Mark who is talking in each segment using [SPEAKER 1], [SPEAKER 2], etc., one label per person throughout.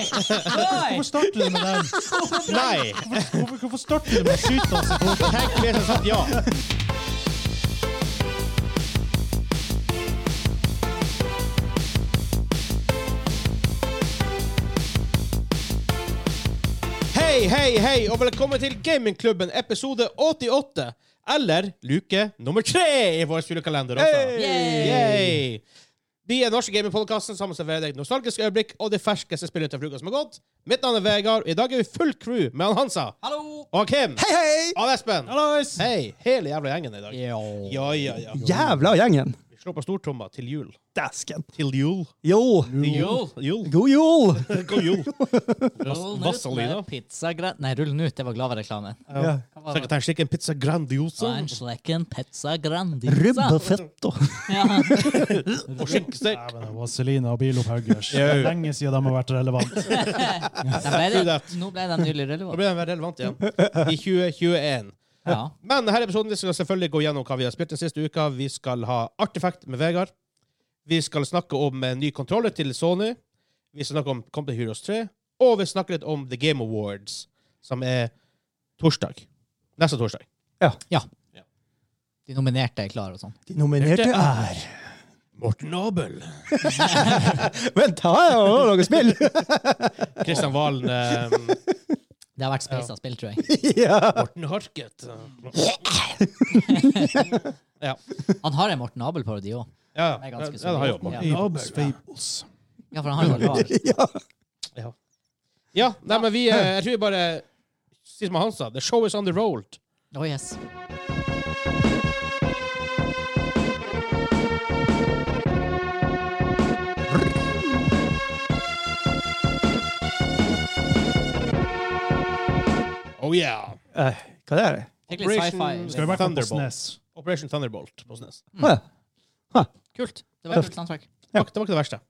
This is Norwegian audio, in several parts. [SPEAKER 1] Nei!
[SPEAKER 2] Hvorfor starter du med den?
[SPEAKER 3] Nei!
[SPEAKER 2] Hvorfor, hvorfor starter du med å skyte oss i foten?
[SPEAKER 3] Tenk det som sagt ja. Hei, hei, hei, og velkommen til Gamingklubben episode 88. Eller luke nummer tre i vår julekalender. Også.
[SPEAKER 1] Yay!
[SPEAKER 3] Yay! Vi er norske gamingpodkasten sammen serverer deg nostalgiske øyeblikk og de ferskeste spillene til uka som har gått. Mitt navn er Vegard, og i dag er vi full crew med han Hansa
[SPEAKER 1] Hallo!
[SPEAKER 3] og Kim.
[SPEAKER 4] Hei, hei!
[SPEAKER 3] Av Espen.
[SPEAKER 2] Hallois!
[SPEAKER 3] Hei, hele jævla gjengen i dag. Ja, ja, ja.
[SPEAKER 4] Jævla gjengen.
[SPEAKER 3] Vi slår på stortromma til jul.
[SPEAKER 4] Dæsken.
[SPEAKER 3] Til jul.
[SPEAKER 4] Jo,
[SPEAKER 3] Til jul. Jul.
[SPEAKER 4] god jul!
[SPEAKER 3] God jul.
[SPEAKER 1] Rull
[SPEAKER 3] Vaselina.
[SPEAKER 1] med pizzagra... Nei, rull den ut. Det var Glava-reklamen.
[SPEAKER 4] Ja.
[SPEAKER 1] Hva var det?
[SPEAKER 3] Sekretær slik en pizza grandiosa.
[SPEAKER 1] Og en slekken pizza grandiosa.
[SPEAKER 4] Sånn. Rubbefetto.
[SPEAKER 1] Ja.
[SPEAKER 3] Og skinkestek.
[SPEAKER 2] Dæven, det var Selina og Bilop Haugers. Det er lenge siden de har vært relevante.
[SPEAKER 1] Da ble det, nå ble den nylig
[SPEAKER 3] Da
[SPEAKER 1] relevant.
[SPEAKER 3] blir den veldig relevant igjen. I 2021.
[SPEAKER 1] Ja.
[SPEAKER 3] Men denne episoden skal selvfølgelig gå gjennom hva vi har spilt den siste uka. Vi skal ha Artefakt med Vegard. Vi skal snakke om en ny kontroller til Sony. Vi skal snakke om Company Heroes 3. Og vi snakker litt om The Game Awards, som er torsdag. Neste torsdag.
[SPEAKER 1] De nominerte er klare og sånn.
[SPEAKER 4] De nominerte er
[SPEAKER 3] Morten Abel.
[SPEAKER 4] Vent, har jeg også laget spill?
[SPEAKER 3] Kristian Valen. eh,
[SPEAKER 1] Det har vært spisa spill, tror jeg.
[SPEAKER 4] ja.
[SPEAKER 3] Morten Harket. ja.
[SPEAKER 1] Han har en Morten Abel-parodi òg.
[SPEAKER 3] Ja,
[SPEAKER 1] er
[SPEAKER 3] ja,
[SPEAKER 1] ganske
[SPEAKER 3] den
[SPEAKER 1] solid.
[SPEAKER 3] har jeg jobbet med.
[SPEAKER 2] Fables, Fables.
[SPEAKER 1] Ja, for han har jo rar.
[SPEAKER 4] ja.
[SPEAKER 3] Ja, nei, men vi, eh, jeg tror vi bare sier som han sa, the show is on the roll.
[SPEAKER 1] Oh, yes.
[SPEAKER 3] Oh yeah.
[SPEAKER 4] Eh, hva det er det?
[SPEAKER 1] Fikk litt sci-fi.
[SPEAKER 2] Skal vi
[SPEAKER 1] litt-
[SPEAKER 2] være på
[SPEAKER 3] Thunderbolt.
[SPEAKER 2] Snes?
[SPEAKER 3] Operation Thunderbolt på Snes.
[SPEAKER 4] Å, ja.
[SPEAKER 1] Kult. Det var kult soundtrack.
[SPEAKER 3] Det var ikke- det var ikke det verste.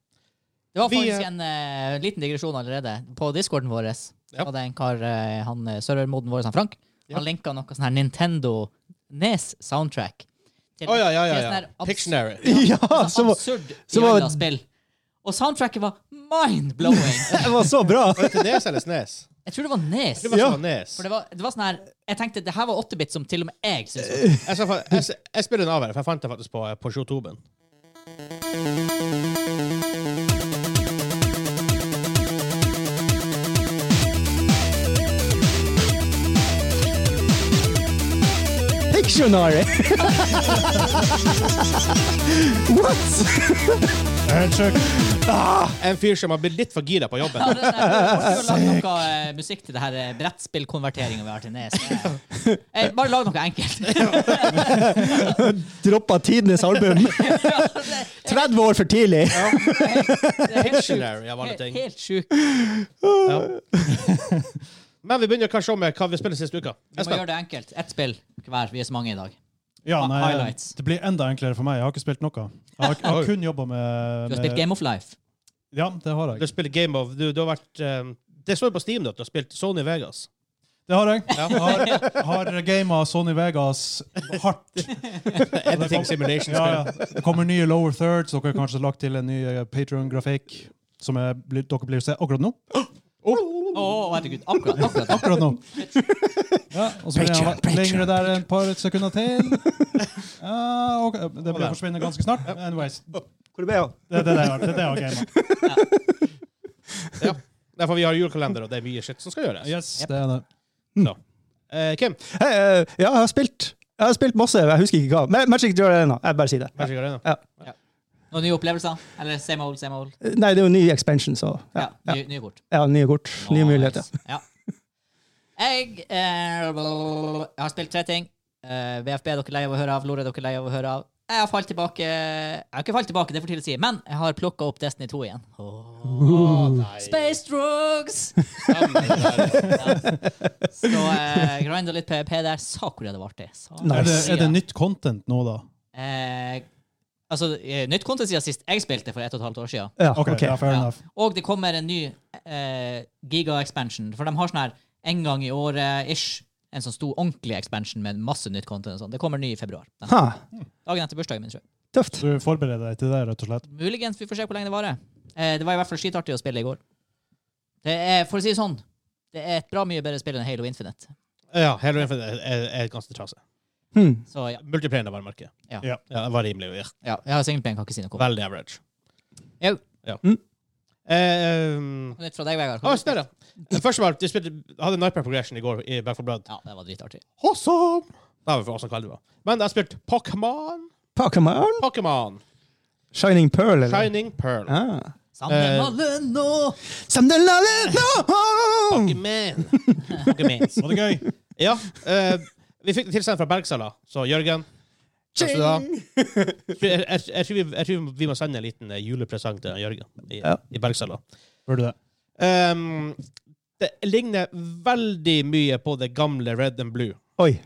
[SPEAKER 1] Det var
[SPEAKER 3] Vi,
[SPEAKER 1] faktisk
[SPEAKER 3] eh,
[SPEAKER 1] en eh, liten digresjon allerede. På discorden vår
[SPEAKER 3] Ja.
[SPEAKER 1] var det en kar, eh, han eh, servermoden vår, han Frank,
[SPEAKER 3] Ja.
[SPEAKER 1] han linka noe sånn her Nintendo Nes-soundtrack. Til,
[SPEAKER 3] Å ja, ja,
[SPEAKER 1] til
[SPEAKER 3] ja.
[SPEAKER 1] sånn
[SPEAKER 3] ja.
[SPEAKER 1] her abs- sånn
[SPEAKER 3] Pictionary.
[SPEAKER 4] ja, så var,
[SPEAKER 1] absurd
[SPEAKER 4] så var-
[SPEAKER 1] jævla spill. Og soundtracket var mind-blowing.
[SPEAKER 4] det var så bra.
[SPEAKER 3] Var det til Nes eller Snes?
[SPEAKER 1] Jeg tror det var Nes.
[SPEAKER 3] Det var
[SPEAKER 4] Ja.
[SPEAKER 3] sånn Nes.
[SPEAKER 1] For det var, det var sånn her Jeg tenkte det her var 8-bit som til og med jeg syntes var
[SPEAKER 3] Jeg, sa fa- jeg, s- jeg spiller en av her, for jeg fant det faktisk på, eh, på Shotoben.
[SPEAKER 4] Pictionary. What?
[SPEAKER 2] Handshake.
[SPEAKER 3] En fyr som har blitt litt for gira på jobben.
[SPEAKER 1] Det er sånn her, du har lagd noe eh, musikk til det her eh, brettspillkonverteringen vi har til Nes. Eh, eh, Bare lag noe enkelt.
[SPEAKER 4] Droppa tidenes album. 30 år for tidlig.
[SPEAKER 1] Det er helt sjukt.
[SPEAKER 3] Pictionary, av alle ting.
[SPEAKER 1] Helt sjukt.
[SPEAKER 3] Men vi begynner kanskje med hva vi spiller sist uka.
[SPEAKER 1] Vi må
[SPEAKER 3] Espen?
[SPEAKER 1] gjøre det enkelt. Ett spill hver. Vi er så mange i dag.
[SPEAKER 2] Ja, nei,
[SPEAKER 1] Ah, Highlights.
[SPEAKER 2] det blir enda enklere for meg. Jeg har ikke spilt noe. Jeg har, jeg har kun jobba med,
[SPEAKER 1] Du
[SPEAKER 4] eh,
[SPEAKER 1] har spilt
[SPEAKER 2] med
[SPEAKER 1] Game of Life.
[SPEAKER 2] Ja, det har
[SPEAKER 3] Du
[SPEAKER 2] jeg.
[SPEAKER 3] spiller Game of Du, du har vært eh, Det står jo på Steam da, at du har spilt Sony Vegas.
[SPEAKER 2] Det har jeg. Jeg har, har gama Sony Vegas hardt.
[SPEAKER 3] Editing simulation
[SPEAKER 2] Ja, ja. Det kommer nye lower thirds. Dere har kanskje lagt til en ny Patrion-grafikk som er, blir- dere blir å se akkurat nå.
[SPEAKER 1] Å, herregud. Akkurat. akkurat.
[SPEAKER 2] Akkurat nå. Ja, og så blir han lengre der et par sekunder til. Ja, ok, Det blir å forsvinne ganske snart. Anyways, det
[SPEAKER 4] Hvor ble han?
[SPEAKER 2] det er det jeg har. Det er det jeg har gamet.
[SPEAKER 3] Ja. Derfor vi har julekalender, og det er mye shit som skal gjøres.
[SPEAKER 2] Yes, det er det.
[SPEAKER 3] Så. Eh, Kim,
[SPEAKER 4] Hei, eh, ja, jeg har spilt Jeg har spilt masse, jeg husker ikke hva. Ma- Magic Draw Arena. Jeg bare sier det.
[SPEAKER 3] Magic Arena.
[SPEAKER 1] Noen nye opplevelser? Eller same old, same old?
[SPEAKER 4] Eh, Nei, det er jo ny expansion, så ja.
[SPEAKER 1] Ja. Nye, nye kort.
[SPEAKER 4] Jeg har nye kort, nye
[SPEAKER 1] Nice.
[SPEAKER 4] muligheter.
[SPEAKER 1] Ja. Jeg eh, Jeg har spilt tre ting. Eh, VFB er dere lei av å høre av. Lore er dere lei av å høre av. Jeg har falt tilbake Jeg har ikke falt tilbake, det er for tidlig å si, men jeg har plukka opp Destiny 2 igjen. Space drugs! Så eh, grinda litt PVP der. Sa hvor det var artig. Sa hvor
[SPEAKER 2] Er det,
[SPEAKER 1] siden.
[SPEAKER 2] er det nytt content nå, da?
[SPEAKER 1] Eh, altså, eh, nytt content siden sist jeg spilte for ett og et halvt år siden.
[SPEAKER 4] Ja,
[SPEAKER 3] Ah,
[SPEAKER 2] Ok,
[SPEAKER 4] ok.
[SPEAKER 2] ja, fair
[SPEAKER 1] Ja.
[SPEAKER 2] enough.
[SPEAKER 1] Og det kommer en ny eh, giga-expansion, for de har sånn her en gang i året-ish. En sånn stor, ordentlig expansion med masse nytt content. og sånn. Det kommer ny i februar. Den
[SPEAKER 4] Ha,
[SPEAKER 1] Dagen etter bursdagen min, tror jeg.
[SPEAKER 4] tøft.
[SPEAKER 2] Du forbereder deg til det, rett og slett?
[SPEAKER 1] Muligens vi får se hvor lenge det varer. Eh, det var i hvert fall skitartig å spille i går. Det er, for å si det sånn, det er et bra mye bedre spill enn Halo Infinite.
[SPEAKER 3] Ja, Halo Infinite er, er, er ganske trase.
[SPEAKER 4] Hmm.
[SPEAKER 1] Så ja.
[SPEAKER 3] Multiplayeren var merket.
[SPEAKER 1] Ja.
[SPEAKER 3] ja, den var rimelig. Ja.
[SPEAKER 1] ja jeg har singleplayen, kan ikke si noe om det.
[SPEAKER 3] Veldig average.
[SPEAKER 1] Jo.
[SPEAKER 3] Ja.
[SPEAKER 4] Mm.
[SPEAKER 3] Eh, um,
[SPEAKER 1] Nytt fra deg, Vegard.
[SPEAKER 3] ah, snarere. Først og fremst, vi spilte, hadde Nightmare Progression i går i Back 4 Blood.
[SPEAKER 1] Ja, det var dritartig.
[SPEAKER 3] Awesome! Det var for awesome kveld det var. Men jeg har spilt Pokémon.
[SPEAKER 4] Pokémon?
[SPEAKER 3] Pokémon.
[SPEAKER 4] Shining Pearl, eller?
[SPEAKER 3] Shining Pearl.
[SPEAKER 4] Ah.
[SPEAKER 1] Sammen
[SPEAKER 3] Eh.
[SPEAKER 1] alle nå!
[SPEAKER 4] Samdelalet nå!
[SPEAKER 3] Pokémon. Pokémon.
[SPEAKER 2] Var det gøy?
[SPEAKER 3] Ja. eh, vi fikk det tilsendt fra Bergsala, så Jørgen Takk skal du ha. Jeg, jeg, jeg, tror vi, jeg tror vi må sende en liten eh, julepresang til Jørgen i,
[SPEAKER 4] Ja.
[SPEAKER 3] i Bergsala.
[SPEAKER 2] Burde det.
[SPEAKER 3] Ehm, det ligner veldig mye på det gamle Red and Blue.
[SPEAKER 4] Oi.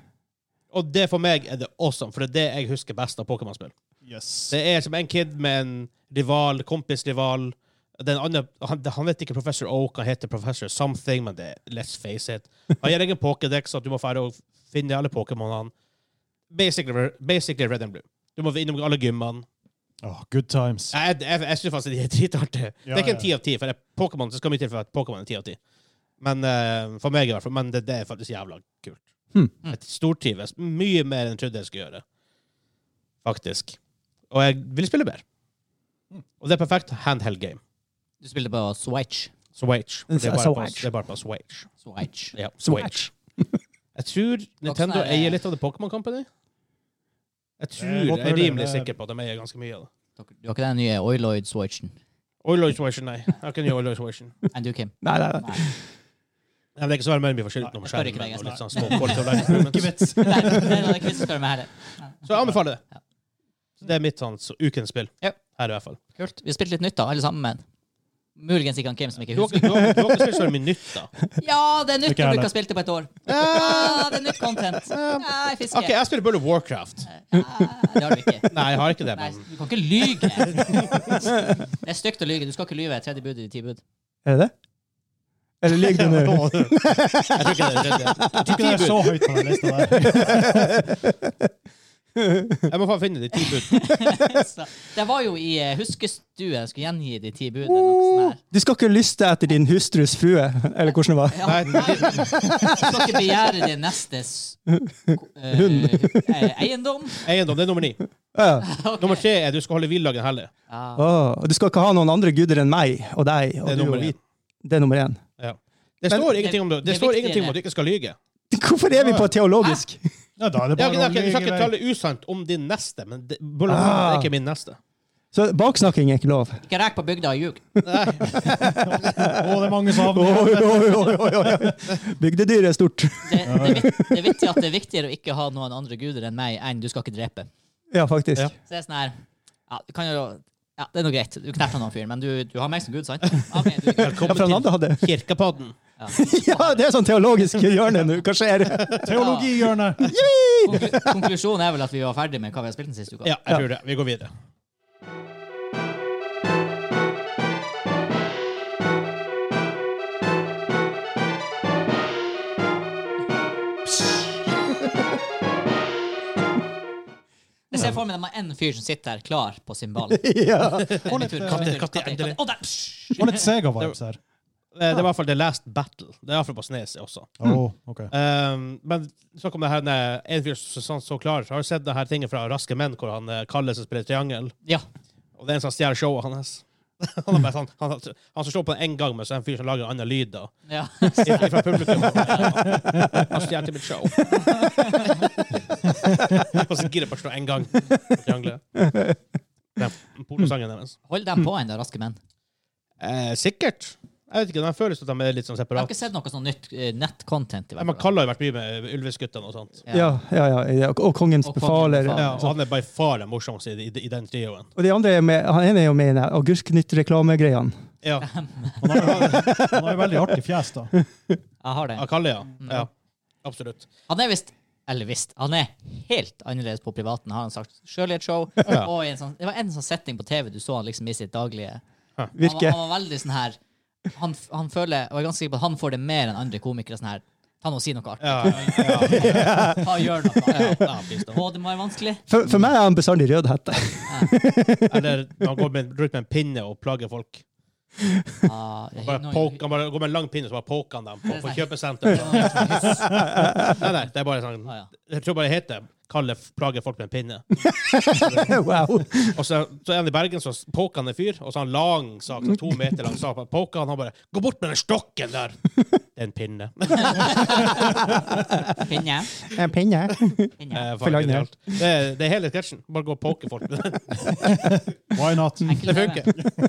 [SPEAKER 3] Og det for meg er det awesome, for det er det jeg husker best av Pokémon-spill.
[SPEAKER 2] Yes.
[SPEAKER 3] Det er som en kid med en rival, kompisrival. Den andre, han, han vet ikke Professor Oak, han heter Professor Something, men det let's face it. Han gir egen pokédex, så at du må fære og finne alle Pokémonene. Basically, basically Red and Blue. Du må innom alle gymmene.
[SPEAKER 2] Åh, good times.
[SPEAKER 3] Jeg, jeg, jeg synes faktisk de er dritartige. det
[SPEAKER 2] Ja,
[SPEAKER 3] er ikke
[SPEAKER 2] ja.
[SPEAKER 3] en ti av ti, for det er Pokémon så skal mye til for at Pokémon er ti av ti. Men eh, for meg i hvert fall. Men det, det er faktisk jævla kult.
[SPEAKER 4] Hmm.
[SPEAKER 2] Mm.
[SPEAKER 3] Et stortrives. Mye mer enn jeg trodde jeg skulle gjøre. Faktisk. Og jeg vil spille mer.
[SPEAKER 2] Mm.
[SPEAKER 3] Og det er perfekt handheld game.
[SPEAKER 1] Du spilte på Switch.
[SPEAKER 3] Switch. Det er bare på,
[SPEAKER 4] Switch.
[SPEAKER 3] det er bare på Switch.
[SPEAKER 1] Switch.
[SPEAKER 3] Ja, Switch. Jeg tror Nintendo
[SPEAKER 1] Voksne er-
[SPEAKER 3] eier litt av The Pokémon Company. Jeg
[SPEAKER 2] Det er
[SPEAKER 3] tror,
[SPEAKER 2] godt
[SPEAKER 3] jeg er
[SPEAKER 2] mulig,
[SPEAKER 3] rimelig
[SPEAKER 2] det er-
[SPEAKER 3] sikker på at de eier ganske mye av det.
[SPEAKER 1] Dere- Du har ikke den nye Oiloid-switchen?
[SPEAKER 3] Oiloid Switchen, nei. Jeg kan ikke Oiloid Switchen.
[SPEAKER 1] Enn du, Kim?
[SPEAKER 4] Nei, nei, nei.
[SPEAKER 3] Nei, men Det er ikke så veldig mye forskjellig utenom
[SPEAKER 1] jeg spør ikke
[SPEAKER 3] skjermen.
[SPEAKER 1] deg, jeg
[SPEAKER 3] og litt
[SPEAKER 1] spør.
[SPEAKER 3] sånn små quality of life improvements.
[SPEAKER 1] Nei, nei, nei, det er ikke vi som spør meg heller.
[SPEAKER 3] Så jeg anbefaler
[SPEAKER 1] Ja.
[SPEAKER 3] det. Så det er mitt sånn, så, ukens spill.
[SPEAKER 1] Ja.
[SPEAKER 3] Her i hvert fall.
[SPEAKER 1] Kult. Vi spilte litt nytt, da, alle sammen. Muligens ikke han Kim, som ikke
[SPEAKER 3] Du har
[SPEAKER 1] husker.
[SPEAKER 3] ikke du har- du har ikke spilt så mye nytt, da.
[SPEAKER 1] Ja, det er nytt
[SPEAKER 2] Ikke
[SPEAKER 1] når du
[SPEAKER 2] heller.
[SPEAKER 1] ikke har spilt det på et år. Ja, det er nytt content. Nei, fiske.
[SPEAKER 3] OK, jeg spiller World of Warcraft.
[SPEAKER 1] Nei, det har du ikke.
[SPEAKER 3] Nei, jeg har ikke det.
[SPEAKER 1] Nei,
[SPEAKER 3] Men
[SPEAKER 1] du kan ikke lyge. Det er stygt å lyge. Du skal ikke lyve. Tredje bud i de ti bud.
[SPEAKER 4] Er det det? Eller ligger det nå?
[SPEAKER 3] jeg tror ikke det er det.
[SPEAKER 2] Jeg tror ikke det er så høyt på den lista der.
[SPEAKER 3] Jeg må faen finne de ti bud.
[SPEAKER 1] Så, Det var jo i eh, huskestue jeg skulle gjengi de ti bud. eller noe sånt der.
[SPEAKER 4] Du skal ikke lyste etter din hustrus frue, eller hvordan det var.
[SPEAKER 1] Ja,
[SPEAKER 3] Nei.
[SPEAKER 1] nei, du skal ikke begjære din nestes eh, eh, eiendom.
[SPEAKER 3] Eiendom, det er nummer ni.
[SPEAKER 4] Ja.
[SPEAKER 3] Nummer tre er du skal holde hviledagen hellig.
[SPEAKER 1] Ja.
[SPEAKER 4] Åh, og du skal ikke ha noen andre guder enn meg og deg. Og
[SPEAKER 3] Det er
[SPEAKER 4] du
[SPEAKER 3] nummer
[SPEAKER 4] og
[SPEAKER 3] én.
[SPEAKER 4] vi. Det er nummer én.
[SPEAKER 3] Ja. Det
[SPEAKER 4] Men-
[SPEAKER 3] står ingenting om det.
[SPEAKER 1] det
[SPEAKER 3] Det står
[SPEAKER 1] viktige
[SPEAKER 3] ingenting om
[SPEAKER 1] er-
[SPEAKER 3] at du ikke skal lyge.
[SPEAKER 4] Hvorfor er vi på teologisk?
[SPEAKER 2] Ja, da er det
[SPEAKER 3] Ja,
[SPEAKER 2] bare
[SPEAKER 3] ok,
[SPEAKER 2] å
[SPEAKER 3] ok, du skal ikke
[SPEAKER 2] lyge
[SPEAKER 3] tale usant om din neste, men det, World of Warcraft er ikke min neste.
[SPEAKER 4] Så baksnakking er ikke lov.
[SPEAKER 1] Ikke rek på bygda og ljug.
[SPEAKER 2] Å, det er mange som
[SPEAKER 4] Oi,
[SPEAKER 2] havner
[SPEAKER 4] oi, oi, oi, oi. Bygdedyr er stort.
[SPEAKER 1] Det, det, er vit- det er vittig at det er viktigere å ikke ha noen andre guder enn meg enn du skal ikke drepe.
[SPEAKER 4] Ja, faktisk.
[SPEAKER 3] Ja.
[SPEAKER 1] Så det er sånn her ja, du kan jo, ja, Det er noe greit. Du knerter noen fyren, men du, du har meg som gud, sant? Ja, men du,
[SPEAKER 4] Ja, for han
[SPEAKER 3] Velkommen
[SPEAKER 4] andre hadde
[SPEAKER 3] til Kirkepodden.
[SPEAKER 1] ja.
[SPEAKER 4] Ja, det er sånn teologisk hjørne nå. Hva skjer?
[SPEAKER 2] Teologihjørnet.
[SPEAKER 1] Konklu- Konklusjonen er vel at vi var ferdig med hva vi har spilt den siste uka.
[SPEAKER 3] Ja, jeg tror det. Vi går videre.
[SPEAKER 1] Jeg ser for meg det er en fyr som sitter her klar på sin ball. Katter,
[SPEAKER 4] Ja.
[SPEAKER 2] Få litt, eh,
[SPEAKER 1] katter,
[SPEAKER 3] katter,
[SPEAKER 1] katter,
[SPEAKER 3] endelig.
[SPEAKER 1] Å, der! psj!
[SPEAKER 2] få litt Sega-vibes her.
[SPEAKER 3] Eh, Det var i hvert fall The Last Battle. Det er iallfall på Snes også.
[SPEAKER 2] Åh, ok.
[SPEAKER 3] Um, men snakk om det her når en fyr som sånn så klar. Har du sett det her tinget fra Raske menn, hvor han eh, Kalle som spiller triangel?
[SPEAKER 1] Ja.
[SPEAKER 3] Og det er en som stjeler showet hans. han, er bare sånn, han, han, han som slår på det én gang, men så er det en fyr som lager en annen lyd da.
[SPEAKER 1] ja.
[SPEAKER 3] Fra publikum. Han stjeler mitt show. Og så gidder jeg bare slå én gang. på Triangelet. Den pornosangen deres.
[SPEAKER 1] Hold dem på ennå, raske menn.
[SPEAKER 3] Eh, sikkert. Jeg vet ikke, Den føles som at de er litt sånn
[SPEAKER 1] Jeg har
[SPEAKER 3] separate.
[SPEAKER 1] ikke sett noe sånn nytt eh, nett-content. i
[SPEAKER 3] Ja,
[SPEAKER 1] hvert
[SPEAKER 3] Men
[SPEAKER 1] fall.
[SPEAKER 3] Kalle har jo vært mye med Ylvis-guttene og sånt.
[SPEAKER 4] Ja, ja, ja, ja. Og
[SPEAKER 1] Og
[SPEAKER 4] kongens
[SPEAKER 1] kongens
[SPEAKER 4] befaler.
[SPEAKER 1] befaler.
[SPEAKER 3] Ja, og han er by far den morsomste i, i, i den trioen.
[SPEAKER 4] Og de andre er med, han ene er jo med i den agurknytt-reklamegreiene.
[SPEAKER 3] Ja,
[SPEAKER 2] Han har han har jo veldig artig fjes, da.
[SPEAKER 1] Jeg har det.
[SPEAKER 3] av Kalle, ja. ja. Absolutt.
[SPEAKER 1] Han er visst eller visst, han er helt annerledes på privaten, har han sagt. Sjøl i et show.
[SPEAKER 3] Ja.
[SPEAKER 1] Og i en sånn, det var en sånn setting på TV du så han liksom i sitt daglige Han, var-
[SPEAKER 4] Virker.
[SPEAKER 1] han var veldig sånn her han, f- han føler, og jeg er ganske sikker på at han får det mer enn andre komikere. sånn her Ta nå og si noe artig.
[SPEAKER 3] Ja, ja, ja,
[SPEAKER 1] Ta gjør noe.
[SPEAKER 3] ja, ja, please, da.
[SPEAKER 1] Å, det må være vanskelig.
[SPEAKER 4] For, for meg er han bestandig rødhette.
[SPEAKER 3] Eller når han går med, rundt med en pinne og plager folk.
[SPEAKER 1] Ah, jeg-
[SPEAKER 3] Bare
[SPEAKER 1] nå-
[SPEAKER 3] poke, han bare går med en lang pinne så bare poker han dem på, på
[SPEAKER 1] Nei.
[SPEAKER 3] kjøpesenteret. Nei, nei, det er bare sånn
[SPEAKER 1] Ah, ja.
[SPEAKER 3] Jeg tror bare det heter 'Kalle f- plager folk med en pinne'.
[SPEAKER 4] wow.
[SPEAKER 3] Og så, så er han i Bergen, så poker han en fyr, og så har han lang sak, sånn to meter lang sak. bare Poker han, han bare 'Gå bort med den stokken der!' Det er en pinne.
[SPEAKER 1] Pinne.
[SPEAKER 4] En pinne.
[SPEAKER 1] Pinne.
[SPEAKER 3] Eh,
[SPEAKER 4] For lang, ja.
[SPEAKER 3] genialt. det, er- det er hele sketsjen. Bare gå og poke folk med den.
[SPEAKER 2] Why not?
[SPEAKER 1] Enkel
[SPEAKER 3] Det
[SPEAKER 1] TV.
[SPEAKER 3] funker.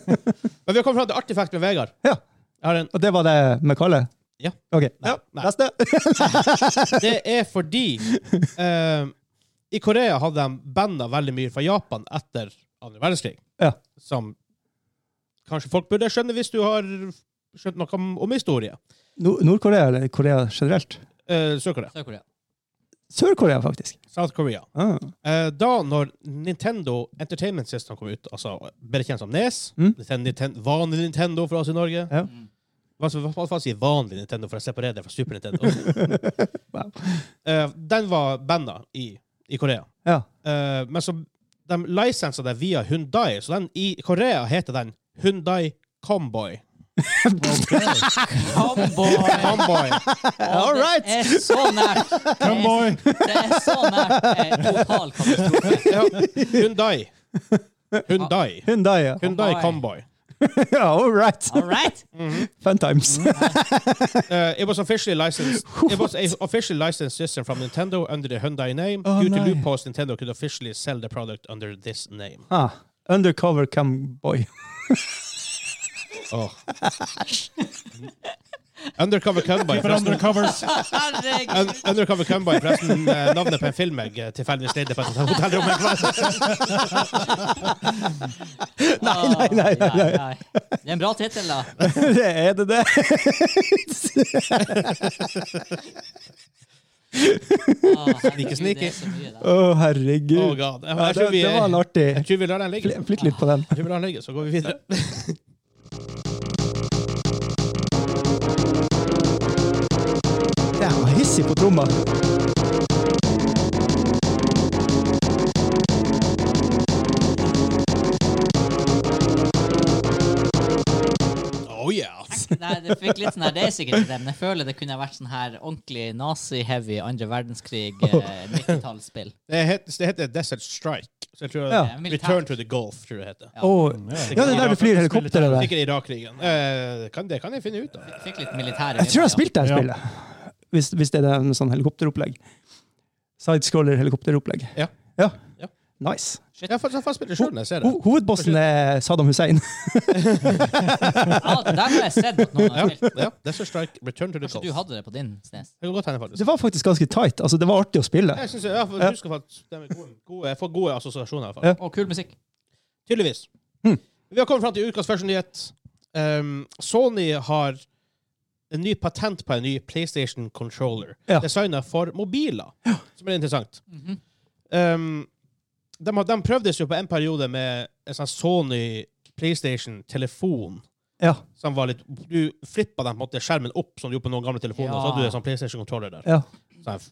[SPEAKER 3] Men vi har kommet fram til artifact med Vegard.
[SPEAKER 4] Ja.
[SPEAKER 3] Jeg har en
[SPEAKER 4] Og det var det med Kalle?
[SPEAKER 3] Ja.
[SPEAKER 4] Ok.
[SPEAKER 3] Nei,
[SPEAKER 4] Ja,
[SPEAKER 3] nei.
[SPEAKER 4] Neste.
[SPEAKER 3] Det er fordi eh, I Korea hadde de banda veldig mye fra Japan etter andre verdenskrig.
[SPEAKER 4] Ja.
[SPEAKER 3] Som kanskje folk burde skjønne hvis du har skjønt noe om, om historie.
[SPEAKER 4] Nord- Nord-Korea eller Korea generelt?
[SPEAKER 3] Eh, Sør-Korea.
[SPEAKER 1] Sør-Korea.
[SPEAKER 4] Sør-Korea, faktisk.
[SPEAKER 3] South Korea.
[SPEAKER 4] Ah.
[SPEAKER 3] Eh, da når Nintendo Entertainment System kom ut, altså bedre kjent som Nes
[SPEAKER 4] Mm.
[SPEAKER 3] Nintendo, Nintendo, Vanlig Nintendo for oss i Norge.
[SPEAKER 4] Ja.
[SPEAKER 1] Mm.
[SPEAKER 3] Hva skal hva skal man si vanlig Nintendo for å separere det fra Super Nintendo?
[SPEAKER 4] Wow.
[SPEAKER 3] Eh, den var banda i, i Korea.
[SPEAKER 4] Ja.
[SPEAKER 3] Eh, men så de lisensa det via Hyundai, så den i Korea heter den Hyundai Comboy.
[SPEAKER 1] Cowboy!
[SPEAKER 3] Comboy.
[SPEAKER 1] All right! Det er så nært.
[SPEAKER 2] Cumboy!
[SPEAKER 1] Det er så nært eh, total katastrofe.
[SPEAKER 3] ja. Hyundai. Hyundai.
[SPEAKER 4] Hyundai, ja.
[SPEAKER 3] Hyundai
[SPEAKER 1] Comboy.
[SPEAKER 3] Comboy.
[SPEAKER 4] ja. All right.
[SPEAKER 1] All right?
[SPEAKER 4] Fun times.
[SPEAKER 3] Uh, it was officially licensed. It was a officially licensed system from Nintendo under the Hyundai name.
[SPEAKER 4] Å,
[SPEAKER 3] Due to
[SPEAKER 4] nei.
[SPEAKER 3] loopholes, Nintendo could officially sell the product under this name.
[SPEAKER 4] Ah. Undercover camboy. Oh.
[SPEAKER 3] Undercover Cumboy.
[SPEAKER 2] For undercovers.
[SPEAKER 1] Herregud.
[SPEAKER 3] Un Undercover Cumboy, forresten eh, navnet på en film jeg eh, tilfeldigvis leide på et hotellrom. en plass.
[SPEAKER 1] Nei,
[SPEAKER 4] nei, nei, nei, nei.
[SPEAKER 1] Det er en bra tittel, da.
[SPEAKER 4] det er det, det.
[SPEAKER 1] Å, herregud,
[SPEAKER 3] sneaky.
[SPEAKER 1] det er så mye
[SPEAKER 4] Å,
[SPEAKER 1] der.
[SPEAKER 4] herregud.
[SPEAKER 3] Oh god.
[SPEAKER 4] ja,
[SPEAKER 3] Jeg,
[SPEAKER 4] det,
[SPEAKER 3] tror vi,
[SPEAKER 4] det var en artig
[SPEAKER 3] jeg tror vi lar den ligge.
[SPEAKER 4] Fly- Flytt litt på den.
[SPEAKER 3] Jeg tror vi lar den ligge, så går vi videre.
[SPEAKER 4] Det var hissig på tromma.
[SPEAKER 3] Oh yeah.
[SPEAKER 1] Nei, det fikk litt sånn her, det er sikkert ikke det, men jeg føler det kunne vært sånn her ordentlig nazi-heavy andre verdenskrig eh, 90-tallsspill.
[SPEAKER 3] Det heter, det heter Desert Strike. Så jeg tror
[SPEAKER 4] Ja.
[SPEAKER 3] Return to the Golf, tror jeg det heter.
[SPEAKER 4] Å, ja, det er der du flyr helikopteret der.
[SPEAKER 3] Sikkert Irak-krigen. Eh, kan, det kan jeg finne ut av.
[SPEAKER 1] Fikk litt militære
[SPEAKER 4] Jeg tror jeg
[SPEAKER 1] vibber,
[SPEAKER 4] har spilt det her
[SPEAKER 2] Ja.
[SPEAKER 4] spillet. Hvis, hvis det er en sånn helikopteropplegg. Sidescroller-helikopteropplegg.
[SPEAKER 3] Ja.
[SPEAKER 4] ja.
[SPEAKER 3] Ja.
[SPEAKER 4] Nice.
[SPEAKER 3] Jeg har faktisk jeg har faktisk spilt det sjøl når jeg ser det.
[SPEAKER 4] Ho hovedbossen er Saddam Hussein.
[SPEAKER 1] ja. Ja, der har jeg sett at noen
[SPEAKER 3] Ja,
[SPEAKER 1] har spilt.
[SPEAKER 3] ja. Desert Strike, Return to the
[SPEAKER 1] Kanskje du
[SPEAKER 3] Golf.
[SPEAKER 1] hadde det på din, Snes?
[SPEAKER 3] Det kan godt hende, faktisk.
[SPEAKER 4] Det var faktisk ganske tight. Altså, det var artig å spille.
[SPEAKER 3] Jeg, synes, jeg, jeg, jeg husker at de er gode, gode, jeg får gode assosiasjoner, i hvert fall.
[SPEAKER 4] Ja.
[SPEAKER 1] Å, kul musikk.
[SPEAKER 3] Tydeligvis.
[SPEAKER 4] Hmm.
[SPEAKER 3] Vi har kommet fram til ukas første nyhet. Um, Sony har en ny patent på en ny PlayStation controller.
[SPEAKER 4] Ja.
[SPEAKER 3] Designa for mobiler, som er interessant. um, de, har- de prøvdes jo på en periode med en sånn Sony PlayStation-telefon.
[SPEAKER 4] Ja.
[SPEAKER 3] Som var litt, du flippa den på en måte skjermen opp, som du gjorde på noen gamle telefoner.
[SPEAKER 1] Ja.
[SPEAKER 3] Og så hadde du en sånn PlayStation-controller der.
[SPEAKER 4] ja.
[SPEAKER 3] Sånn,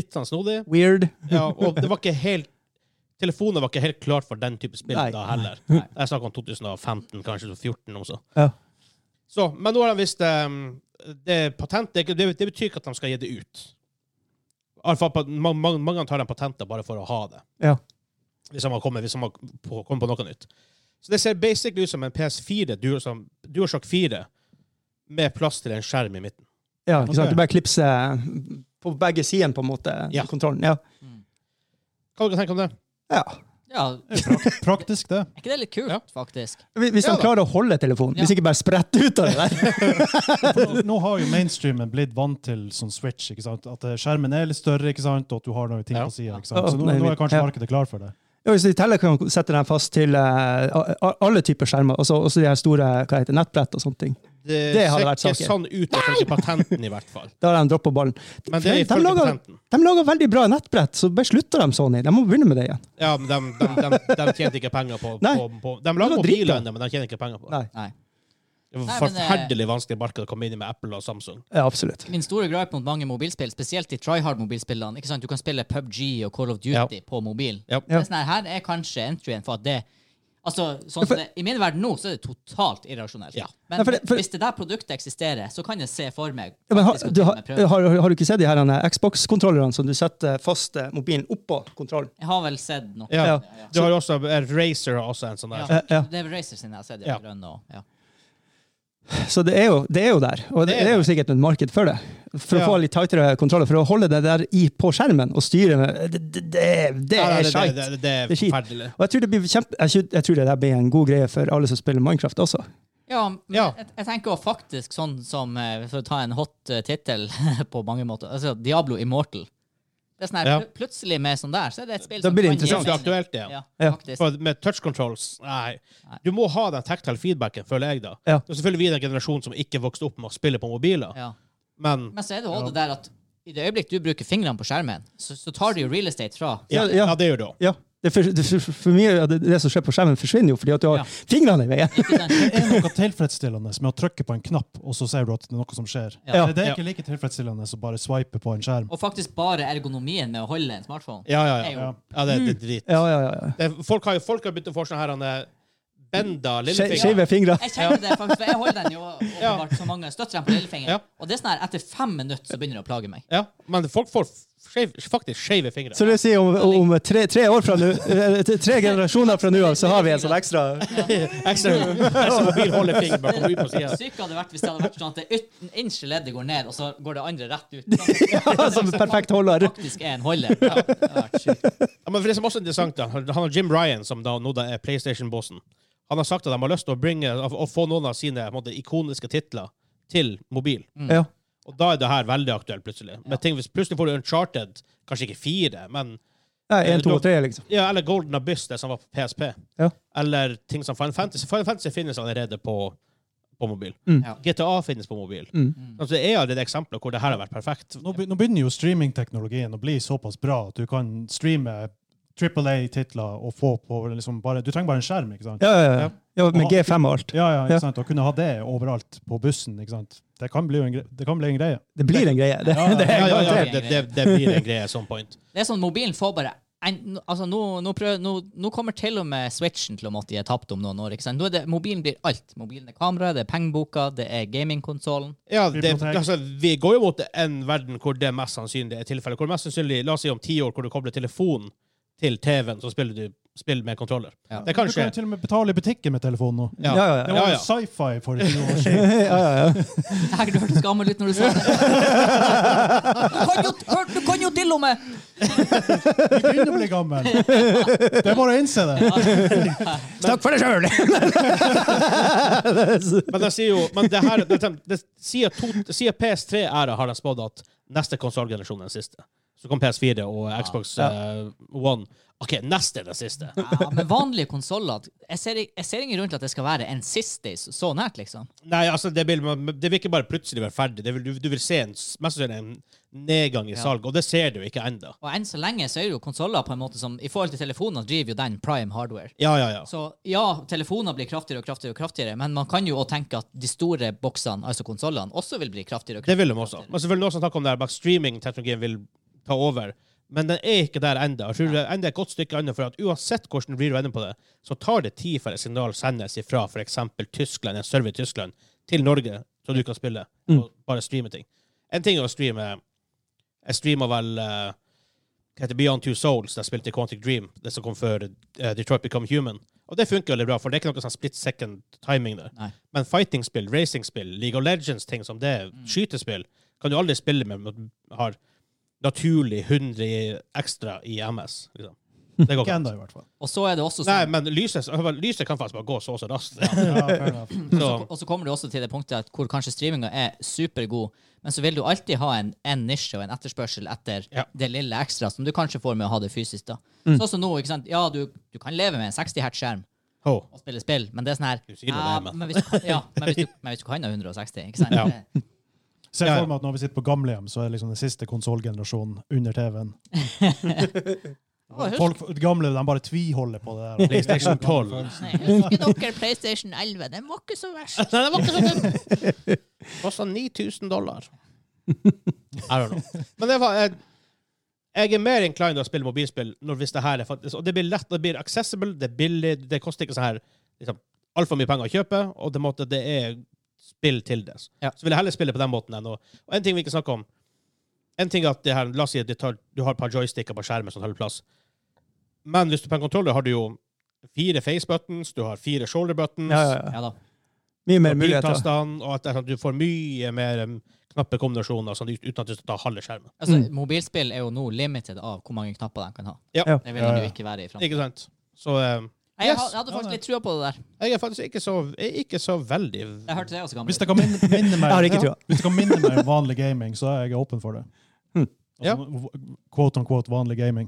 [SPEAKER 3] litt sånn snodig.
[SPEAKER 4] Weird.
[SPEAKER 3] Ja, og det var ikke helt Telefonen var ikke helt klar for den type spill
[SPEAKER 4] Nei.
[SPEAKER 3] da heller.
[SPEAKER 1] Nei.
[SPEAKER 3] Jeg snakker om 2015, kanskje 2014 også.
[SPEAKER 4] Ja.
[SPEAKER 3] Så, men nå har de visst ehm, det er patent. Det, er ikke- det, det betyr ikke at de skal gi det ut. Iallfall på- ma- ma- mange tar de patenter bare for å ha det.
[SPEAKER 4] Ja.
[SPEAKER 3] Hvis de har kommet, hvis de har på, kommet på noe nytt. Så det ser basically ut som en PS4, Duo- som- DualShock 4, med plass til en skjerm i midten.
[SPEAKER 4] Ja, ikke sant?
[SPEAKER 2] Ok.
[SPEAKER 4] Du bare klipser på begge sidene, på en måte,
[SPEAKER 3] Ja.
[SPEAKER 4] kontrollen. Ja.
[SPEAKER 3] Hva dere tenker om det?
[SPEAKER 4] ja.
[SPEAKER 1] Ja, er
[SPEAKER 2] Praktisk, det.
[SPEAKER 1] ikke det litt kult,
[SPEAKER 3] Ja.
[SPEAKER 1] faktisk?
[SPEAKER 4] Hvis hvis
[SPEAKER 3] Ja
[SPEAKER 4] han
[SPEAKER 3] da.
[SPEAKER 4] klarer å holde telefonen.
[SPEAKER 1] Ja.
[SPEAKER 4] Hvis ikke bare spredt ut av det der.
[SPEAKER 2] Nå- Nå har jo mainstreamen blitt vant til sånn switch, ikke sant? at eh, skjermen er litt større, ikke sant? og at du har noen ting
[SPEAKER 3] Ja.
[SPEAKER 2] på sida. Så nå, nå er kanskje
[SPEAKER 4] Ja.
[SPEAKER 2] markedet klar for det.
[SPEAKER 4] Ja, hvis du i tillegg kan sette den fast til eh, a- a- alle typer skjermer, også, også de her store hva heter, det, nettbrett og sånne ting.
[SPEAKER 3] Det,
[SPEAKER 4] Det hadde
[SPEAKER 3] ser
[SPEAKER 4] vært
[SPEAKER 3] ikke
[SPEAKER 4] saken.
[SPEAKER 3] sånn ut ifølge patenten, i hvert fall.
[SPEAKER 4] Da har de droppa ballen.
[SPEAKER 3] Men det er
[SPEAKER 4] de,
[SPEAKER 3] ifølge
[SPEAKER 4] lager,
[SPEAKER 3] patenten.
[SPEAKER 4] de lager veldig bra nettbrett, så bare slutter de Sony. De må begynne med det igjen.
[SPEAKER 3] Ja, men de, de, de, de tjente ikke penger på,
[SPEAKER 4] Nei.
[SPEAKER 3] på, på De
[SPEAKER 4] Det
[SPEAKER 3] lager
[SPEAKER 4] var drit,
[SPEAKER 3] mobiler
[SPEAKER 4] da.
[SPEAKER 3] ennå, men de tjener ikke penger på det.
[SPEAKER 4] Nei.
[SPEAKER 1] Nei.
[SPEAKER 3] Det
[SPEAKER 1] Nei, men,
[SPEAKER 3] var
[SPEAKER 1] eh,
[SPEAKER 3] forferdelig vanskelig marked å komme inn i med Apple og Samsung.
[SPEAKER 4] Ja, absolutt.
[SPEAKER 1] Min store gripe mot mange mobilspill, spesielt de tryhard-mobilspillene ikke sant? Du kan spille PubG og Call of Duty på mobil.
[SPEAKER 3] Ja.
[SPEAKER 1] Det er sånn her, her er kanskje entryen for at det Altså, sånn som det, I min verden nå så er det totalt irrasjonelt.
[SPEAKER 3] Ja.
[SPEAKER 1] Men
[SPEAKER 4] Nei, for det- for-
[SPEAKER 1] hvis det der produktet eksisterer, så kan jeg se for meg
[SPEAKER 4] Ja, men har,
[SPEAKER 1] faktisk å
[SPEAKER 4] du,
[SPEAKER 1] ta
[SPEAKER 4] har,
[SPEAKER 1] med prøve.
[SPEAKER 4] har, har du ikke sett de her eh, Xbox-kontrollerne som du setter fast eh, mobilen oppå kontrollen?
[SPEAKER 1] Jeg har vel sett noe.
[SPEAKER 3] Ja.
[SPEAKER 4] Ja.
[SPEAKER 3] Du har jo også Racer har også en sånn der.
[SPEAKER 4] Ja. ja.
[SPEAKER 1] Det er Razer sin jeg har sett. Ja.
[SPEAKER 3] Ja.
[SPEAKER 1] Grønn og, ja.
[SPEAKER 4] Så det er, jo, det er jo der. Og det,
[SPEAKER 3] Det er
[SPEAKER 4] er jo sikkert et marked for det. For
[SPEAKER 3] Ja.
[SPEAKER 4] å få litt tightere kontroller, for å holde det der i, på skjermen og styre med Det, det, det, det
[SPEAKER 3] Ja,
[SPEAKER 4] er
[SPEAKER 3] det-
[SPEAKER 4] skeit.
[SPEAKER 3] Det, det, det er
[SPEAKER 4] Det er skit.
[SPEAKER 3] forferdelig.
[SPEAKER 4] Og jeg tror, det blir kjempe, jeg, tror- jeg tror det der blir en god greie for alle som spiller Minecraft også.
[SPEAKER 1] Ja, men
[SPEAKER 3] Ja.
[SPEAKER 1] Jeg, jeg tenker jo faktisk sånn som eh, For å ta en hot eh, tittel på mange måter. Altså Diablo Immortal. Det er sånn her,
[SPEAKER 3] Ja.
[SPEAKER 1] pl- Plutselig med sånn der, så er det et spill
[SPEAKER 4] Da blir det
[SPEAKER 1] kan gi
[SPEAKER 3] Det er
[SPEAKER 4] interessant.
[SPEAKER 3] ikke
[SPEAKER 1] mening.
[SPEAKER 3] aktuelt, det. Ja.
[SPEAKER 1] Ja,
[SPEAKER 4] Ja.
[SPEAKER 1] faktisk.
[SPEAKER 3] For med touch controls Nei.
[SPEAKER 1] Nei.
[SPEAKER 3] Du må ha den tactile feedbacken, føler jeg, da.
[SPEAKER 4] Ja.
[SPEAKER 3] Det er selvfølgelig vi i den generasjonen som ikke vokste opp med å spille på mobiler,
[SPEAKER 1] Ja.
[SPEAKER 3] men
[SPEAKER 1] Men så er det jo det der at i det øyeblikk du bruker fingrene på skjermen, så, så tar du jo real estate fra.
[SPEAKER 3] ja,
[SPEAKER 4] Ja, ja.
[SPEAKER 3] ja, det gjør du òg.
[SPEAKER 4] Ja. Det, for, det, for, for mye av det, det som skjer på skjermen, forsvinner jo fordi at du har
[SPEAKER 1] Ja.
[SPEAKER 4] fingrene i veien.
[SPEAKER 1] Ikke sant?
[SPEAKER 2] Det er noe tilfredsstillende med å trykke på en knapp, og så ser du at det er noe som skjer.
[SPEAKER 1] Ja.
[SPEAKER 2] Det, det er ikke like tilfredsstillende som bare swipe på en skjerm.
[SPEAKER 1] Og faktisk bare ergonomien med å holde en smartphone.
[SPEAKER 3] Ja, ja, ja.
[SPEAKER 1] Ja.
[SPEAKER 3] ja det, det er drit.
[SPEAKER 4] Mm. Ja, ja, ja.
[SPEAKER 3] Det, er- folk har jo folk har begynt å få sånne her han, eh, benda
[SPEAKER 4] Skje-
[SPEAKER 3] lillefinger.
[SPEAKER 4] Skeive fingre.
[SPEAKER 1] Jeg kjenner det faktisk, for jeg holder den jo åpenbart så mange støtter den på
[SPEAKER 3] Ja.
[SPEAKER 1] lillefingeren. Og det er sånn her, etter fem minutter så begynner det å plage meg.
[SPEAKER 3] Ja, men folk får f- skeiv- faktisk skeive fingre.
[SPEAKER 4] Så det vil si om, om tre, tre år fra nå, eh, tre generasjoner fra nå av, så har vi en sånn ekstra
[SPEAKER 3] Ekstra, ekstra mobilholdefinger bare kommer ut på sida.
[SPEAKER 1] Det syke hadde vært hvis det hadde vært sånn at det ytten- innerste leddet går ned, og så går det andre rett ut. sånn
[SPEAKER 4] som perfekt holder.
[SPEAKER 1] Faktisk er en holder. Ja, det hadde vært sykt.
[SPEAKER 3] Ja, men for det som også er interessant, da, han har Jim Ryan, som da, nå da er PlayStation-bossen, han har sagt at de har lyst til å, bringe, å, å få noen av sine på en måte, ikoniske titler til mobil.
[SPEAKER 4] Ja.
[SPEAKER 3] Og da er det her veldig aktuelt, plutselig. Med ting, hvis plutselig får du Uncharted, kanskje ikke fire, men
[SPEAKER 4] Nei, en, to og tre, liksom.
[SPEAKER 3] ja, Eller Golden Abyss, det som var på PSP.
[SPEAKER 4] Ja.
[SPEAKER 3] Eller ting som Final Fantasy. Final Fantasy finnes allerede på, på mobil.
[SPEAKER 4] Mm.
[SPEAKER 1] Ja.
[SPEAKER 3] GTA finnes på mobil. Altså, det er allerede eksempler hvor det her har vært perfekt.
[SPEAKER 2] Nå, be- nå begynner jo streamingteknologien å bli såpass bra at du kan streame Triple A-titler og få på liksom bare Du trenger bare en skjerm, ikke sant?
[SPEAKER 4] Ja, ja, ja. ja med G5 og alt.
[SPEAKER 2] Ja, ja,
[SPEAKER 4] Ja.
[SPEAKER 2] ikke sant? Å kunne ha det overalt på bussen, ikke sant? Det kan bli jo en, gre det kan bli en greie.
[SPEAKER 4] Det blir en greie. Det, det
[SPEAKER 3] Ja,
[SPEAKER 4] er
[SPEAKER 3] ja, ja,
[SPEAKER 4] garantert.
[SPEAKER 3] det, det, det blir en greie at some point.
[SPEAKER 1] Det er sånn, mobilen får bare en, altså nå, nå, prøv, nå, nå kommer til og med switchen til å måtte gi tapt om noen år. ikke sant? Nå er det, mobilen blir alt. Mobilen er kamera, det er pengeboka, det er gamingkonsollen.
[SPEAKER 3] Ja, det,
[SPEAKER 2] Bibliotek.
[SPEAKER 3] altså, vi går jo mot en verden hvor det mest sannsynlig er tilfellet. Hvor mest sannsynlig, La oss si om ti år, hvor du kobler telefonen til TV-en, så spiller du spill med kontroller.
[SPEAKER 1] Ja.
[SPEAKER 3] Det
[SPEAKER 2] Du
[SPEAKER 3] kan
[SPEAKER 2] kan
[SPEAKER 3] skje.
[SPEAKER 2] jo til og med betale i butikken med telefonen nå.
[SPEAKER 4] Ja, ja,
[SPEAKER 2] Det
[SPEAKER 4] ja.
[SPEAKER 2] var jo
[SPEAKER 3] Ja, ja.
[SPEAKER 2] sci-fi for ikke noe år siden.
[SPEAKER 4] Ja, ja, ja.
[SPEAKER 1] Nei, du hørtes gammel ut når du sa det. Du kan jo, hør, du kan jo til og med
[SPEAKER 2] Du begynner å bli gammel. Det er bare å innse det.
[SPEAKER 4] Snakk for deg sjøl!
[SPEAKER 3] Men det sier jo men det her, det, det sier, to, det sier PS3-æra har de spådd at neste konsollgenerasjon er den siste. Så kom PS4 og Xbox eh, One. OK, neste er den siste.
[SPEAKER 1] ja, Men vanlige konsoller jeg, ser- jeg ser ingen grunn til at det skal være en siste så så nært, liksom.
[SPEAKER 3] Nei, altså, det vil, man- det vil ikke bare plutselig være ferdig. Det vil, du, du vil se en, s- mest sannsynlig en nedgang i
[SPEAKER 1] Ja.
[SPEAKER 3] salg, og det ser du ikke ennå.
[SPEAKER 1] Og enn så lenge så er jo konsoller på en måte som I forhold til telefoner driver jo den prime hardware.
[SPEAKER 3] Ja, ja, ja.
[SPEAKER 1] Så ja, telefoner blir kraftigere og kraftigere, og kraftigere, men man kan jo også tenke at de store boksene, altså konsollene, også vil bli kraftigere og
[SPEAKER 3] Det
[SPEAKER 1] kraftigere.
[SPEAKER 3] vil de også. Men selvfølgelig noen som snakker om det her med at streaming-teknologien vil ta over. Men den er ikke der ennå. Jeg tror det enda er et godt stykke unna, for at uansett hvordan du blir venner på det, så tar det tid før et signal sendes ifra f.eks. Tyskland, en server i Tyskland, til Norge, så du kan spille og bare streame ting. En ting er å streame Jeg streama vel eh, hva heter det, Beyond Two Souls, da jeg spilte i Quantic Dream, det som kom før eh, Detroit Become Human. Og det funker veldig bra, for det er ikke noe sånn split second timing der.
[SPEAKER 1] Nei.
[SPEAKER 3] Men fighting-spill, racing-spill, League of Legends, ting som det,
[SPEAKER 1] Mm.
[SPEAKER 3] skytespill, kan du aldri spille med med- har naturlig 100 i- ekstra i MS. Liksom. Det går
[SPEAKER 2] Ikke
[SPEAKER 3] ikke.
[SPEAKER 2] ennå, i hvert fall.
[SPEAKER 1] Og så er det også
[SPEAKER 3] Nei,
[SPEAKER 1] sånn,
[SPEAKER 3] men lyset, lyset kan faktisk bare gå så og så raskt.
[SPEAKER 2] Ja, fair enough.
[SPEAKER 3] Så,
[SPEAKER 1] sånn- og så kommer det også til det punktet at hvor kanskje streaminga er supergod, men så vil du alltid ha en, en nisje og en etterspørsel etter
[SPEAKER 3] Ja. Mm.
[SPEAKER 1] det lille ekstra som du kanskje får med å ha det fysisk. da. Sånn som nå, ikke sant? Ja, du, du kan leve med en 60 hertz-skjerm
[SPEAKER 3] oh.
[SPEAKER 1] og spille spill, men det er sånn her
[SPEAKER 3] sier nå det,
[SPEAKER 1] ja,
[SPEAKER 3] men-
[SPEAKER 1] men, hvis du, ja, men, hvis du, men hvis du kan ha 160, ikke sant?
[SPEAKER 3] Ja.
[SPEAKER 1] Det-
[SPEAKER 2] Se
[SPEAKER 3] Ja, ja.
[SPEAKER 2] for meg at når vi sitter på gamlehjem, så er liksom den siste konsollgenerasjonen under TV-en.
[SPEAKER 1] Å, husk-
[SPEAKER 2] Folk de gamle de bare tviholder på det der.
[SPEAKER 3] PlayStation 12.
[SPEAKER 1] Nei, Husker dere PlayStation 11? Den var ikke så verst.
[SPEAKER 3] Nei, det var ikke så dumt. Kosta 9000 dollar. I don't know. Men det var eh, Jeg er mer inclined til å spille mobilspill når hvis det her er faktisk Og det blir lett, det blir accessible, det er billig, det koster ikke sånn her liksom, altfor mye penger å kjøpe, og det, måte, det er spill til det.
[SPEAKER 1] Ja.
[SPEAKER 3] Så vil jeg heller spille på den måten enn å Og en ting vi ikke snakker om En ting er at det her, La oss si at du, tar, du har et par joysticker på skjermen som holder plass, men hvis du på en controller har du jo fire face buttons, du har fire shoulder buttons
[SPEAKER 4] Ja, ja, ja.
[SPEAKER 1] Ja da.
[SPEAKER 4] Mye mer
[SPEAKER 3] og
[SPEAKER 4] muligheter.
[SPEAKER 3] biltastene, og at det er sånn at du får mye mer um, knappe kombinasjoner sånn, uten at du skal ta halve skjermen.
[SPEAKER 1] Altså, Mobilspill er jo nå limited av hvor mange knapper de kan ha.
[SPEAKER 4] Ja.
[SPEAKER 1] Det vil
[SPEAKER 2] Ja,
[SPEAKER 1] de
[SPEAKER 2] ja.
[SPEAKER 1] jo ikke være i framtida.
[SPEAKER 3] Ikke sant? Så um,
[SPEAKER 1] Jeg,
[SPEAKER 3] Yes.
[SPEAKER 1] ha- jeg hadde
[SPEAKER 2] Ja,
[SPEAKER 1] faktisk
[SPEAKER 2] det-
[SPEAKER 1] litt trua på det der.
[SPEAKER 3] jeg er faktisk ikke så, jeg er ikke så veldig
[SPEAKER 1] Jeg hørte det også gammel.
[SPEAKER 2] Hvis det kan minne, minne meg
[SPEAKER 4] Jeg har ikke
[SPEAKER 2] Ja.
[SPEAKER 4] trua.
[SPEAKER 2] Hvis det kan minne meg om vanlig gaming, så er jeg åpen for det.
[SPEAKER 4] Mm.
[SPEAKER 2] Altså, Quote on quote vanlig gaming.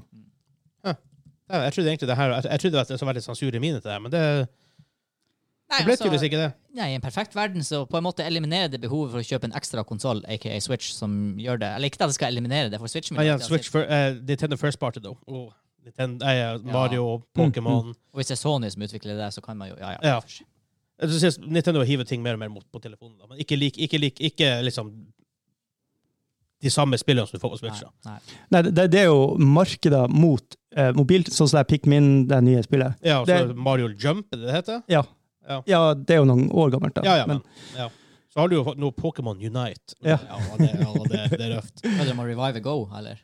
[SPEAKER 3] Ja, Jeg trodde egentlig det her Jeg, jeg trodde at det var litt sånn sure mine til det, men det,
[SPEAKER 1] Nei,
[SPEAKER 3] det ble
[SPEAKER 1] altså,
[SPEAKER 3] tydeligvis ikke det.
[SPEAKER 1] Nei, I en perfekt verden så på en måte eliminerer det behovet for å kjøpe en ekstra konsoll, aka Switch, som gjør det. Eller ikke at det skal eliminere det, for Switch
[SPEAKER 3] Men igjen, Switch for, eh, Nintendo First Party, da. Og Nintendo, eh, Mario,
[SPEAKER 1] Mm,
[SPEAKER 3] Pokémon
[SPEAKER 1] Og hvis det er Sony som utvikler det, så kan man jo Ja, ja.
[SPEAKER 3] Ja. Jeg synes Nintendo hiver ting mer og mer mot på telefonen. Da. Men ikke, lik, ikke, lik, ikke liksom de samme spillene som du får på Switch.
[SPEAKER 1] Nei,
[SPEAKER 3] Da.
[SPEAKER 1] nei.
[SPEAKER 4] Nei, det, det er jo markeder mot eh, mobil, sånn som det er Pikmin, det nye spillet.
[SPEAKER 3] Ja, og så
[SPEAKER 4] Det-
[SPEAKER 3] Mario Jump, er det det heter?
[SPEAKER 4] Ja.
[SPEAKER 3] Ja.
[SPEAKER 4] Ja, det er jo noen år gammelt, da.
[SPEAKER 3] Ja, ja, men, ja. Så har du jo fått noe Pokémon Unite.
[SPEAKER 4] Ja.
[SPEAKER 3] det, ja, det, det er røft.
[SPEAKER 1] Hva er det med å revive Go, eller?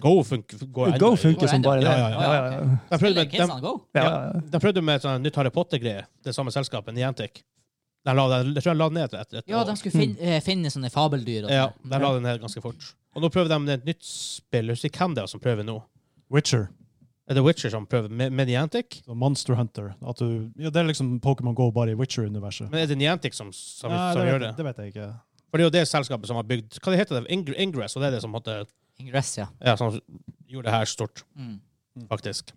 [SPEAKER 3] Go funker. Go
[SPEAKER 4] men Go
[SPEAKER 1] Går
[SPEAKER 4] funker som
[SPEAKER 1] ennå.
[SPEAKER 4] bare det.
[SPEAKER 3] Ja, ja, ja.
[SPEAKER 4] ja, ja, ja.
[SPEAKER 3] De prøvde
[SPEAKER 1] Spiller
[SPEAKER 3] med, de,
[SPEAKER 1] kidsene Go?
[SPEAKER 4] Ja, ja, ja.
[SPEAKER 3] de prøvde med et sånt nytt Harry Potter-greie, det samme selskapet, Niantic. De la, de, jeg tror de la det ned etter et, et
[SPEAKER 1] Ja,
[SPEAKER 3] år.
[SPEAKER 1] de skulle finne, eh, finne sånne fabeldyr. Og
[SPEAKER 3] Mm. Ja,
[SPEAKER 1] sånn.
[SPEAKER 3] de la det ned ganske fort. Og nå prøver de et nytt spill. Jeg husker ikke hvem det er som prøver nå.
[SPEAKER 2] Witcher.
[SPEAKER 3] Er det Witcher som prøver med, med Niantic?
[SPEAKER 2] Så Monster Hunter. At du, ja, det er liksom Pokémon Go bare i Witcher-universet.
[SPEAKER 3] Men er det Niantic som, som,
[SPEAKER 2] Nei,
[SPEAKER 3] som
[SPEAKER 2] det,
[SPEAKER 3] gjør det?
[SPEAKER 2] vet- det vet jeg ikke.
[SPEAKER 3] For det er jo det selskapet som har bygd Hva det heter det? Ingr Ingress, og det er det som, hadde,
[SPEAKER 1] Ingress, ja.
[SPEAKER 3] ja, som gjorde det her stort,
[SPEAKER 1] Mm.
[SPEAKER 3] faktisk.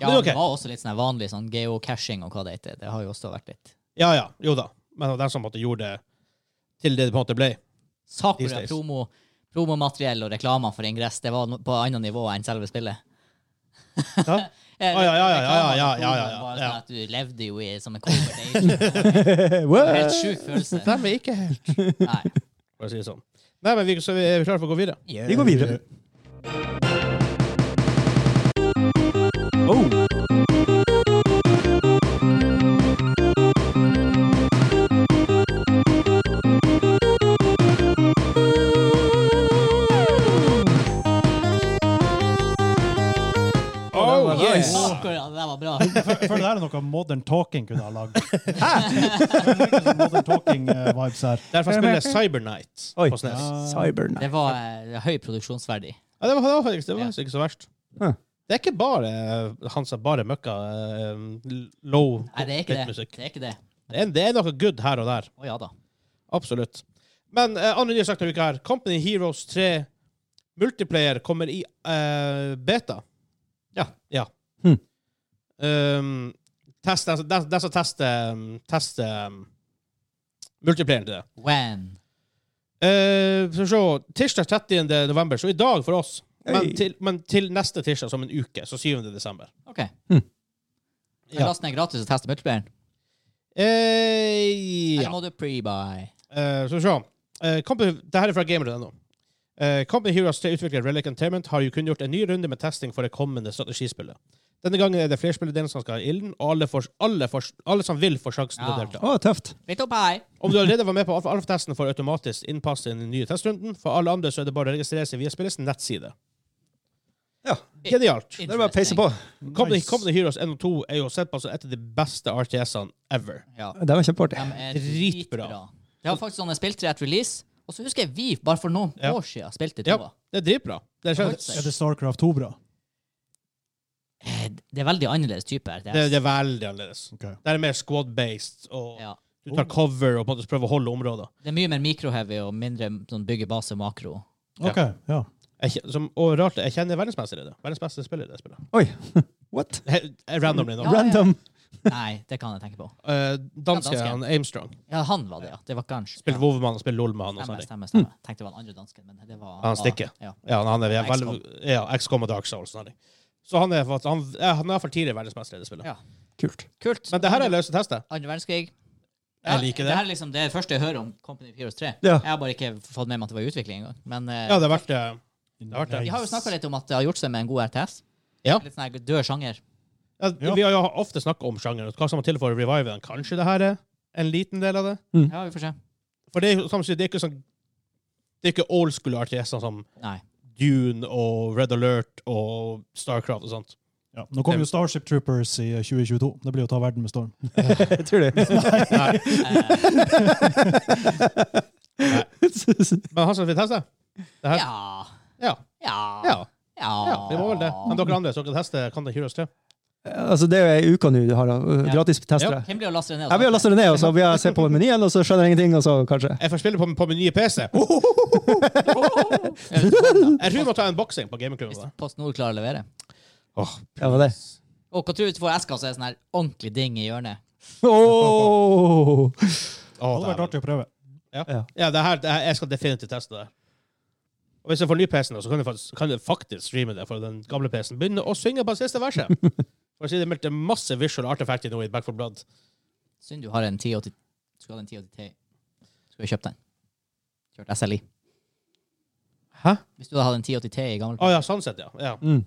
[SPEAKER 1] Ja,
[SPEAKER 3] Men
[SPEAKER 1] men
[SPEAKER 3] ok.
[SPEAKER 1] det var også litt sånn vanlig sånn geocaching og hva det heter. Det har jo også vært litt
[SPEAKER 3] Ja, ja. Jo da. Men det var den som på en måte gjorde det til det det på en måte ble. These
[SPEAKER 1] Sakura
[SPEAKER 3] days.
[SPEAKER 1] promo, promomateriell og reklamer for Ingress, det var no- på annet nivå enn selve spillet.
[SPEAKER 3] Ja.
[SPEAKER 1] Eh,
[SPEAKER 3] Ah, ja, ja, ja, ja, ja,
[SPEAKER 1] reklamer for
[SPEAKER 3] ja, ja,
[SPEAKER 1] promoen var sånn
[SPEAKER 3] ja, ja.
[SPEAKER 1] At du levde jo i, som en conversation.
[SPEAKER 4] What?
[SPEAKER 1] Helt sjuk følelse.
[SPEAKER 3] Dem er ikke helt
[SPEAKER 1] Nei.
[SPEAKER 3] For å si det sånn. Nei, men vi, så vi er vi klare for å gå videre.
[SPEAKER 4] Vi går videre. Oh.
[SPEAKER 3] Oh,
[SPEAKER 1] Yes.
[SPEAKER 3] yes!
[SPEAKER 1] Sakura, det der var bra.
[SPEAKER 2] Jeg føl- jeg føler det her er noe Modern Talking kunne ha lagd. Det er liksom Modern Talking-vibes her.
[SPEAKER 3] Derfor spiller jeg Cybernight
[SPEAKER 4] Oi.
[SPEAKER 3] på SNES.
[SPEAKER 4] Cybernet.
[SPEAKER 1] Det var eh, høy produksjonsverdi.
[SPEAKER 3] Ja, det var, det var faktisk det var faktisk ikke så verst.
[SPEAKER 4] Ja.
[SPEAKER 3] Det er ikke bare eh, han som bare møkka eh, low
[SPEAKER 1] Nei, det er ikke det.
[SPEAKER 3] hitmusikk.
[SPEAKER 1] Det er ikke det.
[SPEAKER 3] Det er, det er noe good her og der.
[SPEAKER 1] Å ja da.
[SPEAKER 3] Absolutt. Men eh, andre nye saker denne uka her. Company Heroes 3 Multiplayer kommer i eh, beta.
[SPEAKER 1] Ja.
[SPEAKER 3] Ja.
[SPEAKER 4] Hmm.
[SPEAKER 3] Um, test, den, den, den som tester um, tester, um, multiplayeren til det.
[SPEAKER 1] When?
[SPEAKER 3] Eh, Skal vi se Tirsdag 30. november, så i dag for oss. Men,
[SPEAKER 4] Hey.
[SPEAKER 3] til, men til neste tirsdag, som en uke, så 7. desember.
[SPEAKER 1] OK.
[SPEAKER 4] Mm.
[SPEAKER 1] Kan
[SPEAKER 3] Ja.
[SPEAKER 1] laste ned gratis og teste multiplayeren?
[SPEAKER 3] Eh,
[SPEAKER 1] Eller
[SPEAKER 3] ja.
[SPEAKER 1] må du pre-buy?
[SPEAKER 3] Eh, Skal vi se. Eh, Company, det her er fra gamer.no. Eh, Company Heroes 3 utvikler Relic Entertainment har jo kunngjort en ny runde med testing for det kommende strategispillet. Denne gangen er det flerspillerdelen som skal i ilden, og alle, får, alle, får, alle som vil, får sjansen til å
[SPEAKER 1] Ja.
[SPEAKER 3] delta.
[SPEAKER 4] Å, tøft.
[SPEAKER 1] Litt opp her.
[SPEAKER 3] Om du allerede var med på alfa- alfa-testen, får automatisk innpass i den nye testrunden. For alle andre så er det bare å registrere seg via spillets nettside.
[SPEAKER 4] Ja.
[SPEAKER 3] Genialt.
[SPEAKER 4] Det er bare å peise på.
[SPEAKER 3] Company,
[SPEAKER 2] Nice.
[SPEAKER 3] Company Heroes 1 og 2 er jo sett på som et av de beste RTS-ene ever.
[SPEAKER 1] Ja.
[SPEAKER 4] Det var kjempeartig.
[SPEAKER 1] De er
[SPEAKER 3] Dritbra.
[SPEAKER 1] dritbra. Det var faktisk sånn jeg spilte det etter release. Og så husker jeg vi bare for noen
[SPEAKER 3] Ja.
[SPEAKER 1] år siden spilte
[SPEAKER 3] Ja.
[SPEAKER 1] toa.
[SPEAKER 3] Det er dritbra. Det er,
[SPEAKER 1] Holdt
[SPEAKER 3] det,
[SPEAKER 1] seg.
[SPEAKER 2] Er det Starcraft 2 bra?
[SPEAKER 1] Eh, Det er veldig annerledes type RTS.
[SPEAKER 3] er, det er veldig annerledes.
[SPEAKER 2] Ok.
[SPEAKER 3] Det er mer squad-based, og
[SPEAKER 1] Ja.
[SPEAKER 3] du tar cover og på en måte prøver å holde områder.
[SPEAKER 1] det er mye mer mikroheavy og mindre sånn bygge base makro.
[SPEAKER 2] Ok, ja.
[SPEAKER 3] Jeg, kje- som, og rart, jeg kjenner verdensmester i det. Verdensmester spiller i det spillet.
[SPEAKER 4] Oi. What?
[SPEAKER 3] He- eh, Randomly nå.
[SPEAKER 1] Ja.
[SPEAKER 4] Random.
[SPEAKER 1] Nei, det kan jeg tenke på.
[SPEAKER 3] Eh, danske,
[SPEAKER 1] Ja, danske.
[SPEAKER 3] han Aimstrong.
[SPEAKER 1] Ja, han var det, ja. Det var Gansch.
[SPEAKER 3] Spiller
[SPEAKER 1] ja.
[SPEAKER 3] Wovermann og spiller LOL med han. og sånne
[SPEAKER 1] Stemmer,
[SPEAKER 3] ting.
[SPEAKER 1] stemmer, stemmer. Tenkte det var den andre dansken, men det var
[SPEAKER 3] Han stikker.
[SPEAKER 1] Ja.
[SPEAKER 3] Ja, han er
[SPEAKER 1] Ja,
[SPEAKER 3] veldig Ja, XCOM og Dark Souls. Sånn. Så han er, fakt- han, ja, han er for tidligere verdensmester i det spillet.
[SPEAKER 1] Ja.
[SPEAKER 4] Kult.
[SPEAKER 1] Kult.
[SPEAKER 3] Men det her er løse tester.
[SPEAKER 1] Andre verdenskrig.
[SPEAKER 3] Jeg liker det.
[SPEAKER 1] Det her er liksom det første jeg hører om Company Heroes 3.
[SPEAKER 4] Ja.
[SPEAKER 1] Jeg har bare ikke fått med meg at det var i utvikling engang. Men eh,
[SPEAKER 3] Ja, det har vært eh, har vært der.
[SPEAKER 1] Vi har jo snakka litt om at det har gjort seg med en god RTS.
[SPEAKER 3] Ja.
[SPEAKER 1] Litt sånn her død sjanger.
[SPEAKER 3] Ja,
[SPEAKER 2] Ja.
[SPEAKER 3] Vi har jo ofte snakka om sjangeren. og Hva som må til for å revive den? Kanskje det her er en liten del av det?
[SPEAKER 1] Ja, vi får se.
[SPEAKER 3] For det er jo som sagt, det er ikke sånn Det er ikke old school RTS-er som
[SPEAKER 1] Nei.
[SPEAKER 3] Dune og Red Alert og Starcraft og sånt.
[SPEAKER 2] Ja. Nå kommer jo Starship Troopers i eh, 2022. Det blir jo å ta verden med storm.
[SPEAKER 4] Jeg tror det.
[SPEAKER 1] Eh,
[SPEAKER 3] Men han som vil teste? Det her?
[SPEAKER 1] ja.
[SPEAKER 3] Ja.
[SPEAKER 1] Ja.
[SPEAKER 3] ja.
[SPEAKER 1] Ja.
[SPEAKER 3] ja. Det var vel det. Men dere andre, så dere tester Kan det Heroes 3?
[SPEAKER 4] altså, det er jo ei uke nå du har uh, gratis testere.
[SPEAKER 1] Hvem blir å laste det ned?
[SPEAKER 4] Jeg vil laste det ned, og så vil jeg se på menyen, og så skjønner jeg ingenting, og så kanskje.
[SPEAKER 3] Jeg får spille på, på min nye PC. Jeg tror vi må ta en boksing på gamingklubben.
[SPEAKER 1] Post Nord klarer å levere.
[SPEAKER 3] Oh,
[SPEAKER 4] Det var det.
[SPEAKER 1] Og når du får eska, så er det sånn her ordentlig ding i hjørnet.
[SPEAKER 4] Åh!
[SPEAKER 2] Det hadde vært artig å prøve.
[SPEAKER 3] ja, det her, det her, jeg skal definitivt teste det. Og Hvis jeg får ny PC nå, så kan jeg faktisk, kan jeg faktisk streame det, for den gamle PC-en begynner å synge på det siste verset. For å si det mildt, det er masse visual artifacts nå i Back 4 Blood.
[SPEAKER 1] Synd du har en 1080 Skulle hatt en 1080 T. Skulle jeg kjøpt den. Kjørt SLI.
[SPEAKER 3] Hæ?
[SPEAKER 1] Hvis du hadde hatt en 1080 T i gammel
[SPEAKER 3] Å ja, sånn sett, ja. ja.
[SPEAKER 4] Mm.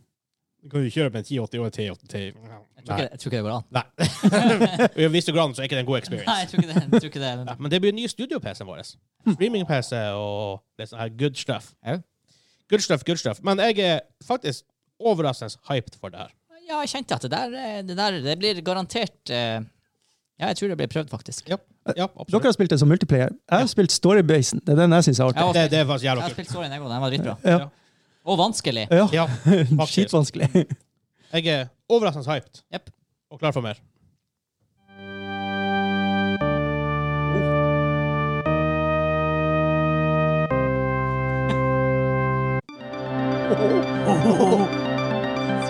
[SPEAKER 3] Du kan jo kjøre med en 1080 og en 1080.
[SPEAKER 1] Jeg tror, ikke, jeg tror ikke det går an.
[SPEAKER 3] I Vista Grand så er ikke det en god
[SPEAKER 1] Nei,
[SPEAKER 3] experience.
[SPEAKER 1] jeg tror ikke det. Jeg tror ikke det.
[SPEAKER 3] Ja, men det blir ny studio-PC-en vår. Streaming-PC og det sånn her good stuff.
[SPEAKER 1] Ja.
[SPEAKER 3] Good stuff, good stuff. Men jeg er faktisk overraskende hyped for det her.
[SPEAKER 1] Ja, jeg kjente at det der, eh, det der det blir garantert eh, Ja, jeg tror det blir prøvd, faktisk.
[SPEAKER 3] Ja, ja
[SPEAKER 4] Dere
[SPEAKER 3] absolutt.
[SPEAKER 4] har spilt det som multiplayer. Jeg har spilt Storybasen. Det er den jeg syns er artig.
[SPEAKER 1] Jeg har,
[SPEAKER 3] Det,
[SPEAKER 1] spilt,
[SPEAKER 3] det er faktisk
[SPEAKER 1] jeg
[SPEAKER 3] jævla
[SPEAKER 1] har
[SPEAKER 3] kult.
[SPEAKER 1] spilt storyen, jeg òg. Den var dritbra.
[SPEAKER 4] Ja.
[SPEAKER 1] Og vanskelig.
[SPEAKER 4] Ja,
[SPEAKER 3] Ja, faktisk.
[SPEAKER 4] skitvanskelig.
[SPEAKER 3] Jeg er overraskende hyped
[SPEAKER 1] Jepp.
[SPEAKER 3] og klar for mer.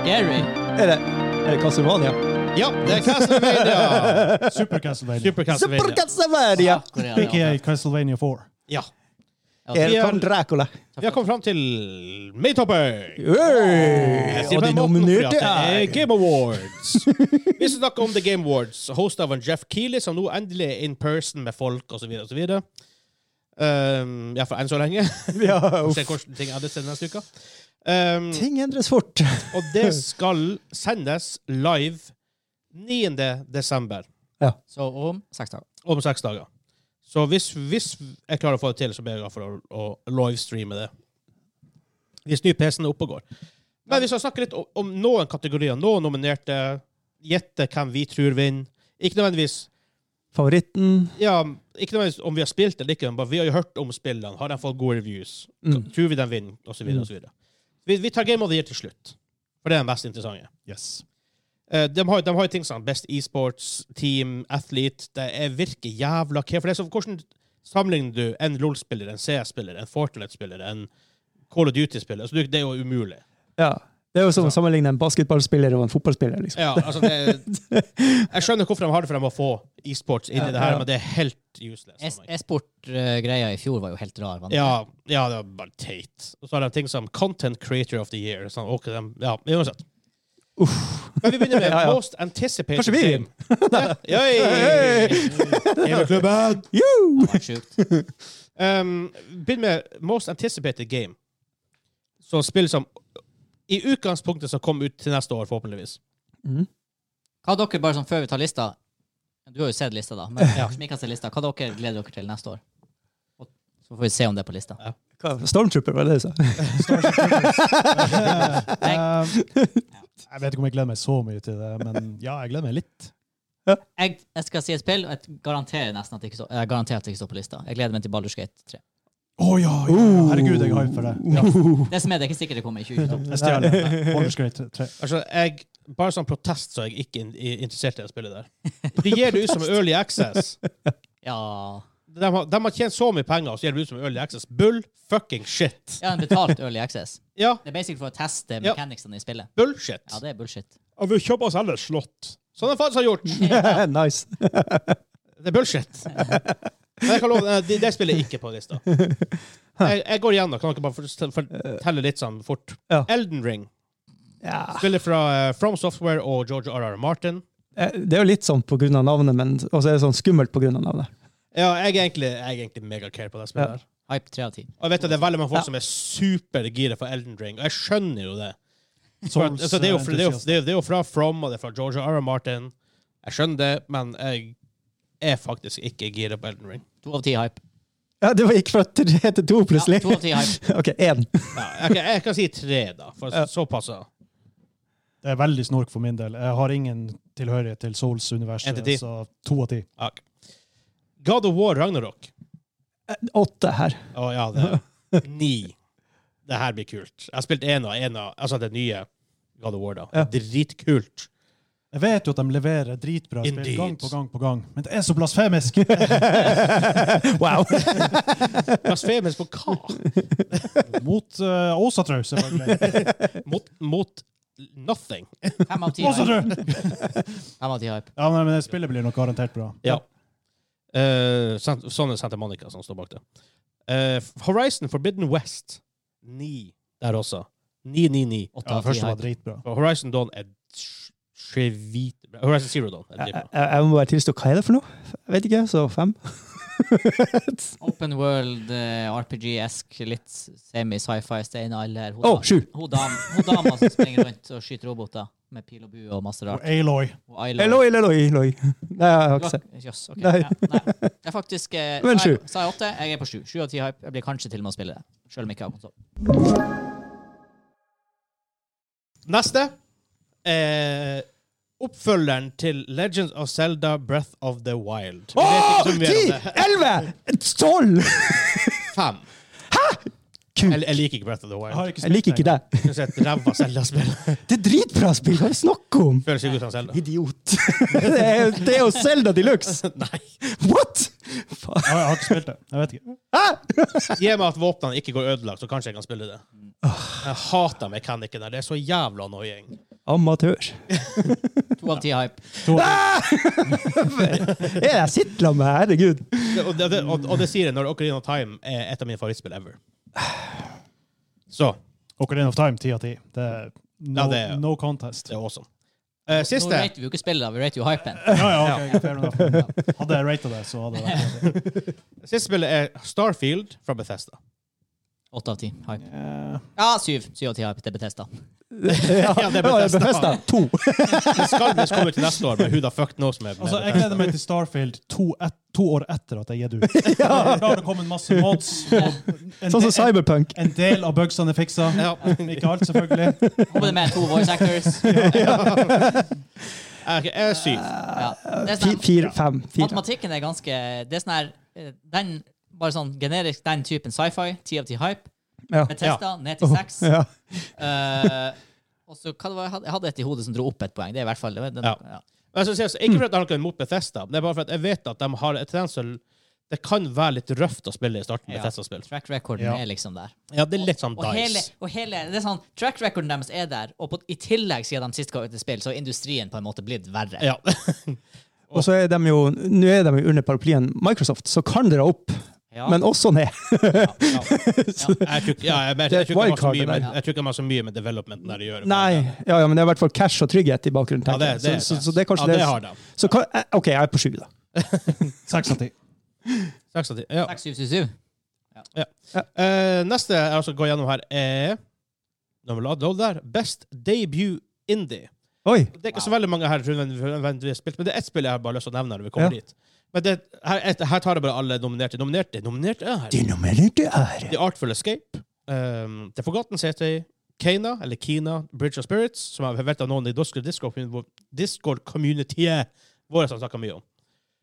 [SPEAKER 1] Scary.
[SPEAKER 4] Er det, er det Castlevania?
[SPEAKER 3] Ja, det er Castlevania!
[SPEAKER 2] Super Castlevania.
[SPEAKER 3] Super Castlevania.
[SPEAKER 4] Castlevania!
[SPEAKER 1] Korea,
[SPEAKER 2] Ikke Castlevania 4.
[SPEAKER 3] Ja.
[SPEAKER 1] Ja,
[SPEAKER 4] Er det
[SPEAKER 3] Vi har-
[SPEAKER 4] Kong Dracula?
[SPEAKER 3] Vi har kommet fram til Maytopper!
[SPEAKER 4] Hey!
[SPEAKER 3] Jeg sier
[SPEAKER 4] Og de
[SPEAKER 3] på den måten
[SPEAKER 4] nominerte
[SPEAKER 3] fordi at det
[SPEAKER 4] er
[SPEAKER 3] er Game Awards. Vi skal snakke om The Game Awards, hosta av en Jeff Keeley, som nå endelig er in person med folk osv. osv. Um, ja, for enn så lenge.
[SPEAKER 4] ja,
[SPEAKER 3] Vi
[SPEAKER 4] uff.
[SPEAKER 3] ser hvordan ting endres til neste uke. Um,
[SPEAKER 4] Ting endres fort.
[SPEAKER 3] og det skal sendes live 9. desember,
[SPEAKER 1] Så om seks dager.
[SPEAKER 3] om seks dager. Så hvis, hvis jeg klarer å få det til, så blir jeg glad for å, å livestreame det. Hvis ny PC-en er oppe og går. Men vi skal snakke litt om, om noen kategorier. Noen nominerte. Gjette hvem vi tror vinner. Ikke nødvendigvis
[SPEAKER 4] Favoritten
[SPEAKER 3] ja, ikke nødvendigvis om vi har spilt eller ikke, men bare vi har jo hørt om spillene. Har de fått gode reviews?
[SPEAKER 4] Mm.
[SPEAKER 3] Tror vi de vinner? Og så videre, og så videre. Vi, vi tar Game of the Year til slutt, for det er den mest interessante.
[SPEAKER 2] Yes.
[SPEAKER 3] Eh, de, har, de har jo ting som Best esports, team, athlete Det er virker jævla key. For det er så, hvordan sammenligner du en LOL-spiller, en CS-spiller, en Fortnite-spiller, en Call of Duty-spiller? Altså, det er jo umulig.
[SPEAKER 4] Ja. Det er jo som å sammenligne en basketballspiller og en fotballspiller. liksom.
[SPEAKER 3] Ja, altså, det, jeg skjønner hvorfor de har det for de må få esports inn i det her, men det er helt useless. for meg.
[SPEAKER 1] E-sport-greia i fjor var jo helt rar. var den ikke?
[SPEAKER 3] Ja, ja, det var bare teit. Og så har de ting som Content Creator of the Year. Sånn, ok, de, ja, uansett. Men vi begynner med
[SPEAKER 4] Ja, ja.
[SPEAKER 3] Most Anticipated
[SPEAKER 4] Kanskje vi
[SPEAKER 3] Game. Ja, Yoi! Gameklubben!
[SPEAKER 1] Det var sjukt.
[SPEAKER 3] Um, begynn med Most Anticipated Game. Så spill som i utgangspunktet som kom ut til neste år, forhåpentligvis. Mhm.
[SPEAKER 1] Hva har dere, bare sånn før vi tar lista Du har jo sett lista, da. Men dere som ikke har sett lista, hva dere gleder dere til neste år? Og Så får vi se om det er på lista.
[SPEAKER 4] Hva- Stormtrooper, var det det du sa?
[SPEAKER 2] Eh, jeg vet ikke om jeg gleder meg så mye til det, men ja, jeg gleder meg litt.
[SPEAKER 1] Jeg, jeg skal si et spill, og jeg garanterer nesten at det ikke står, jeg garanterer at det ikke står på lista. Jeg gleder meg til Baldur's Gate 3.
[SPEAKER 2] Å ja, ja, ja! Herregud, jeg er hype for det. Ja.
[SPEAKER 1] Det som er, det er ikke sikkert det kommer i 2022.
[SPEAKER 2] Jeg stjeler det. Baldur's Gate 3.
[SPEAKER 3] Altså, jeg, bare som protest så er jeg ikke in i- interessert i det spillet der. De gir det ut som Early Access.
[SPEAKER 1] Ja,
[SPEAKER 3] De har, de har tjent så mye penger, og så gir de ut som Early Access. Bull fucking shit.
[SPEAKER 1] ja en betalt early access.
[SPEAKER 3] Ja,
[SPEAKER 1] Det er basically for å teste
[SPEAKER 3] Ja.
[SPEAKER 1] mechanicsene i spillet.
[SPEAKER 3] bullshit.
[SPEAKER 1] Ja, det er bullshit.
[SPEAKER 3] Og vi kjøper oss alle slott. Sånn har faktisk har gjort.
[SPEAKER 4] nice.
[SPEAKER 3] Det er bullshit. Men jeg kan love, eh, det, det spiller jeg ikke på lista. Jeg, jeg går igjennom. Kan dere bare fortelle- fortelle litt sånn fort?
[SPEAKER 4] Ja.
[SPEAKER 3] Elden Ring.
[SPEAKER 4] Ja.
[SPEAKER 3] Spiller fra eh, From Software og George R.R. Martin.
[SPEAKER 4] Eh, Det er jo litt sånn på grunn av navnet, men også er det sånn skummelt på grunn av navnet.
[SPEAKER 3] Ja, jeg er egentlig, jeg er egentlig megacare på det
[SPEAKER 4] Ja.
[SPEAKER 3] spillet. her.
[SPEAKER 1] Hype tre av ti.
[SPEAKER 3] Og jeg vet at det er veldig mange folk
[SPEAKER 4] Ja.
[SPEAKER 3] som er supergira for Elden Ring, og jeg skjønner jo det. For at,
[SPEAKER 2] Souls,
[SPEAKER 3] altså, det, er jo, fra- det, er jo,
[SPEAKER 2] entusiast.
[SPEAKER 3] det, er, jo- det er jo fra From, og det er fra Georgia R. R. Martin. Jeg skjønner det, men jeg er faktisk ikke gira på Elden Ring.
[SPEAKER 1] To av ti hype.
[SPEAKER 4] Ja, det var ikke fra tre til to,
[SPEAKER 1] Ja,
[SPEAKER 4] plutselig.
[SPEAKER 1] to av ti hype.
[SPEAKER 4] OK, én.
[SPEAKER 3] Ja, jeg, kan- jeg kan si tre, da. For
[SPEAKER 4] Ja.
[SPEAKER 3] såpass. da.
[SPEAKER 2] Det er veldig snork for min del. Jeg har ingen tilhørighet til
[SPEAKER 3] En
[SPEAKER 2] Souls-universet,
[SPEAKER 3] til ti.
[SPEAKER 2] så to av ti.
[SPEAKER 3] Ja. God of War Ragnarok.
[SPEAKER 4] Åtte her.
[SPEAKER 3] Å ja, det er ni. Det her blir kult. Jeg har spilt én av én av altså det nye God of War, da.
[SPEAKER 4] Ja.
[SPEAKER 3] Dritkult.
[SPEAKER 2] Jeg vet jo at de leverer dritbra spill
[SPEAKER 3] Indeed.
[SPEAKER 2] gang på gang på gang, men det er så blasfemisk!
[SPEAKER 4] Wow.
[SPEAKER 3] Blasfemisk på hva?
[SPEAKER 2] Mot uh, Åsatrau, selvfølgelig.
[SPEAKER 3] Mot, mot nothing.
[SPEAKER 1] Fem av ti hype.
[SPEAKER 2] Åsatrau!
[SPEAKER 1] Fem av ti hype.
[SPEAKER 2] Ja, nei, men det spillet blir nok garantert bra.
[SPEAKER 3] Ja. Eh, Sant- sånn er Santa Monica som står bak det. Eh, Horizon Forbidden West. Ni der også. Ni, ni, ni.
[SPEAKER 1] Åtte
[SPEAKER 2] Ja,
[SPEAKER 1] av ti
[SPEAKER 2] første var
[SPEAKER 1] hype.
[SPEAKER 2] dritbra.
[SPEAKER 3] Og Horizon Dawn er sj- skjevit- Horizon Zero Dawn er
[SPEAKER 4] Jeg,
[SPEAKER 3] dritbra.
[SPEAKER 4] jeg jeg må bare tilstå hva er det for noe? Jeg vet ikke, så fem.
[SPEAKER 1] Open world, eh, RPG-esk, litt semi-sci-fi, steinalder. Hun,
[SPEAKER 4] Å, sju.
[SPEAKER 1] hun, dam, hun dama som springer rundt og skyter roboter med pil og bue og masse
[SPEAKER 2] Og
[SPEAKER 1] rart.
[SPEAKER 2] Aloy.
[SPEAKER 1] Og Isla-
[SPEAKER 4] Eloi, eloi, eloi. Nei, jeg har ikke sett.
[SPEAKER 1] Jøss, ok.
[SPEAKER 4] Nei.
[SPEAKER 1] Ja, nei. Det er faktisk eh,
[SPEAKER 4] Men
[SPEAKER 1] sa jeg-
[SPEAKER 4] sju.
[SPEAKER 1] Sa jeg åtte? Jeg er på sju. Sju av ti hype. Jeg blir kanskje til og med å spille det. Selv om jeg ikke har konsoll.
[SPEAKER 3] Neste er oppfølgeren til Legends of Zelda Breath of the Wild. Vi vet ikke
[SPEAKER 4] Åh,
[SPEAKER 3] så mye
[SPEAKER 4] ti!
[SPEAKER 3] om det.
[SPEAKER 4] Elleve! Tolv!
[SPEAKER 3] Fem.
[SPEAKER 4] Kult.
[SPEAKER 3] Jeg, jeg liker ikke Breath of the
[SPEAKER 2] Jeg, har
[SPEAKER 3] Wild.
[SPEAKER 2] ikke
[SPEAKER 4] Jeg liker ikke
[SPEAKER 2] spilt
[SPEAKER 4] det.
[SPEAKER 3] Jeg synes det er et ræva Zelda-spill.
[SPEAKER 4] Det er dritbra spill, hva er det snakk om?
[SPEAKER 3] Føles ikke ut som Zelda.
[SPEAKER 4] Idiot. Det er, det er jo Zelda de luxe.
[SPEAKER 3] Nei.
[SPEAKER 4] What?!
[SPEAKER 2] det. Jeg har- jeg har ikke spilt det. Jeg vet ikke.
[SPEAKER 3] Gi meg at våpnene ikke går ødelagt, så kanskje jeg kan spille det. Jeg hater mekanikken der. Det er så jævla annoying.
[SPEAKER 4] Amatør.
[SPEAKER 1] To av ti hype.
[SPEAKER 4] Er det jeg sitter sammen med? Herregud.
[SPEAKER 3] Det- Og det, det, og, og det sier jeg når Ocarina of Time er et av mine favorittspill ever. Så
[SPEAKER 2] Ocarina of Time, ti av ti. Det er no,
[SPEAKER 3] Ja, det er-
[SPEAKER 2] no contest.
[SPEAKER 3] det er awesome. Eh,
[SPEAKER 1] Nå
[SPEAKER 3] siste.
[SPEAKER 1] rater vi jo ikke spillet, da. vi rater jo hypen.
[SPEAKER 2] Ja, ja, ok, fair enough. Hadde jeg ratet det, så hadde det vært det.
[SPEAKER 3] siste spillet er Starfield fra Bethesda.
[SPEAKER 1] Åtte av ti hype.
[SPEAKER 2] Eh,
[SPEAKER 1] Ja, syv. Syv av ti hype. Det er Betesta.
[SPEAKER 4] Ja,
[SPEAKER 3] det er Bethesda.
[SPEAKER 4] Bethesda. To.
[SPEAKER 3] Det skal visst komme til neste år, men who the fuck knows med, med
[SPEAKER 2] Altså, Jeg
[SPEAKER 3] Bethesda.
[SPEAKER 2] gleder meg til Starfield to, et, to år etter at jeg er gitt ut. Da har det kommet masse mods. Og en,
[SPEAKER 4] Sånn som
[SPEAKER 2] del,
[SPEAKER 4] Cyberpunk.
[SPEAKER 2] en del av bugsene er fiksa.
[SPEAKER 3] Ja.
[SPEAKER 2] Ikke alt, selvfølgelig.
[SPEAKER 1] Håper det er med to voice actors.
[SPEAKER 3] Eh, ok, Jeg er syv.
[SPEAKER 1] Ja. Det er
[SPEAKER 4] Fi-
[SPEAKER 1] sånn,
[SPEAKER 4] Fire, fem, fire.
[SPEAKER 1] matematikken er ganske Det er sånn her eh, den, Bare sånn generisk den typen sci-fi. Ti av ti hype.
[SPEAKER 4] Ja.
[SPEAKER 1] Betesta ned til seks.
[SPEAKER 4] Ja.
[SPEAKER 1] Eh, og så, hva det var, jeg hadde- jeg hadde et i hodet som dro opp et poeng. Det er i hvert fall det. var Den,
[SPEAKER 3] Ja.
[SPEAKER 1] ja.
[SPEAKER 3] Men jeg skal si, altså, ikke for at jeg har noe imot Bethesda, men det er bare for at jeg vet at de har et tendens til Det kan være litt røft å spille i starten.
[SPEAKER 1] Ja.
[SPEAKER 3] Bethesda-spill.
[SPEAKER 1] Track recorden
[SPEAKER 2] Ja.
[SPEAKER 1] er liksom der.
[SPEAKER 3] Ja, det er litt sånn
[SPEAKER 1] Og hele,
[SPEAKER 3] dice.
[SPEAKER 1] og hele, det er sånn, Track recorden deres er der, og på, i tillegg siden de sist ga ut et spill, så har industrien på en måte blitt verre.
[SPEAKER 3] Ja.
[SPEAKER 4] Og så er de jo Nå er de jo under paraplyen Microsoft, så kan dere opp,
[SPEAKER 1] Ja.
[SPEAKER 4] men også ned.
[SPEAKER 3] Jeg tror ikke- ja, jeg- jeg tror
[SPEAKER 4] Det er
[SPEAKER 3] ikke de har så
[SPEAKER 4] wildcard,
[SPEAKER 3] mye
[SPEAKER 4] det
[SPEAKER 3] med-
[SPEAKER 4] der.
[SPEAKER 3] jeg tror ikke de har så mye med developmenten der å gjøre.
[SPEAKER 4] Nei, ja, ja, men det er i hvert fall cash og trygghet i bakgrunnen.
[SPEAKER 3] Ja,
[SPEAKER 4] tenker
[SPEAKER 3] det,
[SPEAKER 4] jeg.
[SPEAKER 3] det,
[SPEAKER 4] så, så, så det er kanskje
[SPEAKER 3] ja, det
[SPEAKER 4] det.
[SPEAKER 3] har de.
[SPEAKER 4] Så kan, eh, OK, jeg er på sju, da.
[SPEAKER 2] Seks av ti.
[SPEAKER 3] Seks av ti. Ja.
[SPEAKER 1] 677.
[SPEAKER 3] Eh, neste jeg skal gå gjennom her, er Når vi la det der Best debut indie.
[SPEAKER 4] Oi.
[SPEAKER 3] Det er ikke så veldig mange her tror jeg, nødvendigvis spilt, men det er ett spill jeg har bare lyst til å nevne når vi kommer
[SPEAKER 4] Ja.
[SPEAKER 3] dit. Men det, her, et- her tar jeg bare alle nominerte. Nominerte nominerte er her.
[SPEAKER 4] Dynamittete ære.
[SPEAKER 3] The Artful Escape, um, The Forgotten City, Kena, eller Kina, Bridge of Spirits, som jeg vet av noen i Discord- Discord- Discord-communityet våre som snakker mye om.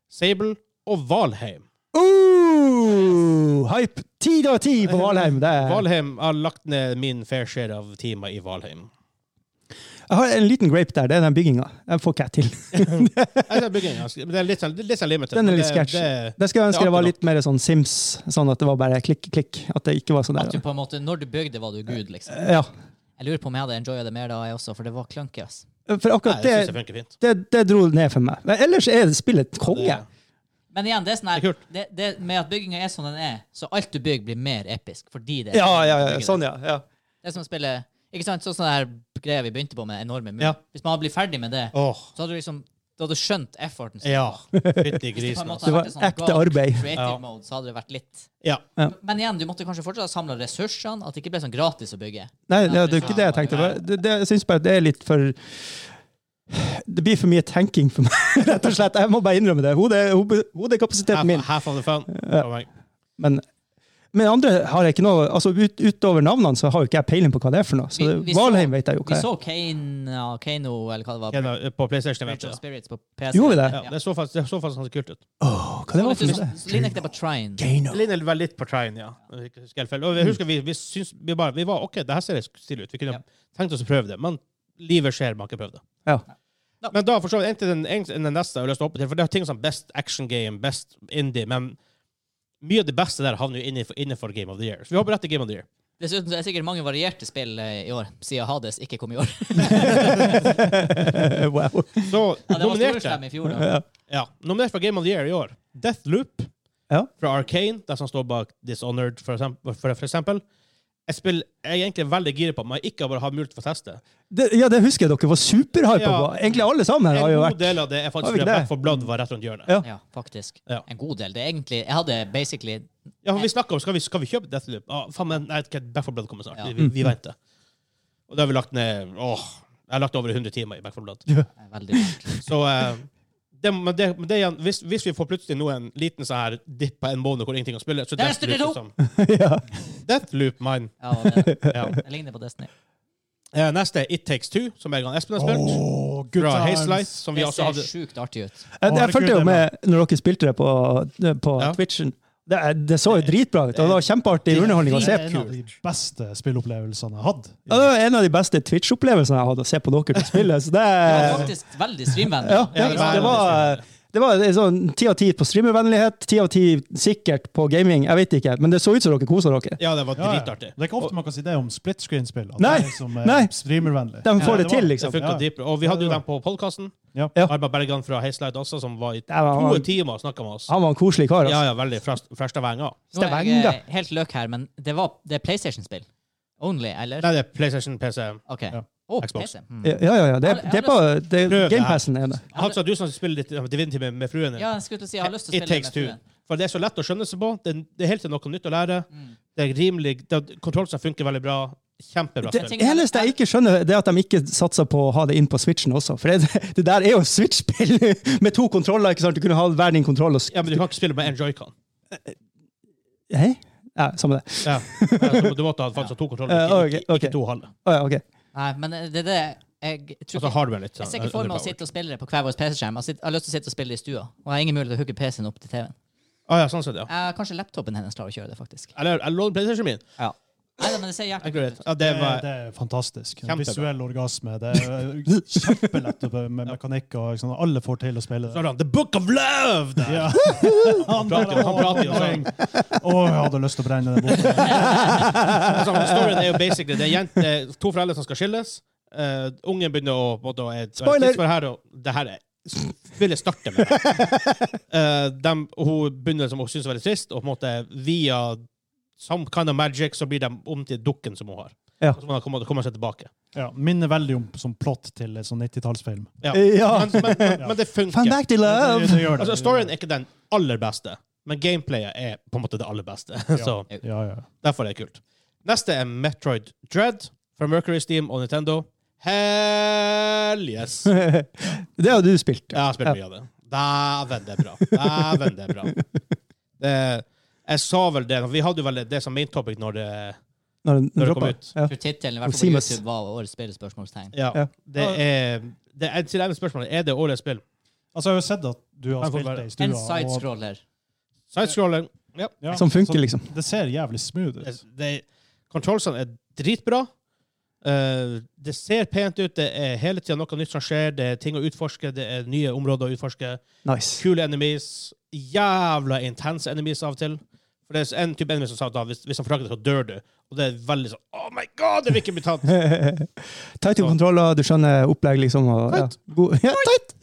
[SPEAKER 3] Sable og Valheim.
[SPEAKER 4] Uh, hype! Ti av ti på Valheim. Det er.
[SPEAKER 3] Valheim har lagt ned min fair share av timer i Valheim.
[SPEAKER 4] Jeg har en liten grape der. Det er den bygginga. Den får ikke jeg til.
[SPEAKER 3] Nei, det er byggingen, altså. Men det er litt sånn, litt sånn limited.
[SPEAKER 4] Den er
[SPEAKER 3] men
[SPEAKER 4] litt
[SPEAKER 3] det-
[SPEAKER 4] sketchy.
[SPEAKER 3] det-
[SPEAKER 4] Det skulle jeg
[SPEAKER 3] Det er
[SPEAKER 4] ønske det var
[SPEAKER 3] artig
[SPEAKER 4] litt mer sånn Sims, sånn at det var bare klikk, klikk. At det ikke var sånn
[SPEAKER 1] At du
[SPEAKER 4] der.
[SPEAKER 1] på en måte, når du bygde, var du gud, liksom.
[SPEAKER 4] Ja.
[SPEAKER 1] Jeg lurer på om jeg hadde enjoya det mer da, jeg også, for det var clunky, ass.
[SPEAKER 4] For
[SPEAKER 3] Nei,
[SPEAKER 4] akkurat
[SPEAKER 3] det synes jeg
[SPEAKER 4] det,
[SPEAKER 3] funker fint.
[SPEAKER 4] det, det dro ned for meg. Men ellers er det spillet konge.
[SPEAKER 3] Det-
[SPEAKER 1] Men igjen, det er sånn her,
[SPEAKER 3] Det er kult.
[SPEAKER 1] det, det, med at bygginga er som den er, så alt du bygger, blir mer episk fordi det er
[SPEAKER 4] Ja, ja, ja.
[SPEAKER 1] bygget der.
[SPEAKER 4] Sånn, ja. ja.
[SPEAKER 1] Det er som å spille Ikke sant, sånn som det her greia vi begynte på med enorme mur.
[SPEAKER 3] Ja.
[SPEAKER 1] Hvis man hadde blitt ferdig med det,
[SPEAKER 3] Åh,
[SPEAKER 1] så hadde du liksom Du hadde skjønt efforten. som
[SPEAKER 3] Ja. Fytti
[SPEAKER 1] Hvis på
[SPEAKER 3] grisen.
[SPEAKER 1] en måte hadde
[SPEAKER 3] altså.
[SPEAKER 4] Det var
[SPEAKER 1] vært et sånt
[SPEAKER 4] ekte
[SPEAKER 1] go
[SPEAKER 4] arbeid.
[SPEAKER 1] Creative
[SPEAKER 3] Ja.
[SPEAKER 1] mode, så hadde det vært litt.
[SPEAKER 3] Ja.
[SPEAKER 1] Men igjen, du måtte kanskje fortsatt ha samla ressursene, at det ikke ble sånn gratis å bygge.
[SPEAKER 4] Nei, det, det er jo ikke det jeg tenkte. Det, det, det, jeg syns bare det er litt for Det blir for mye tenking for meg, rett og slett. Jeg må bare innrømme det. Hodet, hodet, hodet er kapasiteten min.
[SPEAKER 3] Half, half of the fun. Kom igjen.
[SPEAKER 4] Men, men andre har jeg ikke noe altså ut, Utover navnene så har jo ikke jeg peiling på hva det er for noe. Så
[SPEAKER 1] Vi-
[SPEAKER 4] det,
[SPEAKER 1] vi så-
[SPEAKER 4] Valheim vet jeg jo
[SPEAKER 1] Vi
[SPEAKER 4] hva er.
[SPEAKER 1] så Kane, ja, Kano, eller hva det var,
[SPEAKER 3] Ken, uh, På PlayStation.
[SPEAKER 1] Bridge of
[SPEAKER 3] Eventuelt.
[SPEAKER 1] Spirits på PC.
[SPEAKER 4] Gjorde vi det?
[SPEAKER 3] Ja, det så faktisk, det så faktisk ganske kult ut.
[SPEAKER 4] Åh, hva det var for noe?
[SPEAKER 1] Linek det på Trine.
[SPEAKER 4] Gano.
[SPEAKER 3] Det ligner vel litt på Trine, ja. Hvis jeg husker helt feil. Og jeg husker vi, vi, syns, vi bare vi var, OK, det her ser stilig ut. Vi kunne
[SPEAKER 1] Ja.
[SPEAKER 3] tenkt oss å prøve det, men livet skjer, man har ikke prøvd det.
[SPEAKER 4] Ja.
[SPEAKER 1] Ja.
[SPEAKER 3] Men da for så vidt egentlig den, egentlig den neste jeg har lyst til å hoppe til, for det er ting som best action game, best indie, men mye av det beste der havner jo innenfor, innenfor Game of the Year. Så vi hopper rett til Game of the Year.
[SPEAKER 1] Dessuten så er det sikkert mange varierte spill eh, i år, siden Hades ikke kom i år.
[SPEAKER 4] wow.
[SPEAKER 3] Så
[SPEAKER 1] Ja, det var
[SPEAKER 3] nominerte
[SPEAKER 1] storslem i fjor, da.
[SPEAKER 3] ja, nominert for Game of the Year i år. Deathloop
[SPEAKER 4] Ja.
[SPEAKER 3] fra Arcane, de som står bak Dishonored, for eksempel. For, for eksempel. Et spill jeg er egentlig veldig giret på, men jeg ikke har bare har mulighet for å teste.
[SPEAKER 4] Det, ja, det husker jeg dere var superhypa på.
[SPEAKER 3] Ja.
[SPEAKER 4] Egentlig alle sammen her
[SPEAKER 3] En
[SPEAKER 4] har jo
[SPEAKER 3] god
[SPEAKER 4] vært
[SPEAKER 3] del av det er
[SPEAKER 4] Har
[SPEAKER 3] faktisk
[SPEAKER 4] vi
[SPEAKER 3] fordi
[SPEAKER 4] ikke det?
[SPEAKER 3] Back for Blood var rett rundt hjørnet.
[SPEAKER 4] Ja.
[SPEAKER 1] Ja, faktisk.
[SPEAKER 3] Ja.
[SPEAKER 1] En god del. Det er egentlig Jeg hadde basically
[SPEAKER 3] Ja, for vi snakket om skal vi skal vi kjøpe Deathloop. Ah, faen, men nei, ikke- Back for Blood kommer snart.
[SPEAKER 1] Ja.
[SPEAKER 3] Vi, vi venter. Og da har vi lagt ned åh, Jeg har lagt over 100 timer i Back for Blood.
[SPEAKER 1] eh, veldig dyrt.
[SPEAKER 3] Så eh, det, men det, men det igjen, hvis, hvis vi får plutselig nå en liten sånn her dipp på en måned hvor ingenting kan spille, så
[SPEAKER 1] Der står det
[SPEAKER 3] Deathloop,
[SPEAKER 4] ja.
[SPEAKER 3] liksom. Deathloop, man.
[SPEAKER 1] Ja, det,
[SPEAKER 3] Ja.
[SPEAKER 1] det ligner på Destiny.
[SPEAKER 3] Eh, Neste er It Takes Two, som jeg og Espen har spilt.
[SPEAKER 2] Åh, good
[SPEAKER 3] fra
[SPEAKER 2] times.
[SPEAKER 3] Hazelight, som vi
[SPEAKER 1] Det
[SPEAKER 3] også
[SPEAKER 1] ser
[SPEAKER 3] altså hadde
[SPEAKER 1] sjukt artig ut.
[SPEAKER 4] Jeg, jeg
[SPEAKER 2] Herregud,
[SPEAKER 4] fulgte jo
[SPEAKER 2] det er
[SPEAKER 4] med når dere spilte det på, på
[SPEAKER 3] Ja.
[SPEAKER 4] Twitchen. Det, det så jo dritbra ut, og det var kjempeartig underholdning å se
[SPEAKER 2] En av de beste spillopplevelsene jeg har hatt.
[SPEAKER 4] Ja, det var en av de beste Twitch-opplevelsene jeg hadde, å se på dere spille. Så
[SPEAKER 1] Det
[SPEAKER 4] det,
[SPEAKER 3] Eh.
[SPEAKER 1] var
[SPEAKER 4] ja,
[SPEAKER 1] faktisk veldig streamvennlig.
[SPEAKER 4] ja, det var, det var en sånn ti av ti på streamervennlighet, ti av ti sikkert på gaming, jeg vet ikke, men det så ut som dere kosa dere.
[SPEAKER 3] Ja, det var
[SPEAKER 2] Ja, ja.
[SPEAKER 3] dritartig.
[SPEAKER 2] Det er ikke ofte man kan si det om split screen-spill. At
[SPEAKER 4] Nei,
[SPEAKER 2] det er som eh,
[SPEAKER 4] nei.
[SPEAKER 2] streamervennlig.
[SPEAKER 4] De får det,
[SPEAKER 2] Ja, det var-
[SPEAKER 4] til,
[SPEAKER 3] Det
[SPEAKER 4] liksom.
[SPEAKER 3] funket
[SPEAKER 2] Ja.
[SPEAKER 3] dritbra. Og vi hadde jo dem på podkasten.
[SPEAKER 2] Ja.
[SPEAKER 4] Ja.
[SPEAKER 3] Arma Bergan fra Hazelight også, som var i
[SPEAKER 4] Det var-
[SPEAKER 3] to timer og snakka med oss.
[SPEAKER 4] Han var en koselig kar.
[SPEAKER 3] Ja,
[SPEAKER 4] Altså.
[SPEAKER 3] ja, veldig fresh fresh av venga.
[SPEAKER 1] Nå er jeg eh, helt løk her, men det, var, det er PlayStation-spill. Only, eller?
[SPEAKER 3] Nei, det er PlayStation, PC.
[SPEAKER 1] OK.
[SPEAKER 2] Ja.
[SPEAKER 1] Å,
[SPEAKER 3] Xbox. Eh,
[SPEAKER 1] PC. Mm.
[SPEAKER 4] Ja, ja, ja. Det, det er på det-
[SPEAKER 3] Prøv det her.
[SPEAKER 4] Gamepassen er det.
[SPEAKER 3] Han sa du som spiller litt eh, Divinity med, med fruen din.
[SPEAKER 1] Ja, jeg skulle til å si, jeg har lyst til å
[SPEAKER 3] It
[SPEAKER 1] spille med
[SPEAKER 3] takes two.
[SPEAKER 1] fruen.
[SPEAKER 3] For det er så lett å skjønne seg på. Det, er- det er helt til noe nytt å lære.
[SPEAKER 1] Mm.
[SPEAKER 3] Det er rimelig det, er- Kontroll som funker veldig bra. Kjempebra
[SPEAKER 4] Det
[SPEAKER 3] spill.
[SPEAKER 1] tenker-
[SPEAKER 4] eneste jeg ikke skjønner, det er at de ikke satser på å ha det inn på Switchen også. For det, det der er jo Switch-spill med to kontroller. ikke sant? Du kunne ha hver din kontroll. og... s-
[SPEAKER 3] Ja, men du kan ikke spille med en joycon.
[SPEAKER 4] Hei? Ja, samme det.
[SPEAKER 3] Ja. Ja, Du måtte ha faktisk to kontroller,
[SPEAKER 4] Eh,
[SPEAKER 3] ikke,
[SPEAKER 4] ok,
[SPEAKER 3] ikke,
[SPEAKER 4] ok.
[SPEAKER 3] ikke to halve.
[SPEAKER 4] Å ja, ok.
[SPEAKER 1] Nei, men eh, det er det jeg tror
[SPEAKER 3] Altså
[SPEAKER 1] ikke-
[SPEAKER 3] hardware litt.
[SPEAKER 1] Jeg
[SPEAKER 3] sånn,
[SPEAKER 1] ser ikke for meg å
[SPEAKER 3] underpowered.
[SPEAKER 1] sitte og spille det på hver vår PC-skjerm. Jeg sitter- jeg har lyst til å sitte og spille det i stua. Og jeg har ingen mulighet til å hooke PC-en opp til TV-en.
[SPEAKER 3] Ah, ja, sånn sett, ja.
[SPEAKER 1] Eh, kanskje laptopen hennes klarer å kjøre det, faktisk.
[SPEAKER 3] Eller jeg låner PlayStation min.
[SPEAKER 1] Ja. Nei, da, men det ser jævlig
[SPEAKER 3] Jeg gleder meg.
[SPEAKER 1] ut.
[SPEAKER 3] Ja, det
[SPEAKER 2] Det,
[SPEAKER 3] var,
[SPEAKER 2] det er fantastisk. En
[SPEAKER 3] Kjempebra.
[SPEAKER 2] Visuell orgasme. Det er eh, kjempelett med, med mekanikk. og sånn. Alle får til å spille
[SPEAKER 3] Så
[SPEAKER 2] det.
[SPEAKER 3] har han The Book of Love! Der.
[SPEAKER 2] Ja. Han
[SPEAKER 3] prater jo- han prater jo sånn.
[SPEAKER 2] Å, jeg hadde lyst til å brenne den boka.
[SPEAKER 3] Altså, storyen er jo basically det er jent, det er to foreldre som skal skilles. Eh, ungen begynner å både, å- et,
[SPEAKER 4] Spoiler!
[SPEAKER 3] et tidsforhold Her, og, det her er, vil jeg starte med. Eh, dem- hun begynner som hun syns er veldig trist, og på en måte via some kind of magic så blir de om til dukken som hun har.
[SPEAKER 4] Ja.
[SPEAKER 3] Og Så må de komme- komme seg tilbake.
[SPEAKER 2] Ja, minner veldig om som plott til en sånn 90-tallsfilm.
[SPEAKER 3] Ja.
[SPEAKER 4] Ja.
[SPEAKER 3] Men, men, men, men det
[SPEAKER 4] Fan
[SPEAKER 3] funker.
[SPEAKER 4] back to
[SPEAKER 2] Det,
[SPEAKER 4] love!
[SPEAKER 2] det gjør det.
[SPEAKER 3] Altså, storyen er ikke den aller beste, men gameplayet er på en måte det aller beste. Så
[SPEAKER 2] Ja, ja.
[SPEAKER 3] Derfor er det kult. Neste er Metroid Dread fra Mercury Steam og Nintendo. Hell yes! Jeg
[SPEAKER 4] Det har du spilt. ja.
[SPEAKER 3] har spilt mye av det. Dæven, det er bra. Dæven, det er bra. Det, jeg sa vel det Vi hadde jo vel det som main topic når det
[SPEAKER 4] Når den
[SPEAKER 3] Når det
[SPEAKER 4] dropper.
[SPEAKER 3] kom ut.
[SPEAKER 4] Ja.
[SPEAKER 1] Jeg tror tittelen, i hvert fall på
[SPEAKER 4] Seamless.
[SPEAKER 1] YouTube, var årets spillespørsmålstegn.
[SPEAKER 3] Ja.
[SPEAKER 4] Ja.
[SPEAKER 3] Det er det er, Til det ene spørsmålet er det årets spill.
[SPEAKER 2] Altså, jeg har jo sett at du har
[SPEAKER 3] Jeg får
[SPEAKER 2] spilt
[SPEAKER 3] bare-
[SPEAKER 2] det i stua.
[SPEAKER 1] En
[SPEAKER 2] og-
[SPEAKER 1] sidescroller.
[SPEAKER 3] Sidescrolling. Ja.
[SPEAKER 2] Ja,
[SPEAKER 4] Som funker,
[SPEAKER 2] så
[SPEAKER 4] liksom.
[SPEAKER 2] Det ser jævlig smooth ut.
[SPEAKER 3] Det- det- Kontrollsene er dritbra. Eh, det ser pent ut. Det er hele tida noe nytt som skjer. Det er ting å utforske. Det er nye områder å utforske.
[SPEAKER 4] Nice.
[SPEAKER 3] kule enemies, jævla intense enemies av og til. For det er en type enemy som sa da, hvis, hvis han forlanger deg, så dør du. Og det er veldig sånn Oh my god, det vil ikke bli tatt!
[SPEAKER 4] Tight i kontroller, du skjønner opplegg, liksom. Og, ja. God. Ja, tight!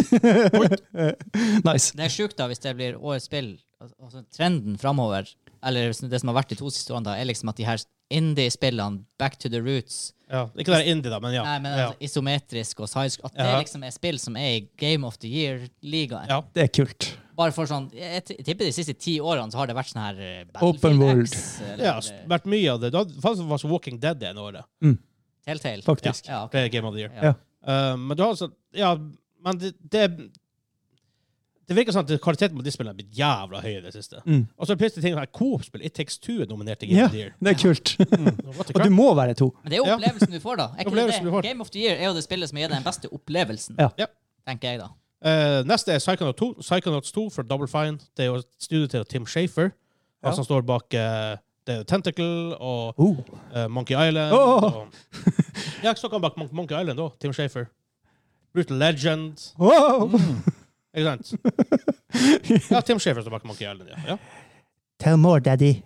[SPEAKER 4] nice.
[SPEAKER 1] Det er sjukt da hvis det blir årets spill. Al- Altså, trenden framover, eller det som har vært de to siste årene, da, er liksom at de her indie-spillene, back to the roots,
[SPEAKER 3] Ja. Ikke det er indie, da, men ja.
[SPEAKER 1] Nei, men
[SPEAKER 3] ja.
[SPEAKER 1] altså, isometrisk og sidescroll At det
[SPEAKER 3] Ja.
[SPEAKER 1] liksom er spill som er i Game of the Year-ligaen.
[SPEAKER 3] Ja.
[SPEAKER 4] Det er kult.
[SPEAKER 1] Bare for sånn Jeg t- jeg tipper de siste ti årene så har det vært sånn her eh,
[SPEAKER 4] Open
[SPEAKER 1] Battlefield
[SPEAKER 4] world.
[SPEAKER 1] X, eller eh,
[SPEAKER 3] Ja, s- vært mye av det. Da faktisk var så Walking Dead det ene året.
[SPEAKER 1] Telltale.
[SPEAKER 4] Faktisk.
[SPEAKER 1] Ja, ok.
[SPEAKER 3] Det er Game of the Year.
[SPEAKER 1] Ja.
[SPEAKER 4] Ja.
[SPEAKER 3] Eh, men du har altså Ja, men det, det Det virker sånn at kvaliteten på de spillene er blitt jævla høy i det siste.
[SPEAKER 4] Mm.
[SPEAKER 3] Og så plutselig ting her Coop-spill. It Takes Two er nominert til Game
[SPEAKER 4] Ja,
[SPEAKER 3] of the Year.
[SPEAKER 4] det er kult.
[SPEAKER 3] What the
[SPEAKER 4] Og
[SPEAKER 3] crap?
[SPEAKER 4] du må være to.
[SPEAKER 1] Men det er jo
[SPEAKER 3] Ja.
[SPEAKER 1] opplevelsen du får, da. Er ikke det
[SPEAKER 3] Opplevelsen du får.
[SPEAKER 1] det? Game of the Year er jo det spillet som gir deg den beste opplevelsen,
[SPEAKER 4] Ja.
[SPEAKER 3] Ja.
[SPEAKER 1] tenker jeg, da.
[SPEAKER 3] Eh, neste er Psychonaut 2. Psychonauts 2 fra Double Fine. Det er jo studioet til Tim Shafer, han
[SPEAKER 4] Ja.
[SPEAKER 3] som står bak eh, det er Tentacle og
[SPEAKER 4] Oh.
[SPEAKER 3] eh, Monkey Island.
[SPEAKER 4] Åh!
[SPEAKER 3] Og, ja, så kan han bak Mon Monkey Island òg, Tim Shafer. Brutal Legend.
[SPEAKER 4] Wow.
[SPEAKER 3] Ikke sant? Ja, Tim Shafer står bak Monkey Island, ja. ja.
[SPEAKER 4] Tell more, daddy.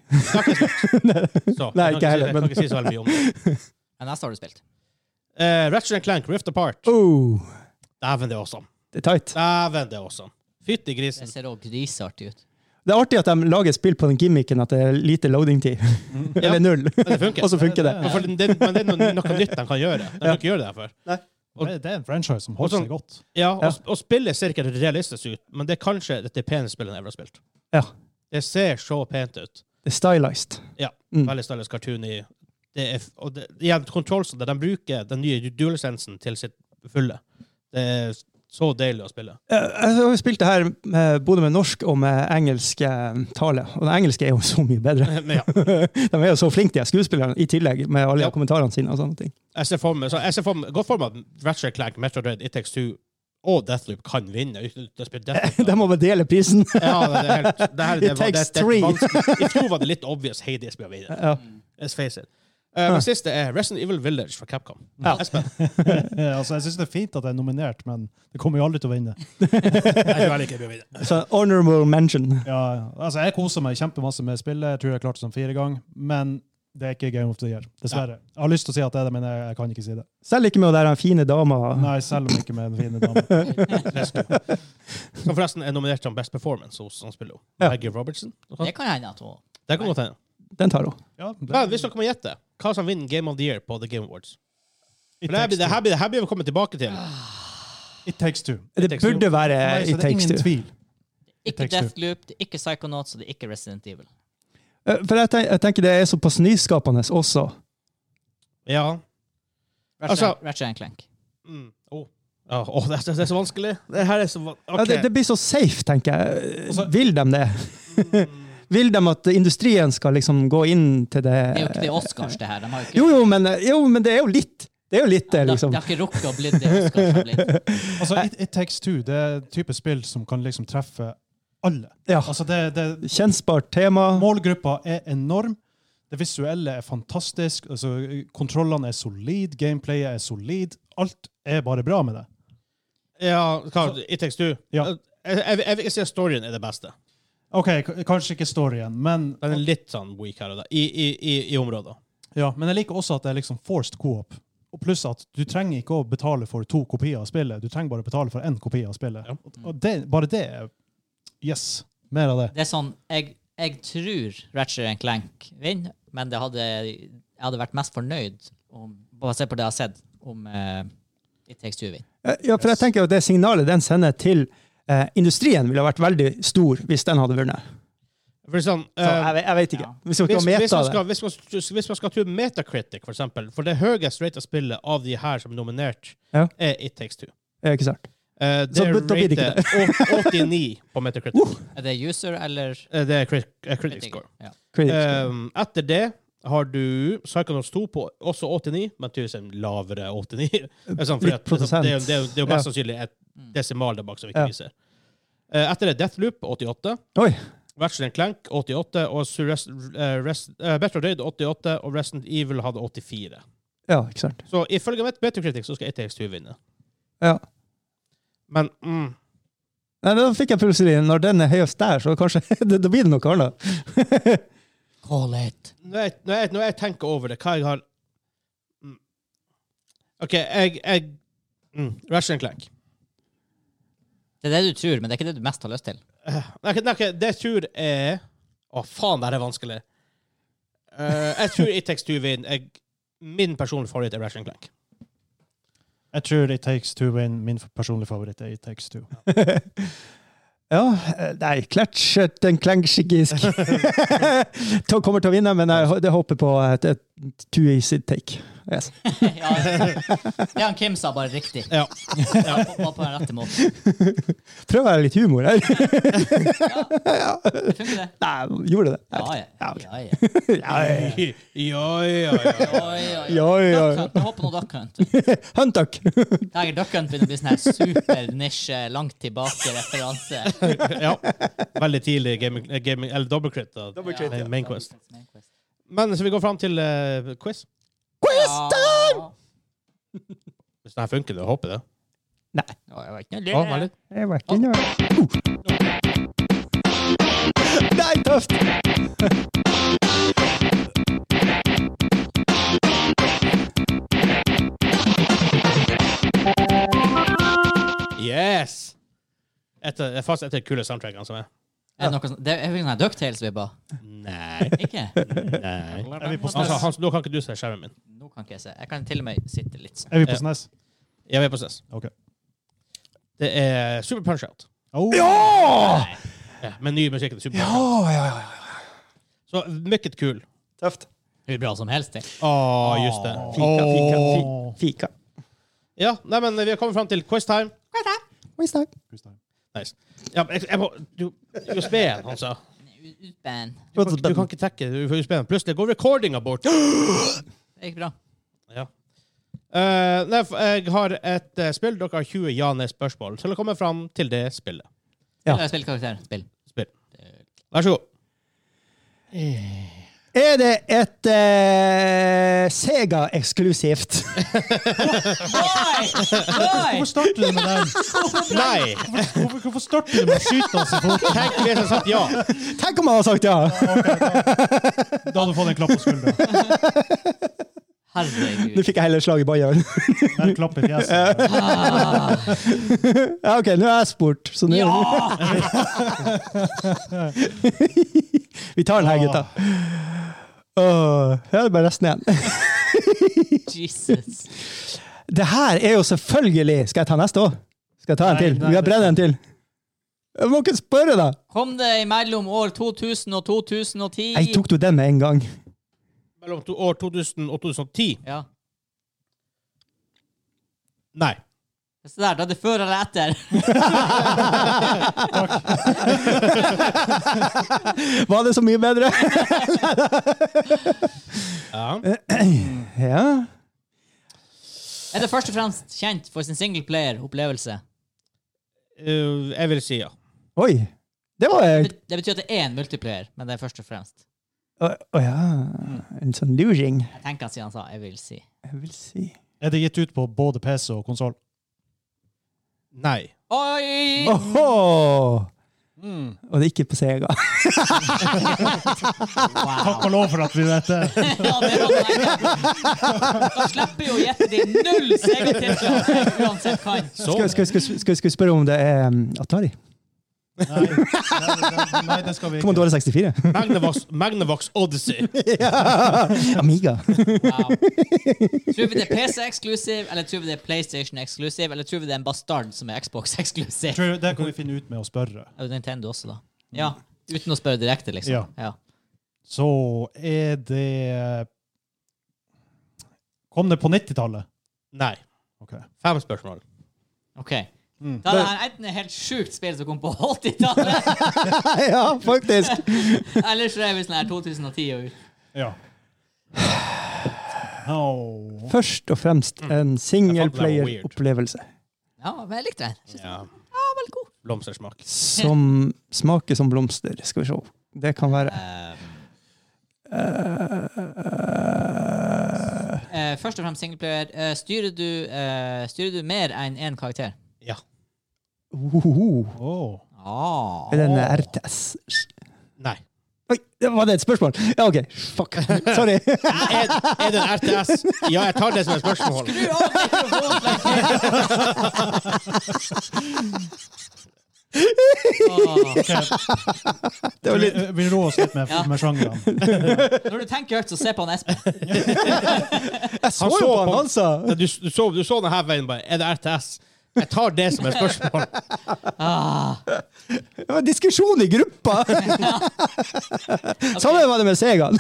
[SPEAKER 3] Så,
[SPEAKER 4] Nei,
[SPEAKER 3] jeg kan
[SPEAKER 4] ikke heller,
[SPEAKER 3] si-
[SPEAKER 4] men-
[SPEAKER 3] Jeg kan ikke si så veldig mye om det.
[SPEAKER 1] Men neste har du spilt.
[SPEAKER 3] Eh, Ratchet and Clank, Rift Apart.
[SPEAKER 4] Oh,
[SPEAKER 3] Dæven, det er awesome.
[SPEAKER 4] det er tight.
[SPEAKER 3] Dæven, det er awesome. Fytti
[SPEAKER 1] Det
[SPEAKER 3] grisen.
[SPEAKER 1] ser òg griseartig ut.
[SPEAKER 4] Det er artig at de lager spill på den gimmicken at det er lite loading-tid. Eller null.
[SPEAKER 3] Men det funker.
[SPEAKER 4] Og så funker Mm. det.
[SPEAKER 3] Men, for, det, men det er noe, noe nytt de kan gjøre. De kan ikke gjøre det derfor.
[SPEAKER 2] Det, det er en franchise som
[SPEAKER 3] Og
[SPEAKER 2] holder
[SPEAKER 3] sånn-
[SPEAKER 2] seg godt.
[SPEAKER 3] Ja, og,
[SPEAKER 4] Ja.
[SPEAKER 3] og spillet ser ikke realistisk ut, men det er kanskje det peneste spillet jeg har spilt.
[SPEAKER 4] Ja,
[SPEAKER 3] Det ser så pent ut.
[SPEAKER 4] det er stylized.
[SPEAKER 3] Ja,
[SPEAKER 4] Mm.
[SPEAKER 3] Veldig stylish cartoon i det er, f- Og det, igjen, kontrollsene, de bruker den nye dual-sensen til sitt fulle. Det er så deilig å spille.
[SPEAKER 4] Eh, Jeg har jo spilt det her med, både med norsk og med engelsk eh, tale. Og den engelske er jo så mye bedre.
[SPEAKER 3] Men ja,
[SPEAKER 4] De er jo så flinke, de her skuespillerne, i tillegg med alle
[SPEAKER 3] Ja.
[SPEAKER 4] kommentarene sine. og sånne ting.
[SPEAKER 3] jeg ser for meg, så jeg ser for meg godt for meg at Ratchet Clank, Metroid Raid, It Takes Two og Deathloop kan vinne. uten at jeg spiller Deathloop.
[SPEAKER 4] De må bare dele prisen.
[SPEAKER 3] Ja, det er helt, det her,
[SPEAKER 4] It
[SPEAKER 3] det var, det,
[SPEAKER 4] takes
[SPEAKER 3] det er
[SPEAKER 4] three.
[SPEAKER 3] vanskelig. I fjor var det litt obvious Hades blir å vinne.
[SPEAKER 4] Ja.
[SPEAKER 3] Let's face it. Eh, men siste er Resident Evil Village fra Capcom.
[SPEAKER 4] Ja.
[SPEAKER 3] Espen?
[SPEAKER 2] Ja, altså, jeg syns det er fint at det er nominert, men det kommer jo aldri til å vinne.
[SPEAKER 3] Jeg tror heller ikke det blir å vinne.
[SPEAKER 4] Så honorable mention.
[SPEAKER 2] Ja, ja. altså, jeg koser meg kjempemasse med spillet. Jeg tror jeg klarte det som fire ganger. Men det er ikke Game of the Year, dessverre. Jeg har lyst til å si at det er det, men jeg, jeg kan ikke si det.
[SPEAKER 4] Selv ikke med å være den fine dama.
[SPEAKER 2] Nei, selv om ikke med den fine dama.
[SPEAKER 3] Som forresten er nominert som Best Performance hos han spiller jo.
[SPEAKER 4] Ja.
[SPEAKER 3] Maggie Robertson.
[SPEAKER 1] Det kan hende at hun
[SPEAKER 3] Det kan godt hende.
[SPEAKER 4] Den tar hun.
[SPEAKER 2] Ja,
[SPEAKER 3] Men Hvis dere må gjette, hva som vinner Game of the Year på The Game Awards?
[SPEAKER 2] It
[SPEAKER 3] For det her blir- det her blir det her blir vi kommet tilbake til.
[SPEAKER 2] Two. It takes two.
[SPEAKER 4] Det
[SPEAKER 3] takes
[SPEAKER 4] burde være Eh,
[SPEAKER 2] Nei, så
[SPEAKER 4] It
[SPEAKER 2] det er
[SPEAKER 4] Takes
[SPEAKER 2] ingen
[SPEAKER 4] Two.
[SPEAKER 2] tvil.
[SPEAKER 1] Ikke
[SPEAKER 2] Takes Two.
[SPEAKER 1] Deathloop, det er ikke Psychonauts og det er ikke Resident Evil.
[SPEAKER 4] Eh, For jeg, ten jeg tenker det er såpass nyskapende også.
[SPEAKER 3] Ja.
[SPEAKER 1] Ratchet,
[SPEAKER 3] Altså-
[SPEAKER 1] Ratchet and Clank.
[SPEAKER 3] Mm. Oh. Ja, åh, det, er, det er så vanskelig. Det her er så van
[SPEAKER 4] Ja, det,
[SPEAKER 3] okay.
[SPEAKER 4] det blir så safe, tenker jeg.
[SPEAKER 2] Og så-
[SPEAKER 4] Vil de det? Vil de at industrien skal liksom gå inn til det
[SPEAKER 1] Det er jo ikke det Oscars, det her. De har jo ikke,
[SPEAKER 4] Jo, jo, men, jo, men det er jo litt. Det er jo litt, det,
[SPEAKER 1] de,
[SPEAKER 4] liksom.
[SPEAKER 1] de har ikke rukket å bli det Oscars har blitt.
[SPEAKER 2] Altså,
[SPEAKER 4] Eh,
[SPEAKER 2] it, it takes two. Det er et type spill som kan liksom treffe alle.
[SPEAKER 4] Ja.
[SPEAKER 2] Altså, det, det,
[SPEAKER 4] Kjennbart tema.
[SPEAKER 2] Målgruppa er enorm. Det visuelle er fantastisk. Altså, kontrollene er solid, gameplayet er solid. Alt er bare bra med det.
[SPEAKER 3] Ja, hva, It Takes Two.
[SPEAKER 2] Ja.
[SPEAKER 3] Eh, Jeg, jeg, jeg vil ikke si at storyen er det beste.
[SPEAKER 2] OK, k- kanskje ikke storyen, men,
[SPEAKER 3] Den er litt sånn weak her og der, i, i, i, i områder.
[SPEAKER 2] ja, men jeg liker også at det er liksom forced co-op. Og pluss at du trenger ikke å betale for to kopier av spillet, du trenger bare betale for én kopi av spillet.
[SPEAKER 3] Ja.
[SPEAKER 2] Og det, bare det er Yes. Mer av det.
[SPEAKER 1] Det er sånn, jeg, jeg tror Ratchet and Clank vinner, men det hadde, jeg hadde vært mest fornøyd om, basert på det jeg har sett, om eh, It Takes Two vinner.
[SPEAKER 4] Eh, Ja, for jeg tenker jo at det signalet den sender til eh, industrien, ville ha vært veldig stor hvis den hadde vunnet.
[SPEAKER 3] For sånn,
[SPEAKER 4] Så
[SPEAKER 3] eh,
[SPEAKER 4] jeg, ve- jeg vet ikke.
[SPEAKER 1] ja.
[SPEAKER 4] Hvis vi skal
[SPEAKER 3] Hvis, hvis,
[SPEAKER 4] meta
[SPEAKER 3] man skal,
[SPEAKER 4] det.
[SPEAKER 3] hvis, man, skal- hvis man skal tro Metacritic, for eksempel, for det høyest rata spillet av de her som er nominert,
[SPEAKER 4] Ja.
[SPEAKER 3] er It Takes Two.
[SPEAKER 4] Eh, Ikke sant?
[SPEAKER 3] Eh, det
[SPEAKER 4] Så Uh.
[SPEAKER 3] er
[SPEAKER 4] da blir det ikke
[SPEAKER 3] rated 89 på Metacritic.
[SPEAKER 1] Er det user eller
[SPEAKER 3] Eh, det er crit, eh, critic score.
[SPEAKER 1] Ja.
[SPEAKER 4] Critics.
[SPEAKER 3] Um, etter det har du Psychonauts 2 på også 89, men tusen lavere 89. Det er sånn, fordi
[SPEAKER 4] Litt
[SPEAKER 3] at- det, er- det, er- det er det er jo mest
[SPEAKER 4] Ja.
[SPEAKER 3] sannsynlig et
[SPEAKER 1] Mm.
[SPEAKER 3] desimal der bak som vi
[SPEAKER 4] Ja.
[SPEAKER 3] ikke viser. Eh, etter det Deathloop 88.
[SPEAKER 4] Oi.
[SPEAKER 3] Ratchet Clank 88, og Sur- Rest, eh, Rest, eh, Metroid Raid 88, og Resident Evil hadde 84.
[SPEAKER 4] Ja, ikke sant.
[SPEAKER 3] Så ifølge mitt Metacritic så skal 1TX2 vinne.
[SPEAKER 4] Ja.
[SPEAKER 3] Men mm,
[SPEAKER 4] Nei, da fikk jeg plutselig Når den er høyest der, så kanskje Da blir det noe annet.
[SPEAKER 1] Call it.
[SPEAKER 3] når, jeg, når, jeg, når jeg tenker over det, hva jeg har mm. OK, jeg, jeg mm, Ratchet Clank.
[SPEAKER 1] Det er det du tror, men det er ikke det du mest har lyst til.
[SPEAKER 3] Eh, Nei, ok, nei, ok, det jeg tror er Å, faen, det her er vanskelig. Eh, jeg tror 1TX2 vinner. Jeg, Min personlige favoritt er Ratchet and Clank.
[SPEAKER 2] Jeg tror It Takes Two er en- min personlige favoritt. er It Takes Two.
[SPEAKER 4] Ja, eh, nei, klætsjet en klengskigisk. Kommer til å vinne, men jeg, jeg håper på et, et two easy take. Yes.
[SPEAKER 1] ja, det han Kim sa, bare riktig.
[SPEAKER 3] Ja.
[SPEAKER 1] Ja, på, på, på den rette måten.
[SPEAKER 4] Prøv å være litt humor her.
[SPEAKER 1] Det funker, det.
[SPEAKER 4] Nei, gjorde det?
[SPEAKER 1] Ja,
[SPEAKER 4] Nei.
[SPEAKER 1] ja.
[SPEAKER 4] Ja, ok.
[SPEAKER 1] ja, ja.
[SPEAKER 4] Ja, ja,
[SPEAKER 3] ja, ja, ja.
[SPEAKER 1] Oi, oi, oi.
[SPEAKER 4] ja, ja.
[SPEAKER 1] Duck Hunt. Jeg håper nå Duck Hunt.
[SPEAKER 4] Hunt duck.
[SPEAKER 1] Tiger Duck Hunt begynner å bli sånn her super-nisje, langt tilbake-referanse.
[SPEAKER 3] ja. Veldig tidlig gaming, eh, gaming eller double crit. Da.
[SPEAKER 1] crit,
[SPEAKER 3] Main- Main quest. Men så vi går fram til eh, quiz.
[SPEAKER 4] Quiz time!
[SPEAKER 1] Ja.
[SPEAKER 3] Hvis den her funker, det håper jeg det.
[SPEAKER 4] Nei.
[SPEAKER 1] Ja, jeg vet ikke.
[SPEAKER 3] Ja, veldig.
[SPEAKER 4] Jeg var ikke noe. Nei, tøft!
[SPEAKER 3] Yes! Et av- det er fast et av de kule soundtrackene som er.
[SPEAKER 1] Er det noe sånn, det er jo sånn Ducktales-vibber.
[SPEAKER 3] Nei.
[SPEAKER 1] Ikke?
[SPEAKER 3] Nei.
[SPEAKER 2] Er vi på
[SPEAKER 3] Hans,
[SPEAKER 2] SNES?
[SPEAKER 3] Altså, Hans, nå kan ikke du se skjermen min.
[SPEAKER 1] Nå kan ikke jeg se. Jeg kan til og med sitte litt sånn.
[SPEAKER 2] Er vi på SNES?
[SPEAKER 3] Jeg er på SNES.
[SPEAKER 2] Ok.
[SPEAKER 3] Det er Super Punch-Out.
[SPEAKER 2] Oh.
[SPEAKER 4] Ja!
[SPEAKER 3] Ja, med ny musikk til Super
[SPEAKER 4] Ja,
[SPEAKER 3] Punch-Out.
[SPEAKER 4] ja, ja. ja.
[SPEAKER 3] Så meget kul.
[SPEAKER 4] Tøft. Ah,
[SPEAKER 1] Hur bra som helst. det.
[SPEAKER 3] Å, just det.
[SPEAKER 4] Fika, fika,
[SPEAKER 2] Åh.
[SPEAKER 4] fi- fika.
[SPEAKER 3] Ja, nei, men vi har kommet fram til quiz time.
[SPEAKER 4] Quiz time.
[SPEAKER 3] Nice. Ja, men jeg, jeg må Du, USB-en, han sa.
[SPEAKER 1] U- Utband.
[SPEAKER 3] Du kan, ikke- du kan ikke tekke du får USB-en. Plutselig går recordinga bort.
[SPEAKER 1] Det gikk bra.
[SPEAKER 3] Ja. Eh, nei, f- jeg har et eh, spill. Dere har 20 ja-nei-spørsmål til å komme fram til det spillet.
[SPEAKER 4] Ja.
[SPEAKER 1] Eller spillkarakter. Spill.
[SPEAKER 3] Spill. Vær så god.
[SPEAKER 4] Er det et eh, Sega-eksklusivt?
[SPEAKER 1] Nei! Nei!
[SPEAKER 2] Hvorfor starter du med den?
[SPEAKER 3] Nei!
[SPEAKER 2] Hvorfor, hvorfor starter du med å skyte oss i foten?
[SPEAKER 3] Tenk hvis jeg satt ja.
[SPEAKER 4] Tenk om han hadde sagt ja!
[SPEAKER 2] Da hadde du fått en klapp på skulderen.
[SPEAKER 4] Nå
[SPEAKER 1] Herregud.
[SPEAKER 4] fikk jeg heller slag i ballene.
[SPEAKER 2] Mer klapp i fjeset.
[SPEAKER 1] Ah,
[SPEAKER 4] Ja, OK, nå er jeg spurt, så nå
[SPEAKER 1] ja!
[SPEAKER 4] Vi tar den her, gutta. Åh, ja, det er bare resten igjen.
[SPEAKER 1] Jesus.
[SPEAKER 4] Det her er jo selvfølgelig Skal jeg ta neste òg? Skal jeg ta en
[SPEAKER 2] Nei,
[SPEAKER 4] til?
[SPEAKER 2] nei,
[SPEAKER 4] Vi har bredd en til. Jeg må ikke spørre, da!
[SPEAKER 1] Kom det imellom år 2000 og 2010?
[SPEAKER 4] Jeg tok jo den med en gang.
[SPEAKER 3] Mellom to, år 2000 og 2010.
[SPEAKER 1] Ja.
[SPEAKER 3] Nei.
[SPEAKER 1] Se der, da er det før eller etter.
[SPEAKER 4] Var det så mye bedre?
[SPEAKER 3] Ja.
[SPEAKER 4] Ja.
[SPEAKER 1] Er det først og fremst kjent for sin singleplayer-opplevelse?
[SPEAKER 3] Eh, jeg vil si ja.
[SPEAKER 4] Oi. Det var
[SPEAKER 1] Det
[SPEAKER 4] Å
[SPEAKER 1] bet- det betyr at det er en multiplayer, men det er først og fremst.
[SPEAKER 4] å ja. En sånn luring.
[SPEAKER 1] Jeg tenker siden han sa 'jeg vil si'.
[SPEAKER 4] Jeg vil si
[SPEAKER 2] Er det gitt ut på både PC og konsoll?
[SPEAKER 3] Nei.
[SPEAKER 1] Oi!
[SPEAKER 4] Åhå! Og det er ikke på Sega.
[SPEAKER 1] Wow.
[SPEAKER 2] Takk og lov for at vi vet det.
[SPEAKER 1] Ja, det var poenget. Da slipper jo å gjette de null segertitler uansett kan.
[SPEAKER 3] Så.
[SPEAKER 4] Skal, skal, skal, skal, skal vi spørre om det er um, Atari?
[SPEAKER 2] Nei, nei, nei, det skal vi ikke.
[SPEAKER 4] Commodore 64?
[SPEAKER 3] Magnavox, Magnavox Odyssey.
[SPEAKER 4] Amiga?
[SPEAKER 1] Wow. Tror vi det er PC-eksklusiv, eller tror vi det er PlayStation-eksklusiv, eller tror vi det er en bastard som er Xbox-eksklusiv?
[SPEAKER 2] Tror, det kan vi finne ut med å spørre.
[SPEAKER 1] Og Nintendo også, da. Ja. Uten å spørre direkte, liksom. Mm. Ja.
[SPEAKER 2] Så er det Kom det på 90-tallet?
[SPEAKER 3] Nei.
[SPEAKER 2] Ok.
[SPEAKER 3] Fem spørsmål.
[SPEAKER 1] OK. Da er Mm. det her enten et helt sjukt spill som kom på 80-tallet,
[SPEAKER 4] ja, faktisk!
[SPEAKER 1] eller så er vi sånn her 2010 og ut.
[SPEAKER 2] Ja. Oh.
[SPEAKER 4] Først og fremst en singleplayer-opplevelse
[SPEAKER 1] Ja, men jeg likte den. Jeg synes den
[SPEAKER 3] Ja.
[SPEAKER 1] Ah, var veldig god.
[SPEAKER 3] Blomstersmak.
[SPEAKER 4] som smaker som blomster. Skal vi se. Det kan være Eh,
[SPEAKER 1] Eh, først og fremst singleplayer. Eh, styrer, du, eh, styrer du mer enn én karakter?
[SPEAKER 3] Ja.
[SPEAKER 4] ohoho.
[SPEAKER 2] Oh.
[SPEAKER 1] Ah.
[SPEAKER 4] Er det en RTS?
[SPEAKER 3] Nei.
[SPEAKER 4] Oi, det var det et spørsmål? Ja, OK. Fuck. Sorry.
[SPEAKER 3] Er, er det en RTS? Ja, jeg tar det som et spørsmål.
[SPEAKER 1] Åh.
[SPEAKER 4] Det var litt
[SPEAKER 2] Vi, vi roer oss litt med,
[SPEAKER 1] Ja.
[SPEAKER 2] med sjangrene.
[SPEAKER 1] Når du tenker høyt, så se på han Espen.
[SPEAKER 4] Jeg så
[SPEAKER 3] Han
[SPEAKER 4] jo
[SPEAKER 3] så
[SPEAKER 4] på han,
[SPEAKER 3] på-
[SPEAKER 4] altså!
[SPEAKER 3] Du, du, så, du så den her veien bare. Er det RTS? Jeg tar det som et spørsmål.
[SPEAKER 1] Ah.
[SPEAKER 4] Det var diskusjon i gruppa! Sammen var det med Segan.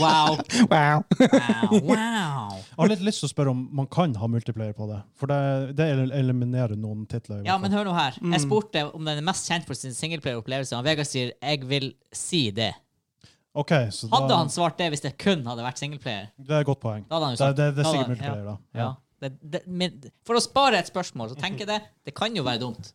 [SPEAKER 1] Wow.
[SPEAKER 4] Wow.
[SPEAKER 1] Wow. wow.
[SPEAKER 2] Jeg har litt lyst til å spørre om man kan ha multiplayer på det. For det, det eliminerer noen titler. i hvert
[SPEAKER 1] Ja,
[SPEAKER 2] fall. Mm.
[SPEAKER 1] men hør nå her. Jeg spurte om den er mest kjent for sin singleplayer-opplevelse, og Vegard sier 'jeg vil si det'.
[SPEAKER 2] Ok, så
[SPEAKER 1] Hadde
[SPEAKER 2] da,
[SPEAKER 1] han svart det hvis det kun hadde vært singleplayer?
[SPEAKER 2] Det er et godt poeng.
[SPEAKER 1] Da hadde han jo
[SPEAKER 2] Det,
[SPEAKER 1] sagt
[SPEAKER 2] det, det
[SPEAKER 1] da
[SPEAKER 2] er sikkert
[SPEAKER 1] hadde han-
[SPEAKER 2] multiplayer, da.
[SPEAKER 1] Ja. Ja. Det, det, men for å spare et spørsmål, så tenker jeg det. Det kan jo være dumt.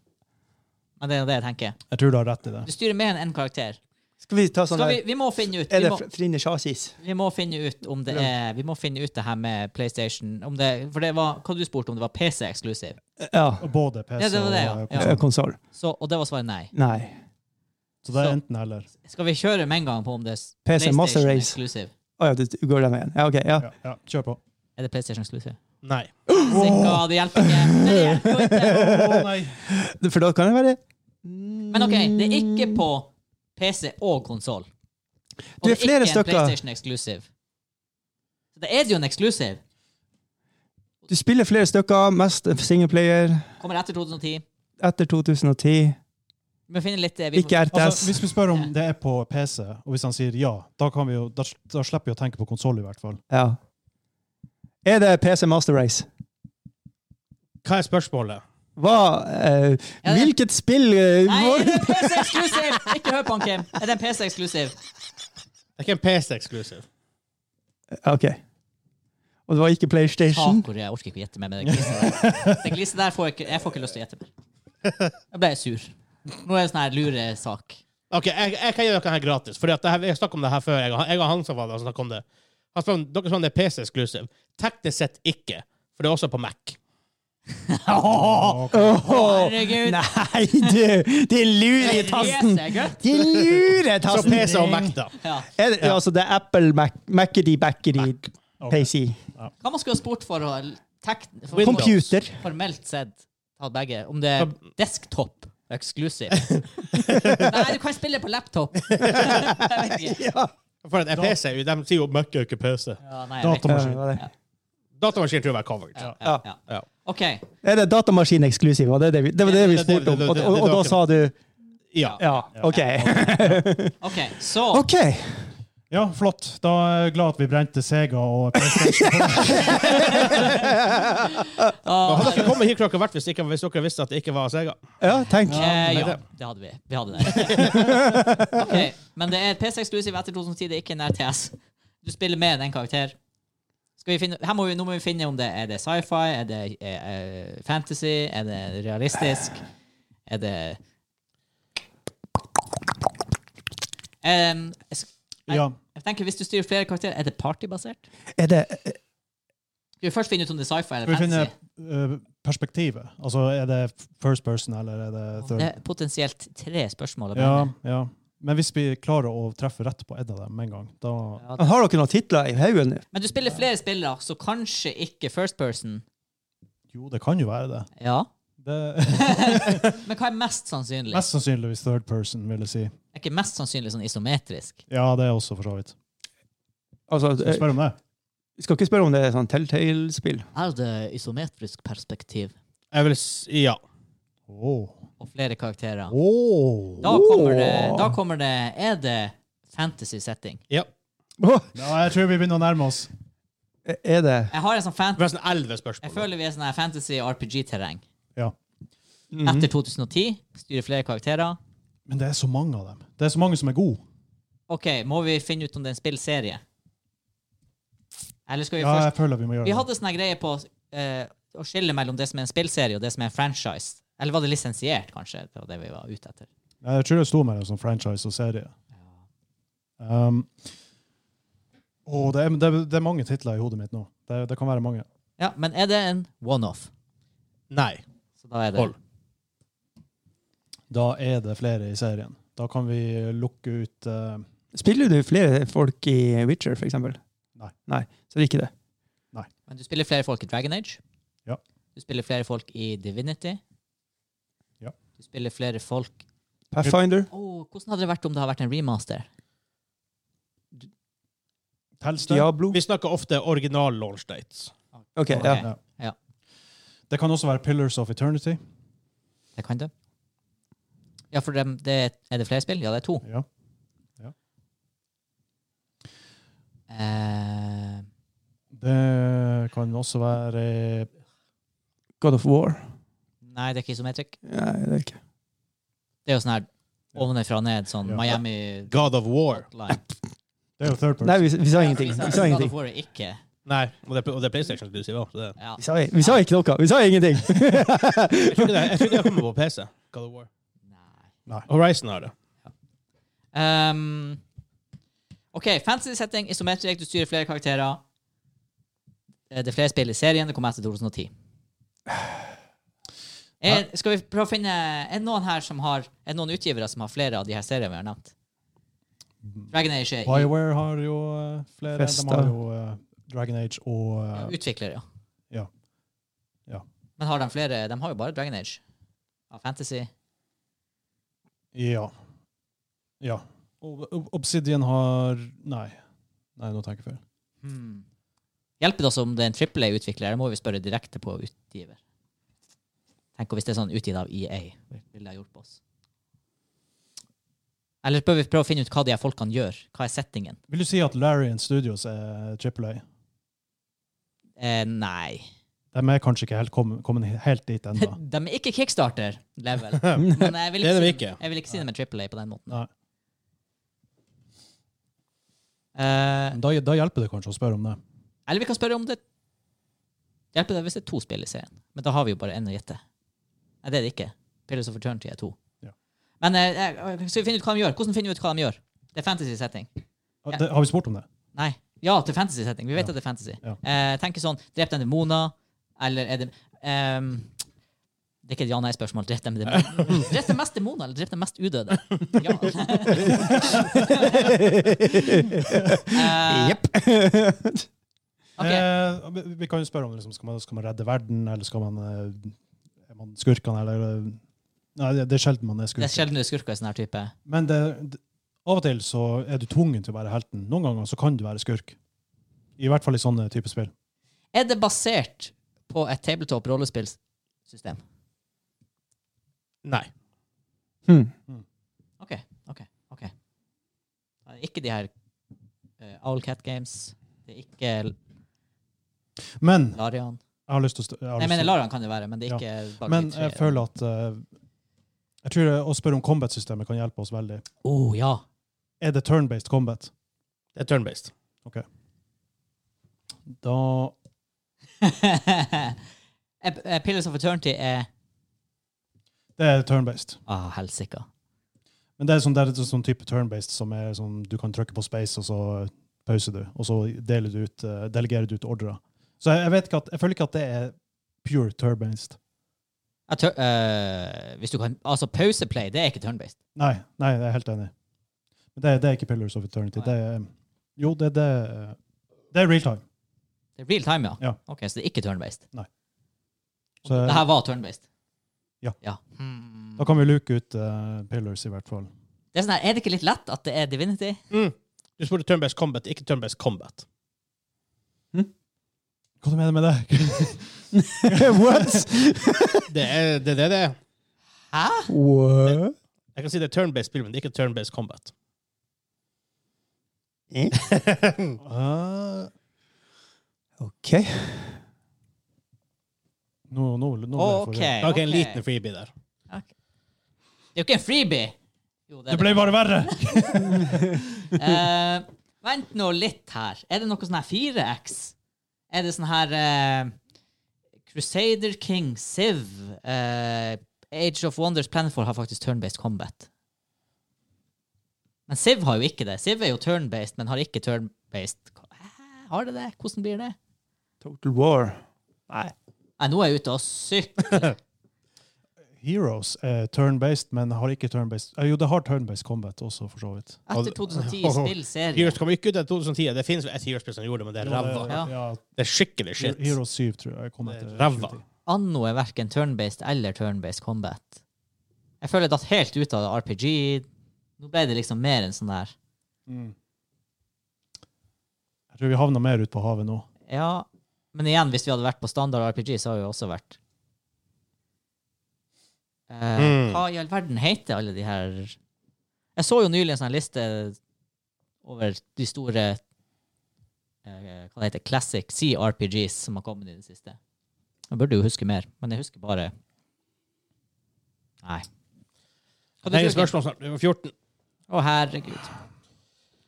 [SPEAKER 1] Men det er jo det jeg tenker.
[SPEAKER 2] Jeg tror du har rett i det.
[SPEAKER 1] Du styrer mer enn én karakter.
[SPEAKER 4] Skal vi ta sånn
[SPEAKER 1] Skal vi,
[SPEAKER 4] her
[SPEAKER 1] vi må finne ut.
[SPEAKER 4] Er
[SPEAKER 1] Vi
[SPEAKER 4] det
[SPEAKER 1] må,
[SPEAKER 4] Frine Sjasis?
[SPEAKER 1] vi må finne ut om det er Vi må finne ut det her med PlayStation. Om det, for det var Hva du spurte om det var PC-eksklusiv?
[SPEAKER 4] Ja.
[SPEAKER 2] Både PC
[SPEAKER 1] Ja, det var det, ja.
[SPEAKER 2] og
[SPEAKER 1] Ja.
[SPEAKER 2] konsol.
[SPEAKER 4] Konsoll?
[SPEAKER 1] Så- Og det var svaret nei.
[SPEAKER 4] Nei.
[SPEAKER 2] Så det
[SPEAKER 1] Så-
[SPEAKER 2] er enten eller.
[SPEAKER 1] Skal vi kjøre med en gang på om det er
[SPEAKER 4] PC Master Race.
[SPEAKER 1] PlayStation-eksklusiv?
[SPEAKER 4] Å ja, du du går den veien. Ja, OK. Ja.
[SPEAKER 2] Ja, ja. Kjør på.
[SPEAKER 1] Er det PlayStation-eksklusiv?
[SPEAKER 3] Nei.
[SPEAKER 1] Sikka, det hjelper ikke. Nei, det hjelper jo ikke.
[SPEAKER 2] Å nei!
[SPEAKER 4] For da kan det være
[SPEAKER 1] Men OK, det er ikke på PC og konsoll. Og
[SPEAKER 4] Du er flere
[SPEAKER 1] ikke en
[SPEAKER 4] stykker.
[SPEAKER 1] PlayStation Exclusive. Så Da er det jo en exclusive.
[SPEAKER 4] Du spiller flere stykker, mest singleplayer,
[SPEAKER 1] Kommer etter 2010.
[SPEAKER 4] etter 2010.
[SPEAKER 1] Vi må finne litt eh, vi må,
[SPEAKER 4] Ikke
[SPEAKER 2] Altså,
[SPEAKER 4] RTS.
[SPEAKER 2] hvis vi spør om det er på PC, og hvis han sier ja, da, kan vi jo, da, da slipper vi å tenke på konsoll, i hvert fall.
[SPEAKER 4] Ja. Er det PC Master Race?
[SPEAKER 3] Hva er spørsmålet?
[SPEAKER 4] Hva eh,
[SPEAKER 1] Ja, det-
[SPEAKER 4] Hvilket spill eh,
[SPEAKER 1] Nei,
[SPEAKER 4] var-
[SPEAKER 1] er det en PC Exclusive? Ikke hør på han, Kim. Er det en PC Exclusive?
[SPEAKER 3] Det er ikke en PC-eksklusiv.
[SPEAKER 4] OK. Og det var ikke PlayStation?
[SPEAKER 1] Takoria. Jeg orker ikke å gjette mer med det gliset der. Det gliset der får jeg ikke, jeg får ikke lyst til å gjette mer. Jeg ble sur. Nå er det sånn her luresak.
[SPEAKER 3] Ok, jeg, jeg kan gjøre dere her gratis. Fordi at det her, jeg snakket om det her før. Jeg, og- jeg og Hansa var der og snakket om det. Han spør om dere spør om det er PC-eksklusiv. Teknisk sett ikke. For det er også på Mac.
[SPEAKER 1] Herregud.
[SPEAKER 4] Nei, du! De lurer i tasten!
[SPEAKER 1] Resegutt.
[SPEAKER 4] De lurer i
[SPEAKER 3] Så
[SPEAKER 1] Altså,
[SPEAKER 4] tasten!
[SPEAKER 3] PC og Mac, da.
[SPEAKER 1] Ja.
[SPEAKER 4] Er det, Altså, det er Apple Mac, Macity Backity PC.
[SPEAKER 1] Hva man skulle ha spurt for å tek, for å-
[SPEAKER 4] Computer.
[SPEAKER 1] formelt sett tatt begge. Om det er desktop exclusive. Nei, du kan spille på laptop. Jeg vet ikke.
[SPEAKER 4] Ja,
[SPEAKER 3] For at en PC, de sier jo Mac er ikke PC.
[SPEAKER 1] Ja, nei, jeg vet ikke.
[SPEAKER 4] det
[SPEAKER 2] Datamaskin.
[SPEAKER 4] var det.
[SPEAKER 3] Datamaskin tror jeg er covered.
[SPEAKER 1] Ja, ja, ja.
[SPEAKER 3] Ja.
[SPEAKER 1] OK.
[SPEAKER 4] Er det datamaskin eksklusiv? Og det, er det, vi, det var det vi
[SPEAKER 3] Det- det- det-
[SPEAKER 4] spurte om.
[SPEAKER 3] det-
[SPEAKER 4] Og,
[SPEAKER 3] det-
[SPEAKER 4] og, og da
[SPEAKER 3] det-
[SPEAKER 4] sa du
[SPEAKER 3] Ja.
[SPEAKER 4] ja, OK.
[SPEAKER 1] ok, Så
[SPEAKER 4] OK!
[SPEAKER 2] Ja, flott. Da er jeg glad at vi brente Sega og PlayStation.
[SPEAKER 3] Da hadde dere kommet hit klokka hvert hvis, ikke, hvis dere visste at det ikke var Sega.
[SPEAKER 4] Ja, tenk.
[SPEAKER 1] eh,
[SPEAKER 3] det
[SPEAKER 1] Ja,
[SPEAKER 3] er det.
[SPEAKER 1] det hadde vi. Vi hadde det. Ok, Men det er PC exclusive etter 2010. Det er ikke en RTS. Du spiller med en karakter. Skal vi finne, her må vi, nå må vi finne om det er det sci-fi, er det eh, eh, fantasy, er det realistisk, er det Em, jeg sk-
[SPEAKER 2] Ja.
[SPEAKER 1] Jeg tenker Hvis du styrer flere karakterer, er det partybasert?
[SPEAKER 4] Er det
[SPEAKER 1] Skal vi først finne ut om det er sci-fi eller
[SPEAKER 2] Skal vi finne
[SPEAKER 1] fantasy?
[SPEAKER 2] eh, perspektivet? Altså, er det first person, eller er det
[SPEAKER 1] Det
[SPEAKER 2] third?
[SPEAKER 1] er potensielt tre spørsmål. jeg
[SPEAKER 2] Ja,
[SPEAKER 1] mener.
[SPEAKER 2] ja. Men hvis vi klarer å treffe rett på ett av dem med en gang, da
[SPEAKER 4] Har dere noen titler i haugen?
[SPEAKER 1] Men du spiller flere spillere, så kanskje ikke first person.
[SPEAKER 2] Jo, det kan jo være det.
[SPEAKER 1] Ja.
[SPEAKER 2] det
[SPEAKER 1] Men hva er mest sannsynlig?
[SPEAKER 2] mest sannsynligvis third person, vil jeg si.
[SPEAKER 1] Er ikke mest sannsynlig sånn isometrisk?
[SPEAKER 2] Ja, det er også, for så vidt.
[SPEAKER 4] Altså,
[SPEAKER 2] Skal vi
[SPEAKER 4] eh,
[SPEAKER 2] spørre om det?
[SPEAKER 4] vi skal ikke spørre om det er sånn Telltale-spill.
[SPEAKER 1] Er det isometrisk perspektiv
[SPEAKER 3] Jeg vil si ja.
[SPEAKER 2] Åh.
[SPEAKER 1] og flere karakterer?
[SPEAKER 2] Åh.
[SPEAKER 1] Da kommer det, da kommer det Er det fantasy setting?
[SPEAKER 3] ja.
[SPEAKER 4] Åh,
[SPEAKER 2] Ja, jeg tror vi begynner å nærme oss.
[SPEAKER 4] er det
[SPEAKER 1] Jeg har en sånn fan...
[SPEAKER 3] Forresten, elleve spørsmål.
[SPEAKER 1] Jeg føler vi er sånn her fantasy RPG-terreng.
[SPEAKER 2] Ja. Mhm.
[SPEAKER 1] Etter 2010 styrer flere karakterer.
[SPEAKER 2] Men det er så mange av dem. Det er så mange som er gode.
[SPEAKER 1] OK, må vi finne ut om det er en spillserie? Eller skal vi
[SPEAKER 2] Ja,
[SPEAKER 1] først
[SPEAKER 2] jeg føler vi må gjøre
[SPEAKER 1] Vi
[SPEAKER 2] det.
[SPEAKER 1] hadde sånne greier på eh, å skille mellom det som er en spillserie og det som er en franchise. Eller var det lisensiert, kanskje? Det var det vi var ute etter.
[SPEAKER 2] Jeg tror det sto mellom sånn franchise og serie. Um, åh, det, er, det, er, det er mange titler i hodet mitt nå. Det, det kan være mange.
[SPEAKER 1] Ja, Men er det en one-off?
[SPEAKER 3] Nei.
[SPEAKER 1] Så da er det
[SPEAKER 3] Tolv.
[SPEAKER 2] Da er det flere i serien. Da kan vi lukke ut eh,
[SPEAKER 4] Spiller du flere folk i Witcher, for eksempel?
[SPEAKER 2] Nei.
[SPEAKER 4] Nei, så det er ikke det.
[SPEAKER 1] Men du spiller flere folk i Dragon Age.
[SPEAKER 2] Ja.
[SPEAKER 1] Du spiller flere folk i Divinity.
[SPEAKER 2] Ja.
[SPEAKER 1] Du spiller flere folk.
[SPEAKER 4] Pathfinder.
[SPEAKER 1] Åh, hvordan hadde det vært om det hadde vært en remaster?
[SPEAKER 2] Tels det?
[SPEAKER 4] Diablo.
[SPEAKER 3] Vi snakker ofte original launch dates.
[SPEAKER 4] Ok, ja.
[SPEAKER 1] Ok. Ja.
[SPEAKER 2] Det kan også være Pillars of Eternity.
[SPEAKER 1] Det kan det. Ja, for dem, det, er det flere spill? Ja, det er to.
[SPEAKER 2] Ja.
[SPEAKER 1] Eh,
[SPEAKER 2] Det kan også være
[SPEAKER 4] God of War.
[SPEAKER 1] nei, det er ikke isometric.
[SPEAKER 4] Nei, det er ikke.
[SPEAKER 1] Det er jo sånn her ovenfra og ned, sånn
[SPEAKER 2] Ja.
[SPEAKER 1] Miami
[SPEAKER 3] God of War.
[SPEAKER 1] Line.
[SPEAKER 2] Det er jo third person.
[SPEAKER 4] Nei, vi, vi sa ingenting. Vi sa
[SPEAKER 1] God
[SPEAKER 4] ingenting.
[SPEAKER 1] of War er ikke.
[SPEAKER 3] Nei, og det, er- og det er PlayStation eksklusiv også, så det-
[SPEAKER 1] Ja.
[SPEAKER 4] Vi sa, vi sa ikke noe. Vi sa ingenting.
[SPEAKER 3] Jeg tror ikke det- jeg tror ikke det kommer på PC. God of War.
[SPEAKER 1] Nei.
[SPEAKER 3] Horizon har det.
[SPEAKER 1] Ehm, OK, fantasy setting, isometric, du styrer flere karakterer. Eh, Det er flere spill i serien. Det kom etter 2010. Er, Eh, skal vi prøve å finne Er det noen her som har Er det noen utgivere som har flere av de her seriene vi har nevnt? Dragon Age er i-
[SPEAKER 2] Bioware har jo eh, flere.
[SPEAKER 4] Festa.
[SPEAKER 2] De har jo eh, Dragon Age og eh,
[SPEAKER 1] utvikler, ja.
[SPEAKER 2] Ja. Ja.
[SPEAKER 1] Men har de flere De har jo bare Dragon Age. Av fantasy.
[SPEAKER 2] Ja. Ja. Og Ob- Obsidian har Nei. Nei, nå tenker jeg feil.
[SPEAKER 1] Hmm. Hjelper det oss om det er en trippel A-utvikler? Det må vi spørre direkte på utgiver. Tenk om hvis det er sånn utgitt av EA. Ville det ha hjulpet oss? Eller bør vi prøve å finne ut hva de her folkene gjør? Hva er settingen?
[SPEAKER 2] Vil du si at Larry and Studios er AAA?
[SPEAKER 1] Eh, nei.
[SPEAKER 2] De er kanskje ikke helt kommet, kommet helt dit
[SPEAKER 1] De
[SPEAKER 2] ennå.
[SPEAKER 1] er ikke kickstarter-level. Men jeg vil
[SPEAKER 3] Det er
[SPEAKER 1] ikke,
[SPEAKER 3] de
[SPEAKER 1] si,
[SPEAKER 3] ikke.
[SPEAKER 1] jeg vil ikke si dem er trippel A på den måten.
[SPEAKER 2] Nei.
[SPEAKER 1] Eh,
[SPEAKER 2] Da, da hjelper det kanskje å spørre om det.
[SPEAKER 1] eller vi kan spørre om det Hjelper det hvis det er to spill i serien? Men da har vi jo bare én å gjette. Nei, det er det ikke. Pillars of Eternity er to.
[SPEAKER 2] Ja.
[SPEAKER 1] Men eh, eh, skal vi finne ut hva de gjør? Hvordan finner vi ut hva de gjør? Det er fantasy setting.
[SPEAKER 2] Ah, det har vi spurt om det?
[SPEAKER 1] Nei. Ja, til fantasy setting. Vi vet at det er fantasy.
[SPEAKER 2] Ja.
[SPEAKER 1] Eh, tenk sånn Drep den demoner, eller er det ehm, Det er ikke et ja-nei-spørsmål. Drep dem demoner. Drep den mest demoner, eller drep den mest udøde? Ja. Eh,
[SPEAKER 4] Jepp.
[SPEAKER 1] ok.
[SPEAKER 2] Eh, vi- vi kan jo spørre om liksom, skal, man, skal man redde verden, eller skal man eh, Er man skurkene, eller eh, Nei, det, det er sjelden man er
[SPEAKER 1] Det
[SPEAKER 2] skurk.
[SPEAKER 1] er sjelden det er skurker i sånn her type.
[SPEAKER 2] Men det, det, av og til så er du tvungen til å være helten. Noen ganger så kan du være skurk. I hvert fall i sånne type spill.
[SPEAKER 1] Er det basert på et tabletop rollespillsystem?
[SPEAKER 3] Nei.
[SPEAKER 4] Hmm.
[SPEAKER 1] OK. ok, ok. Det er ikke de her eh, Owlcat Games. Det er ikke
[SPEAKER 2] Men
[SPEAKER 1] Larian.
[SPEAKER 2] jeg har lyst til å st- jeg har
[SPEAKER 1] Nei, jeg
[SPEAKER 2] lyst
[SPEAKER 1] mener
[SPEAKER 2] til-
[SPEAKER 1] Larian kan det være, men det er
[SPEAKER 2] Ja.
[SPEAKER 1] ikke bare
[SPEAKER 2] Men
[SPEAKER 1] de tre.
[SPEAKER 2] jeg føler at eh, Jeg tror det å spørre om combat-systemet kan hjelpe oss veldig.
[SPEAKER 1] oh, ja.
[SPEAKER 2] Er det turn-based combat?
[SPEAKER 3] Det er turn-based.
[SPEAKER 2] Da
[SPEAKER 1] Eh, eh, Pillars of Eternity er
[SPEAKER 2] Det er turn-based.
[SPEAKER 1] ah, helsika.
[SPEAKER 2] Men det er sånn, det er sånn type turn-based som er sånn du kan trykke på space, og så pauser du, og så deler du ut, eh, delegerer du ut ordrer. Så jeg, jeg vet ikke at, jeg føler ikke at det er pure turn-based.
[SPEAKER 1] Jeg tør- eh, hvis du kan Altså, pauseplay, det er ikke turn-based.
[SPEAKER 2] Nei, nei, jeg er helt enig. Men det, det er ikke Pillars of Eternity.
[SPEAKER 1] Nei.
[SPEAKER 2] Det er, jo, det, det, er- det er real time.
[SPEAKER 1] Det er real time, ja?
[SPEAKER 2] Ja.
[SPEAKER 1] Ok, Så det er ikke turn-based.
[SPEAKER 2] Så
[SPEAKER 1] Det her var turn-based.
[SPEAKER 2] Ja.
[SPEAKER 1] Hmm.
[SPEAKER 2] da kan vi luke ut eh, Pillars, i hvert fall.
[SPEAKER 1] Det er, sånn her, er det ikke litt lett at det er Divinity?
[SPEAKER 3] Mm. Du spurte turn-based combat, ikke turn-based combat.
[SPEAKER 2] Hva du mener med det?
[SPEAKER 4] What?
[SPEAKER 3] Det er det er det det er.
[SPEAKER 1] Hæ?
[SPEAKER 4] What?
[SPEAKER 3] Jeg kan si det er turn-based spill, men det er ikke turn-based combat.
[SPEAKER 2] Ah,
[SPEAKER 4] OK.
[SPEAKER 2] nå, nå, nå ble jeg
[SPEAKER 1] OK.
[SPEAKER 3] Det er
[SPEAKER 2] forvirret.
[SPEAKER 3] ikke
[SPEAKER 1] ok.
[SPEAKER 3] en liten freebie der.
[SPEAKER 1] Ok. Det er jo ikke en freebie! Jo, det
[SPEAKER 2] Det
[SPEAKER 1] er det.
[SPEAKER 2] ble bare verre!
[SPEAKER 1] Eh, vent nå litt her. Er det noe sånn her 4X? Er det sånn her eh, Crusader King, Civ, eh, Age of Wonders, Planetfall har faktisk turn-based combat. Men Civ har jo ikke det. Civ er jo turn-based, men har ikke turn-based co- Hæ? Har det det? Hvordan blir det?
[SPEAKER 4] Total War. Nei.
[SPEAKER 1] Nei, nå er jeg ute og sykler.
[SPEAKER 2] Heroes er turn-based, men har ikke turn-based eh, Jo, det har turn-based combat også, for så vidt.
[SPEAKER 1] Etter 2010 spill serie.
[SPEAKER 3] Heroes kom ikke ut i 2010. Det finnes et Heroes-spill som gjorde det, men det er ræva.
[SPEAKER 1] Ja.
[SPEAKER 2] eh, Ja,
[SPEAKER 3] Det er skikkelig shit.
[SPEAKER 2] Heroes 7, tror jeg. kom
[SPEAKER 3] Det er
[SPEAKER 2] etter
[SPEAKER 3] ræva.
[SPEAKER 2] 2010.
[SPEAKER 1] Anno er verken turn-based eller turn-based combat. Jeg føler jeg datt helt ut av det RPG. Nå ble det liksom mer en sånn der
[SPEAKER 2] Mm. Jeg tror vi havna mer ut på havet nå.
[SPEAKER 1] Ja, men igjen, hvis vi hadde vært på standard RPG, så hadde vi også vært eh,
[SPEAKER 3] Mm.
[SPEAKER 1] Hva i all verden heter alle de her Jeg så jo nylig en sånn liste over de store eh, Hva det heter Classic CRPGs som har kommet i det siste. Jeg burde jo huske mer, men jeg husker bare Nei. Hva
[SPEAKER 3] Nei,
[SPEAKER 1] du husker?
[SPEAKER 3] spørsmål snart. Vi var 14.
[SPEAKER 1] Å, herregud.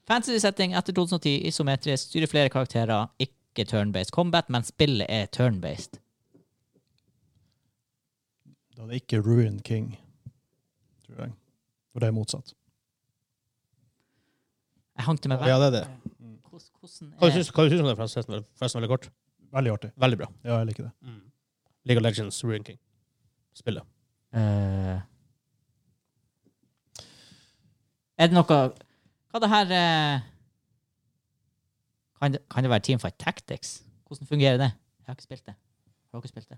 [SPEAKER 1] Fantasy-setting etter 2010, isometrisk, styrer flere karakterer, ikke turn-based combat, men spillet er turn-based.
[SPEAKER 2] Da er det ikke Ruin King, tror jeg. For det er motsatt.
[SPEAKER 1] Jeg hang til meg
[SPEAKER 3] Ja,
[SPEAKER 1] vekk.
[SPEAKER 3] det er det.
[SPEAKER 1] Hvordan- hvordan
[SPEAKER 3] Hva
[SPEAKER 1] er-
[SPEAKER 3] syns hva syns du om det, forresten? Forresten, veldig kort.
[SPEAKER 2] Veldig artig.
[SPEAKER 3] Veldig bra.
[SPEAKER 2] Ja, jeg liker det.
[SPEAKER 1] Mm.
[SPEAKER 3] League of Legends, Ruin King. Spillet.
[SPEAKER 1] Eh, Er det noe Hva det her eh, kan, det, kan det være Teamfight Tactics? Hvordan fungerer det? Jeg har ikke spilt det. Har dere spilt det?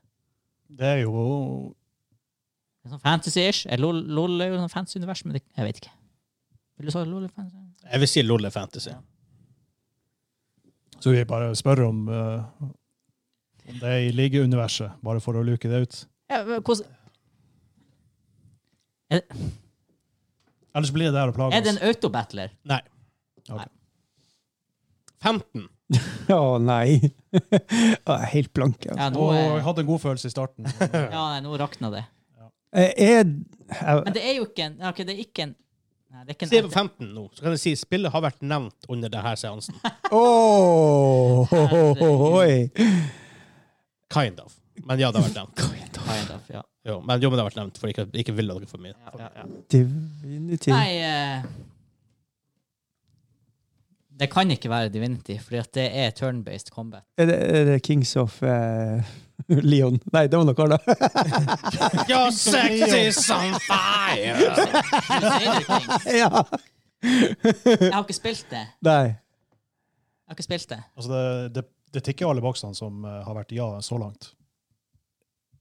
[SPEAKER 2] Det er jo
[SPEAKER 1] Det er sånn fantasy-ish. Er LOL, LOL er jo sånn fantasy univers, men det, jeg vet ikke. Vil du svare LOL? er Fantasy?
[SPEAKER 3] Jeg vil si LOL er fantasy.
[SPEAKER 1] Ja.
[SPEAKER 2] Så vi bare spør om, eh, om det er i ligauniverset, bare for å luke det ut.
[SPEAKER 1] Ja, men hvordan
[SPEAKER 2] Ellers blir det der å plage
[SPEAKER 1] Er det en
[SPEAKER 2] oss.
[SPEAKER 1] autobattler?
[SPEAKER 3] Nei.
[SPEAKER 2] Ok.
[SPEAKER 3] 15.
[SPEAKER 4] Å nei. Jeg er helt blank. Ja.
[SPEAKER 1] Ja, nå,
[SPEAKER 2] Og
[SPEAKER 1] er,
[SPEAKER 2] jeg hadde en god følelse i starten. men-
[SPEAKER 1] ja, nei, nå rakna det.
[SPEAKER 4] Eh, Er,
[SPEAKER 1] Men det er jo ikke en ja, ok, Det er ikke en Nei, det er ikke
[SPEAKER 3] Si
[SPEAKER 1] en
[SPEAKER 3] 15 nå, så kan jeg si spillet har vært nevnt under denne seansen.
[SPEAKER 4] Åh, oi.
[SPEAKER 3] Kind of. Men ja, det har vært nevnt.
[SPEAKER 1] kind of, ja.
[SPEAKER 3] Jo, men, jo, men det har vært nevnt, for ikke, ikke vil dere for mye.
[SPEAKER 1] Ja, ja, ja.
[SPEAKER 4] Divinity.
[SPEAKER 1] Nei eh, Det kan ikke være Divinity, fordi at det er turn-based combat.
[SPEAKER 4] Er det, er det Kings of eh, Leon? Nei, det var noe annet.
[SPEAKER 3] You're sexy on fire!
[SPEAKER 1] Jeg
[SPEAKER 4] ja.
[SPEAKER 1] har ikke spilt det.
[SPEAKER 4] Nei.
[SPEAKER 1] Jeg har ikke spilt det.
[SPEAKER 2] Altså, det, det, det tikker alle boksene som eh, har vært ja så langt.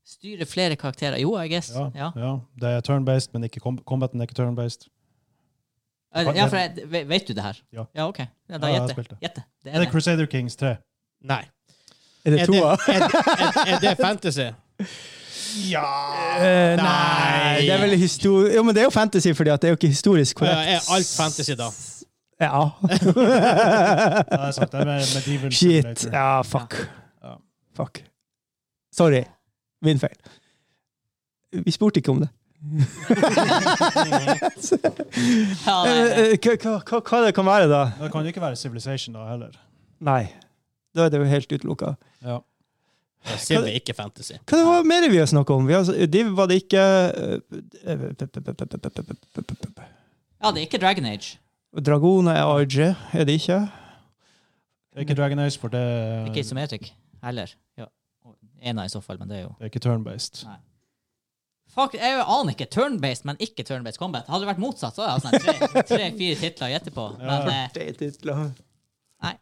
[SPEAKER 1] Styrer flere karakterer. Jo, I guess.
[SPEAKER 2] Ja,
[SPEAKER 1] Ja.
[SPEAKER 2] ja. Det er turn-based, men ikke com combaten er ikke turn-based.
[SPEAKER 1] ja, for jeg, ve- Vet du det her?
[SPEAKER 2] Ja.
[SPEAKER 1] Ja, OK. Ja,
[SPEAKER 2] Ja,
[SPEAKER 1] da
[SPEAKER 2] jeg har spilt
[SPEAKER 1] gjett
[SPEAKER 2] det.
[SPEAKER 1] det. Gjett det. Det
[SPEAKER 2] Er
[SPEAKER 1] er
[SPEAKER 2] det
[SPEAKER 1] det.
[SPEAKER 2] Crusader Kings 3?
[SPEAKER 3] Nei.
[SPEAKER 4] Er det
[SPEAKER 3] Er det,
[SPEAKER 4] toa?
[SPEAKER 3] er, er, er det fantasy?
[SPEAKER 4] Eh,
[SPEAKER 3] Ah, Nei.
[SPEAKER 4] Det er vel histori... Jo, men det er jo fantasy, fordi at det er jo ikke historisk
[SPEAKER 3] Ja,
[SPEAKER 4] korrekt.
[SPEAKER 3] Er alt fantasy, da?
[SPEAKER 4] Ja.
[SPEAKER 2] Nei, jeg har sagt det er med- medieval
[SPEAKER 4] Shit.
[SPEAKER 2] simulator.
[SPEAKER 4] Ja, fuck.
[SPEAKER 2] Ja.
[SPEAKER 4] Fuck. Sorry. Min feil. Vi spurte ikke om det.
[SPEAKER 1] Ja,
[SPEAKER 4] Eh,
[SPEAKER 1] nei, det.
[SPEAKER 4] eh, Hva hva- hva det kan være, da?
[SPEAKER 2] Det kan jo ikke være Civilization da heller.
[SPEAKER 4] Nei. Da er det jo helt utelukka.
[SPEAKER 2] Ja.
[SPEAKER 3] Ja, Siv er ikke fantasy.
[SPEAKER 4] Hva det var mer vi har snakket om? Vi har, de var det ikke eh,
[SPEAKER 1] ja, det er ikke Dragon Age.
[SPEAKER 4] Dragoner er RG, er det ikke?
[SPEAKER 2] Det er ikke Dragon Age, for det,
[SPEAKER 1] Ikke isometric heller. Ja. Og Ena i så fall, men det er jo
[SPEAKER 2] det er ikke turn-based.
[SPEAKER 1] Fuck, jeg aner ikke. Turn-based, men ikke turn-based combat. Hadde det vært motsatt, så hadde jeg hatt sånn tre- tre-fire titler å gjette på. Men eh,
[SPEAKER 4] Det er titler.
[SPEAKER 1] Nei.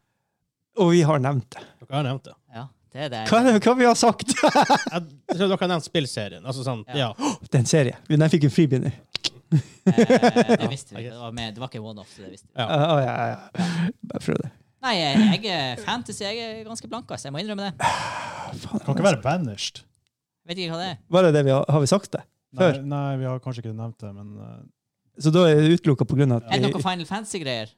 [SPEAKER 4] Og vi har nevnt det.
[SPEAKER 3] Dere har nevnt det.
[SPEAKER 1] ja, det er det.
[SPEAKER 4] Hva, er det- hva vi har sagt?
[SPEAKER 3] Jeg tror dere har nevnt spillserien. Altså sånn, ja.
[SPEAKER 4] Det er en serie. Den fikk en fribinder.
[SPEAKER 1] Eh, det visste vi. Det var, med, det var ikke one-off, så det visste vi.
[SPEAKER 3] Ja.
[SPEAKER 4] Ja, Ah, ja, ja. Bare prøv det.
[SPEAKER 1] Nei, jeg, jeg er fantasy. Jeg er ganske blank, ass. Jeg må innrømme det.
[SPEAKER 2] Kan ikke være banished.
[SPEAKER 1] Vet ikke hva det er.
[SPEAKER 4] Var det det vi har, har vi sagt det?
[SPEAKER 2] Nei,
[SPEAKER 4] Før.
[SPEAKER 2] nei, vi har kanskje ikke nevnt det, men eh,
[SPEAKER 4] Så da er det utelukka på grunn av
[SPEAKER 1] Er det noe
[SPEAKER 4] at
[SPEAKER 1] Final Fantasy-greier?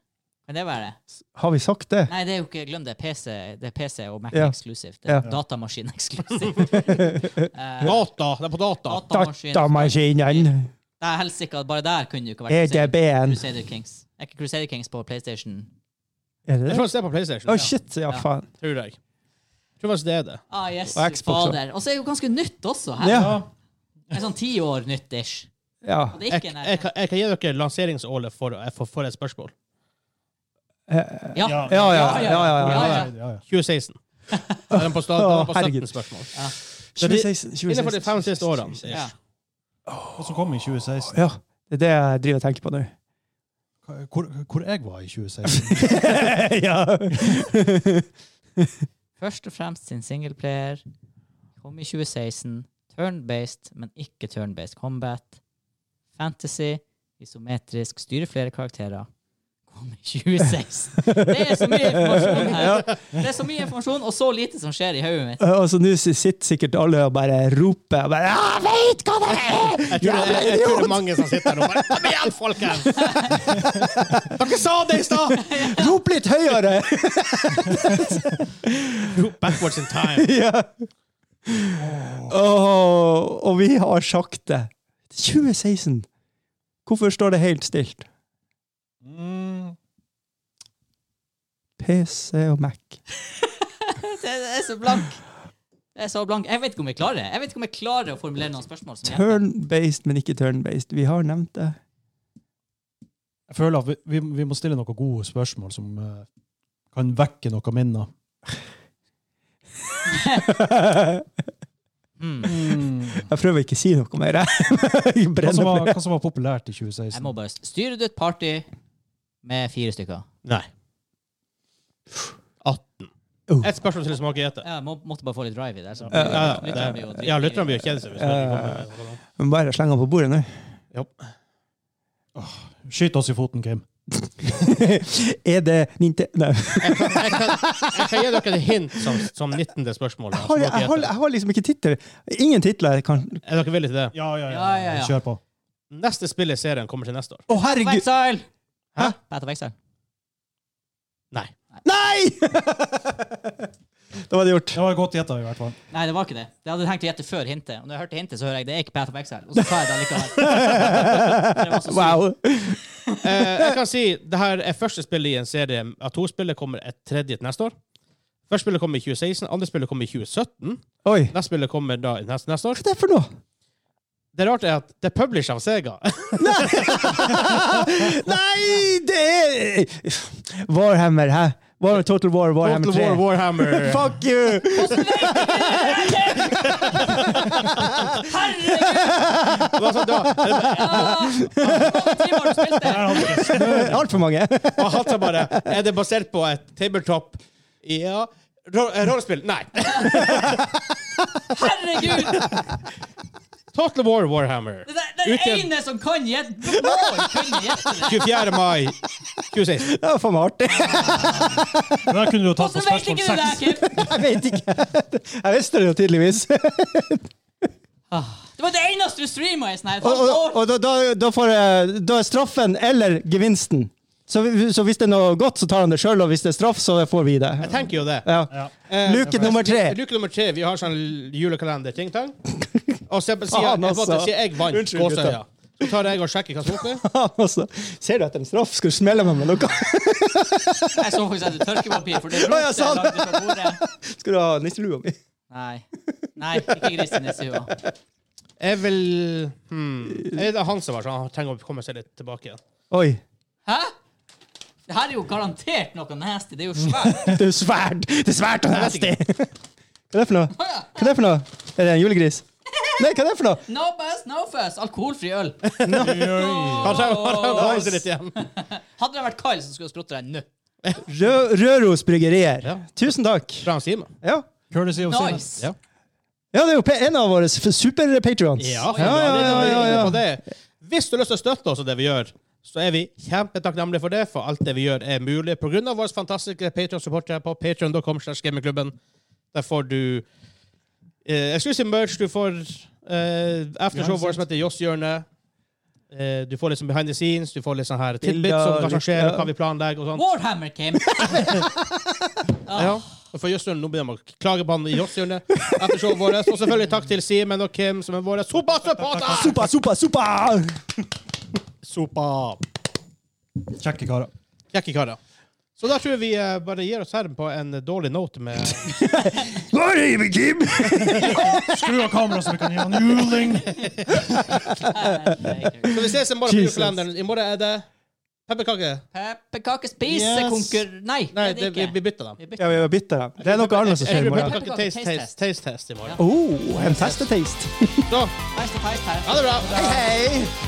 [SPEAKER 1] Kan det være det?
[SPEAKER 4] Har vi sagt det?
[SPEAKER 1] Nei, det er jo ikke Glem det. PC, det er PC og Mac
[SPEAKER 4] Ja.
[SPEAKER 1] eksklusivt. Det er
[SPEAKER 4] Ja.
[SPEAKER 1] datamaskin eksklusivt. Eh,
[SPEAKER 3] Data! Det er på data!
[SPEAKER 1] datamaskin.
[SPEAKER 4] Datamaskinen! E
[SPEAKER 1] Det er helsike at bare der kunne jo ikke vært
[SPEAKER 4] EDB-en!
[SPEAKER 1] Crusader Kings. Er ikke Crusader Kings på PlayStation?
[SPEAKER 4] Er
[SPEAKER 3] Jeg
[SPEAKER 4] det det?
[SPEAKER 3] tror det er på PlayStation.
[SPEAKER 4] Å,
[SPEAKER 3] ja.
[SPEAKER 4] shit!
[SPEAKER 1] Ja.
[SPEAKER 4] Ja, faen.
[SPEAKER 3] Tror jeg. Tror faktisk det er det.
[SPEAKER 1] Ah, yes,
[SPEAKER 4] Og Xbox også.
[SPEAKER 1] fader. Og så er det jo ganske nytt også. Her.
[SPEAKER 4] Ja.
[SPEAKER 1] Det er sånn ti år nytt-ish.
[SPEAKER 4] ja.
[SPEAKER 1] Og det er
[SPEAKER 3] Jeg,
[SPEAKER 1] ikke en
[SPEAKER 3] jeg, kan- jeg kan gi dere lanseringsåret for, for, for et spørsmål.
[SPEAKER 1] Ja.
[SPEAKER 2] ja.
[SPEAKER 4] Ja, ja, ja, ja, ja.
[SPEAKER 1] ja.
[SPEAKER 2] ja, ja.
[SPEAKER 3] 2016. Da Er den på, sta- da er den på
[SPEAKER 4] Å, herregud.
[SPEAKER 3] 17 spørsmål? Så det-
[SPEAKER 4] 2016, 2016.
[SPEAKER 3] Innenfor de fem siste årene.
[SPEAKER 1] Ja.
[SPEAKER 2] Og så kom i 2016.
[SPEAKER 4] Ja, det er det jeg driver og tenker på nå.
[SPEAKER 2] Hvor, hvor jeg var i 2016?
[SPEAKER 4] ja.
[SPEAKER 1] Først og fremst sin singleplayer. Kom i 2016. Turn-based, men ikke turn-based combat. fantasy, isometrisk, styrer flere karakterer. Kom i 2016. Det er så mye informasjon her! Det er så mye informasjon, og så lite som skjer i hodet mitt.
[SPEAKER 4] Og så nå sitter sikkert alle og bare roper og bare, Jeg veit hva det er!
[SPEAKER 3] Jeg tror, det, jeg, jeg tror det er mange som sitter der og bare Kom igjen, folkens! Dere sa det i stad!
[SPEAKER 4] Rop litt høyere!
[SPEAKER 3] Rop Backwards in time.
[SPEAKER 4] ja. Åh, og vi har sagt det. 2016. Hvorfor står det helt stilt?
[SPEAKER 2] Mm.
[SPEAKER 4] PC og Mac.
[SPEAKER 1] Det er så blank. Det er så blank. Jeg vet ikke om jeg klarer det. Jeg vet ikke om jeg klarer å formulere noen spørsmål. som hjelper.
[SPEAKER 4] Turn-based, men ikke turn-based. Vi har nevnt det.
[SPEAKER 2] Jeg føler at vi, vi, vi må stille noen gode spørsmål som eh, kan vekke noen minner.
[SPEAKER 1] Mm.
[SPEAKER 4] Jeg prøver ikke å si noe mer. Jeg
[SPEAKER 2] Hva,
[SPEAKER 4] brenner
[SPEAKER 2] som var,
[SPEAKER 4] meg.
[SPEAKER 2] hva som var populært i 2016?
[SPEAKER 1] Jeg må bare Styrer du et party med fire stykker?
[SPEAKER 3] Nei. 18.
[SPEAKER 4] Oh.
[SPEAKER 3] Ett spørsmål til som har GT.
[SPEAKER 1] Ja, Jeg må, måtte bare få litt drive i det. så-
[SPEAKER 3] Ja, ja, det-
[SPEAKER 1] Lytterne blir jo dritt-
[SPEAKER 3] ja, lytterne blir jo kjede seg. hvis
[SPEAKER 4] Ja, ja,
[SPEAKER 3] de
[SPEAKER 4] ja.
[SPEAKER 3] kommer med-
[SPEAKER 4] Men Bare sleng den på bordet nå.
[SPEAKER 2] Skyt oss i foten, Kim.
[SPEAKER 4] Er det Ninte... Nei.
[SPEAKER 3] Jeg kan, jeg kan, jeg kan gi dere et hint som, som 19. spørsmål. da,
[SPEAKER 4] Jeg
[SPEAKER 3] som
[SPEAKER 4] har,
[SPEAKER 3] dere
[SPEAKER 4] jeg, har,
[SPEAKER 3] gjetter.
[SPEAKER 4] jeg har liksom ikke titler. Ingen titler. jeg kan...
[SPEAKER 3] Er dere villige til det?
[SPEAKER 2] Ja, ja,
[SPEAKER 1] Ja, ja, ja.
[SPEAKER 2] Kjør på.
[SPEAKER 3] Neste spill i serien kommer til neste år.
[SPEAKER 4] Å, herregud!
[SPEAKER 1] Vexile!
[SPEAKER 3] Hæ?
[SPEAKER 1] Petter Vexile.
[SPEAKER 3] Nei.
[SPEAKER 4] Nei! Da var det gjort.
[SPEAKER 2] Det var godt gjetta, i hvert fall.
[SPEAKER 1] Nei, det var ikke det. Det hadde jeg tenkt å gjette før hintet. Og når jeg hørte hintet, så hører jeg det er ikke Path of Exile. Og så sa jeg det likevel. Det var så sykt.
[SPEAKER 4] Wow.
[SPEAKER 3] Eh, jeg kan si det her er første spillet i en serie av to spill. Det kommer et tredje til neste år. Første spillet kommer i 2016, andre spillet kommer i 2017.
[SPEAKER 4] Oi.
[SPEAKER 3] Neste spillet kommer da i neste, neste
[SPEAKER 4] Hva
[SPEAKER 3] år.
[SPEAKER 4] er det for noe?
[SPEAKER 3] Det rarte er at det er published av Sega.
[SPEAKER 4] Nei, det er Warhammer, hæ? War, Total War, Warhammer
[SPEAKER 3] Total
[SPEAKER 4] 3.
[SPEAKER 3] War, Warhammer.
[SPEAKER 4] Fuck you!
[SPEAKER 1] Herregud!
[SPEAKER 3] Det var sånn, da,
[SPEAKER 1] Ah, hvor mange timer har du spilt det?
[SPEAKER 4] Altfor mange.
[SPEAKER 3] og han sa bare Er det basert på et tabletop? Ja. Ro- eh, Rollespill? Nei.
[SPEAKER 1] Herregud!
[SPEAKER 3] Total War, Warhammer.
[SPEAKER 1] Det er den
[SPEAKER 3] Ut igjen.
[SPEAKER 1] ene som kan gjette Mål kunne gjette det!
[SPEAKER 3] 24. mai 2016.
[SPEAKER 4] Det var faen meg artig.
[SPEAKER 2] Men der kunne du jo tatt på
[SPEAKER 1] Hvordan vet ikke
[SPEAKER 2] spørsmål
[SPEAKER 1] du det,
[SPEAKER 2] seks.
[SPEAKER 1] Kim?
[SPEAKER 4] Jeg vet ikke. Jeg visste det jo tydeligvis.
[SPEAKER 1] Ah. Det var det eneste du streama i sånn her.
[SPEAKER 4] Og, og,
[SPEAKER 1] Faen,
[SPEAKER 4] og da, da, da, får jeg, da er straffen eller gevinsten. Så, vi- så hvis det er noe godt, så tar han det sjøl, og hvis det er straff, så får vi det.
[SPEAKER 3] Jeg tenker jo det.
[SPEAKER 4] Ja.
[SPEAKER 2] Ja.
[SPEAKER 3] Eh,
[SPEAKER 4] Luke nummer tre.
[SPEAKER 3] Luke nummer tre. Vi har sånn julekalender. Ting, tang. Og så sier
[SPEAKER 4] Faen,
[SPEAKER 3] jeg,
[SPEAKER 4] altså.
[SPEAKER 3] sier jeg vant
[SPEAKER 4] Unnskyld,
[SPEAKER 3] gåsøya. Så tar jeg og sjekker hva som er oppe.
[SPEAKER 4] Altså, ser du etter en straff? Skal du smelle meg med noe?
[SPEAKER 1] Jeg så faktisk etter tørkepapir, for det
[SPEAKER 4] Å, ja,
[SPEAKER 1] rotet
[SPEAKER 4] sant.
[SPEAKER 1] lagde fra bordet.
[SPEAKER 4] Skal du ha nisselua mi?
[SPEAKER 1] Nei. Nei, ikke grisen i sua.
[SPEAKER 3] Jeg vil hmm. Det er han som var sånn. Han trenger å komme seg litt tilbake igjen.
[SPEAKER 4] Oi.
[SPEAKER 1] Hæ? Det her er jo garantert noe nasty. Det er jo svært.
[SPEAKER 4] Det er jo svært! Det er svært og nasty! Hva er det for noe?
[SPEAKER 1] Å, ja.
[SPEAKER 4] Hva er det for noe? Er det en julegris? Nei, hva er det for noe?
[SPEAKER 1] No buzz, no fuzz. Alkoholfri øl.
[SPEAKER 3] Han trenger, han trenger å komme seg litt igjen.
[SPEAKER 1] Hadde det vært Kyle som skulle sprutte deg nå
[SPEAKER 4] Rø Røros bryggerier.
[SPEAKER 3] Ja.
[SPEAKER 4] Tusen takk.
[SPEAKER 3] Fra han Simon.
[SPEAKER 4] Ja.
[SPEAKER 2] Courtesy of Sinus.
[SPEAKER 1] Nice!
[SPEAKER 3] Ja.
[SPEAKER 4] ja, det er jo pe- en av våre super-patrions.
[SPEAKER 3] Ja,
[SPEAKER 4] ja, ja, ja, ja, ja.
[SPEAKER 3] på det. Hvis du har lyst til å støtte oss og det vi gjør, så er vi kjempetakknemlige for det, for alt det vi gjør, er mulig pga. våre fantastiske Patreon-supportere på patreon.com. slash gamingklubben. Der får du eh, exclusive merch, du får eh, aftershowet vårt som heter Joss-hjørnet. Eh, du får litt sånn behind the scenes, du får litt sånn her tidbits
[SPEAKER 4] Bilder,
[SPEAKER 3] om hva som skjer,
[SPEAKER 4] litt- ja.
[SPEAKER 3] hva vi planlegger og sånn.
[SPEAKER 1] Warhammer Kim!
[SPEAKER 3] Ja. Og for Joss-hjørnet, nå begynner man å klage på han i Joss-hjørnet. Aftershowet vårt. Og selvfølgelig takk til Simen og Kim, som er våre supportere!
[SPEAKER 4] Super, super, super!
[SPEAKER 3] Super.
[SPEAKER 2] Kjekke karer.
[SPEAKER 3] Kjekke karer. Så da tror jeg vi eh, bare gir oss her på en dårlig note med
[SPEAKER 4] Hva er det med Kim?
[SPEAKER 2] Skru av kameraet, så vi kan gi han juling!
[SPEAKER 3] Så vi ses i morgen på
[SPEAKER 4] Jesus.
[SPEAKER 3] julekalenderen. I morgen er det pepperkake.
[SPEAKER 1] Pepperkakespisekonkur... Nei,
[SPEAKER 3] Nei,
[SPEAKER 1] det
[SPEAKER 3] det,
[SPEAKER 1] er det
[SPEAKER 3] vi, vi
[SPEAKER 1] ikke.
[SPEAKER 3] bytter dem.
[SPEAKER 1] Vi bytter.
[SPEAKER 4] Ja, vi var bitte dem. Det er noe annet som
[SPEAKER 3] Jeg
[SPEAKER 4] skjer i
[SPEAKER 3] tror
[SPEAKER 4] morgen.
[SPEAKER 3] pepperkake taste, taste, taste test i morgen.
[SPEAKER 4] Oh, en testetaste.
[SPEAKER 3] Så,
[SPEAKER 1] Nice to taste her.
[SPEAKER 3] ha det bra.
[SPEAKER 4] Hei!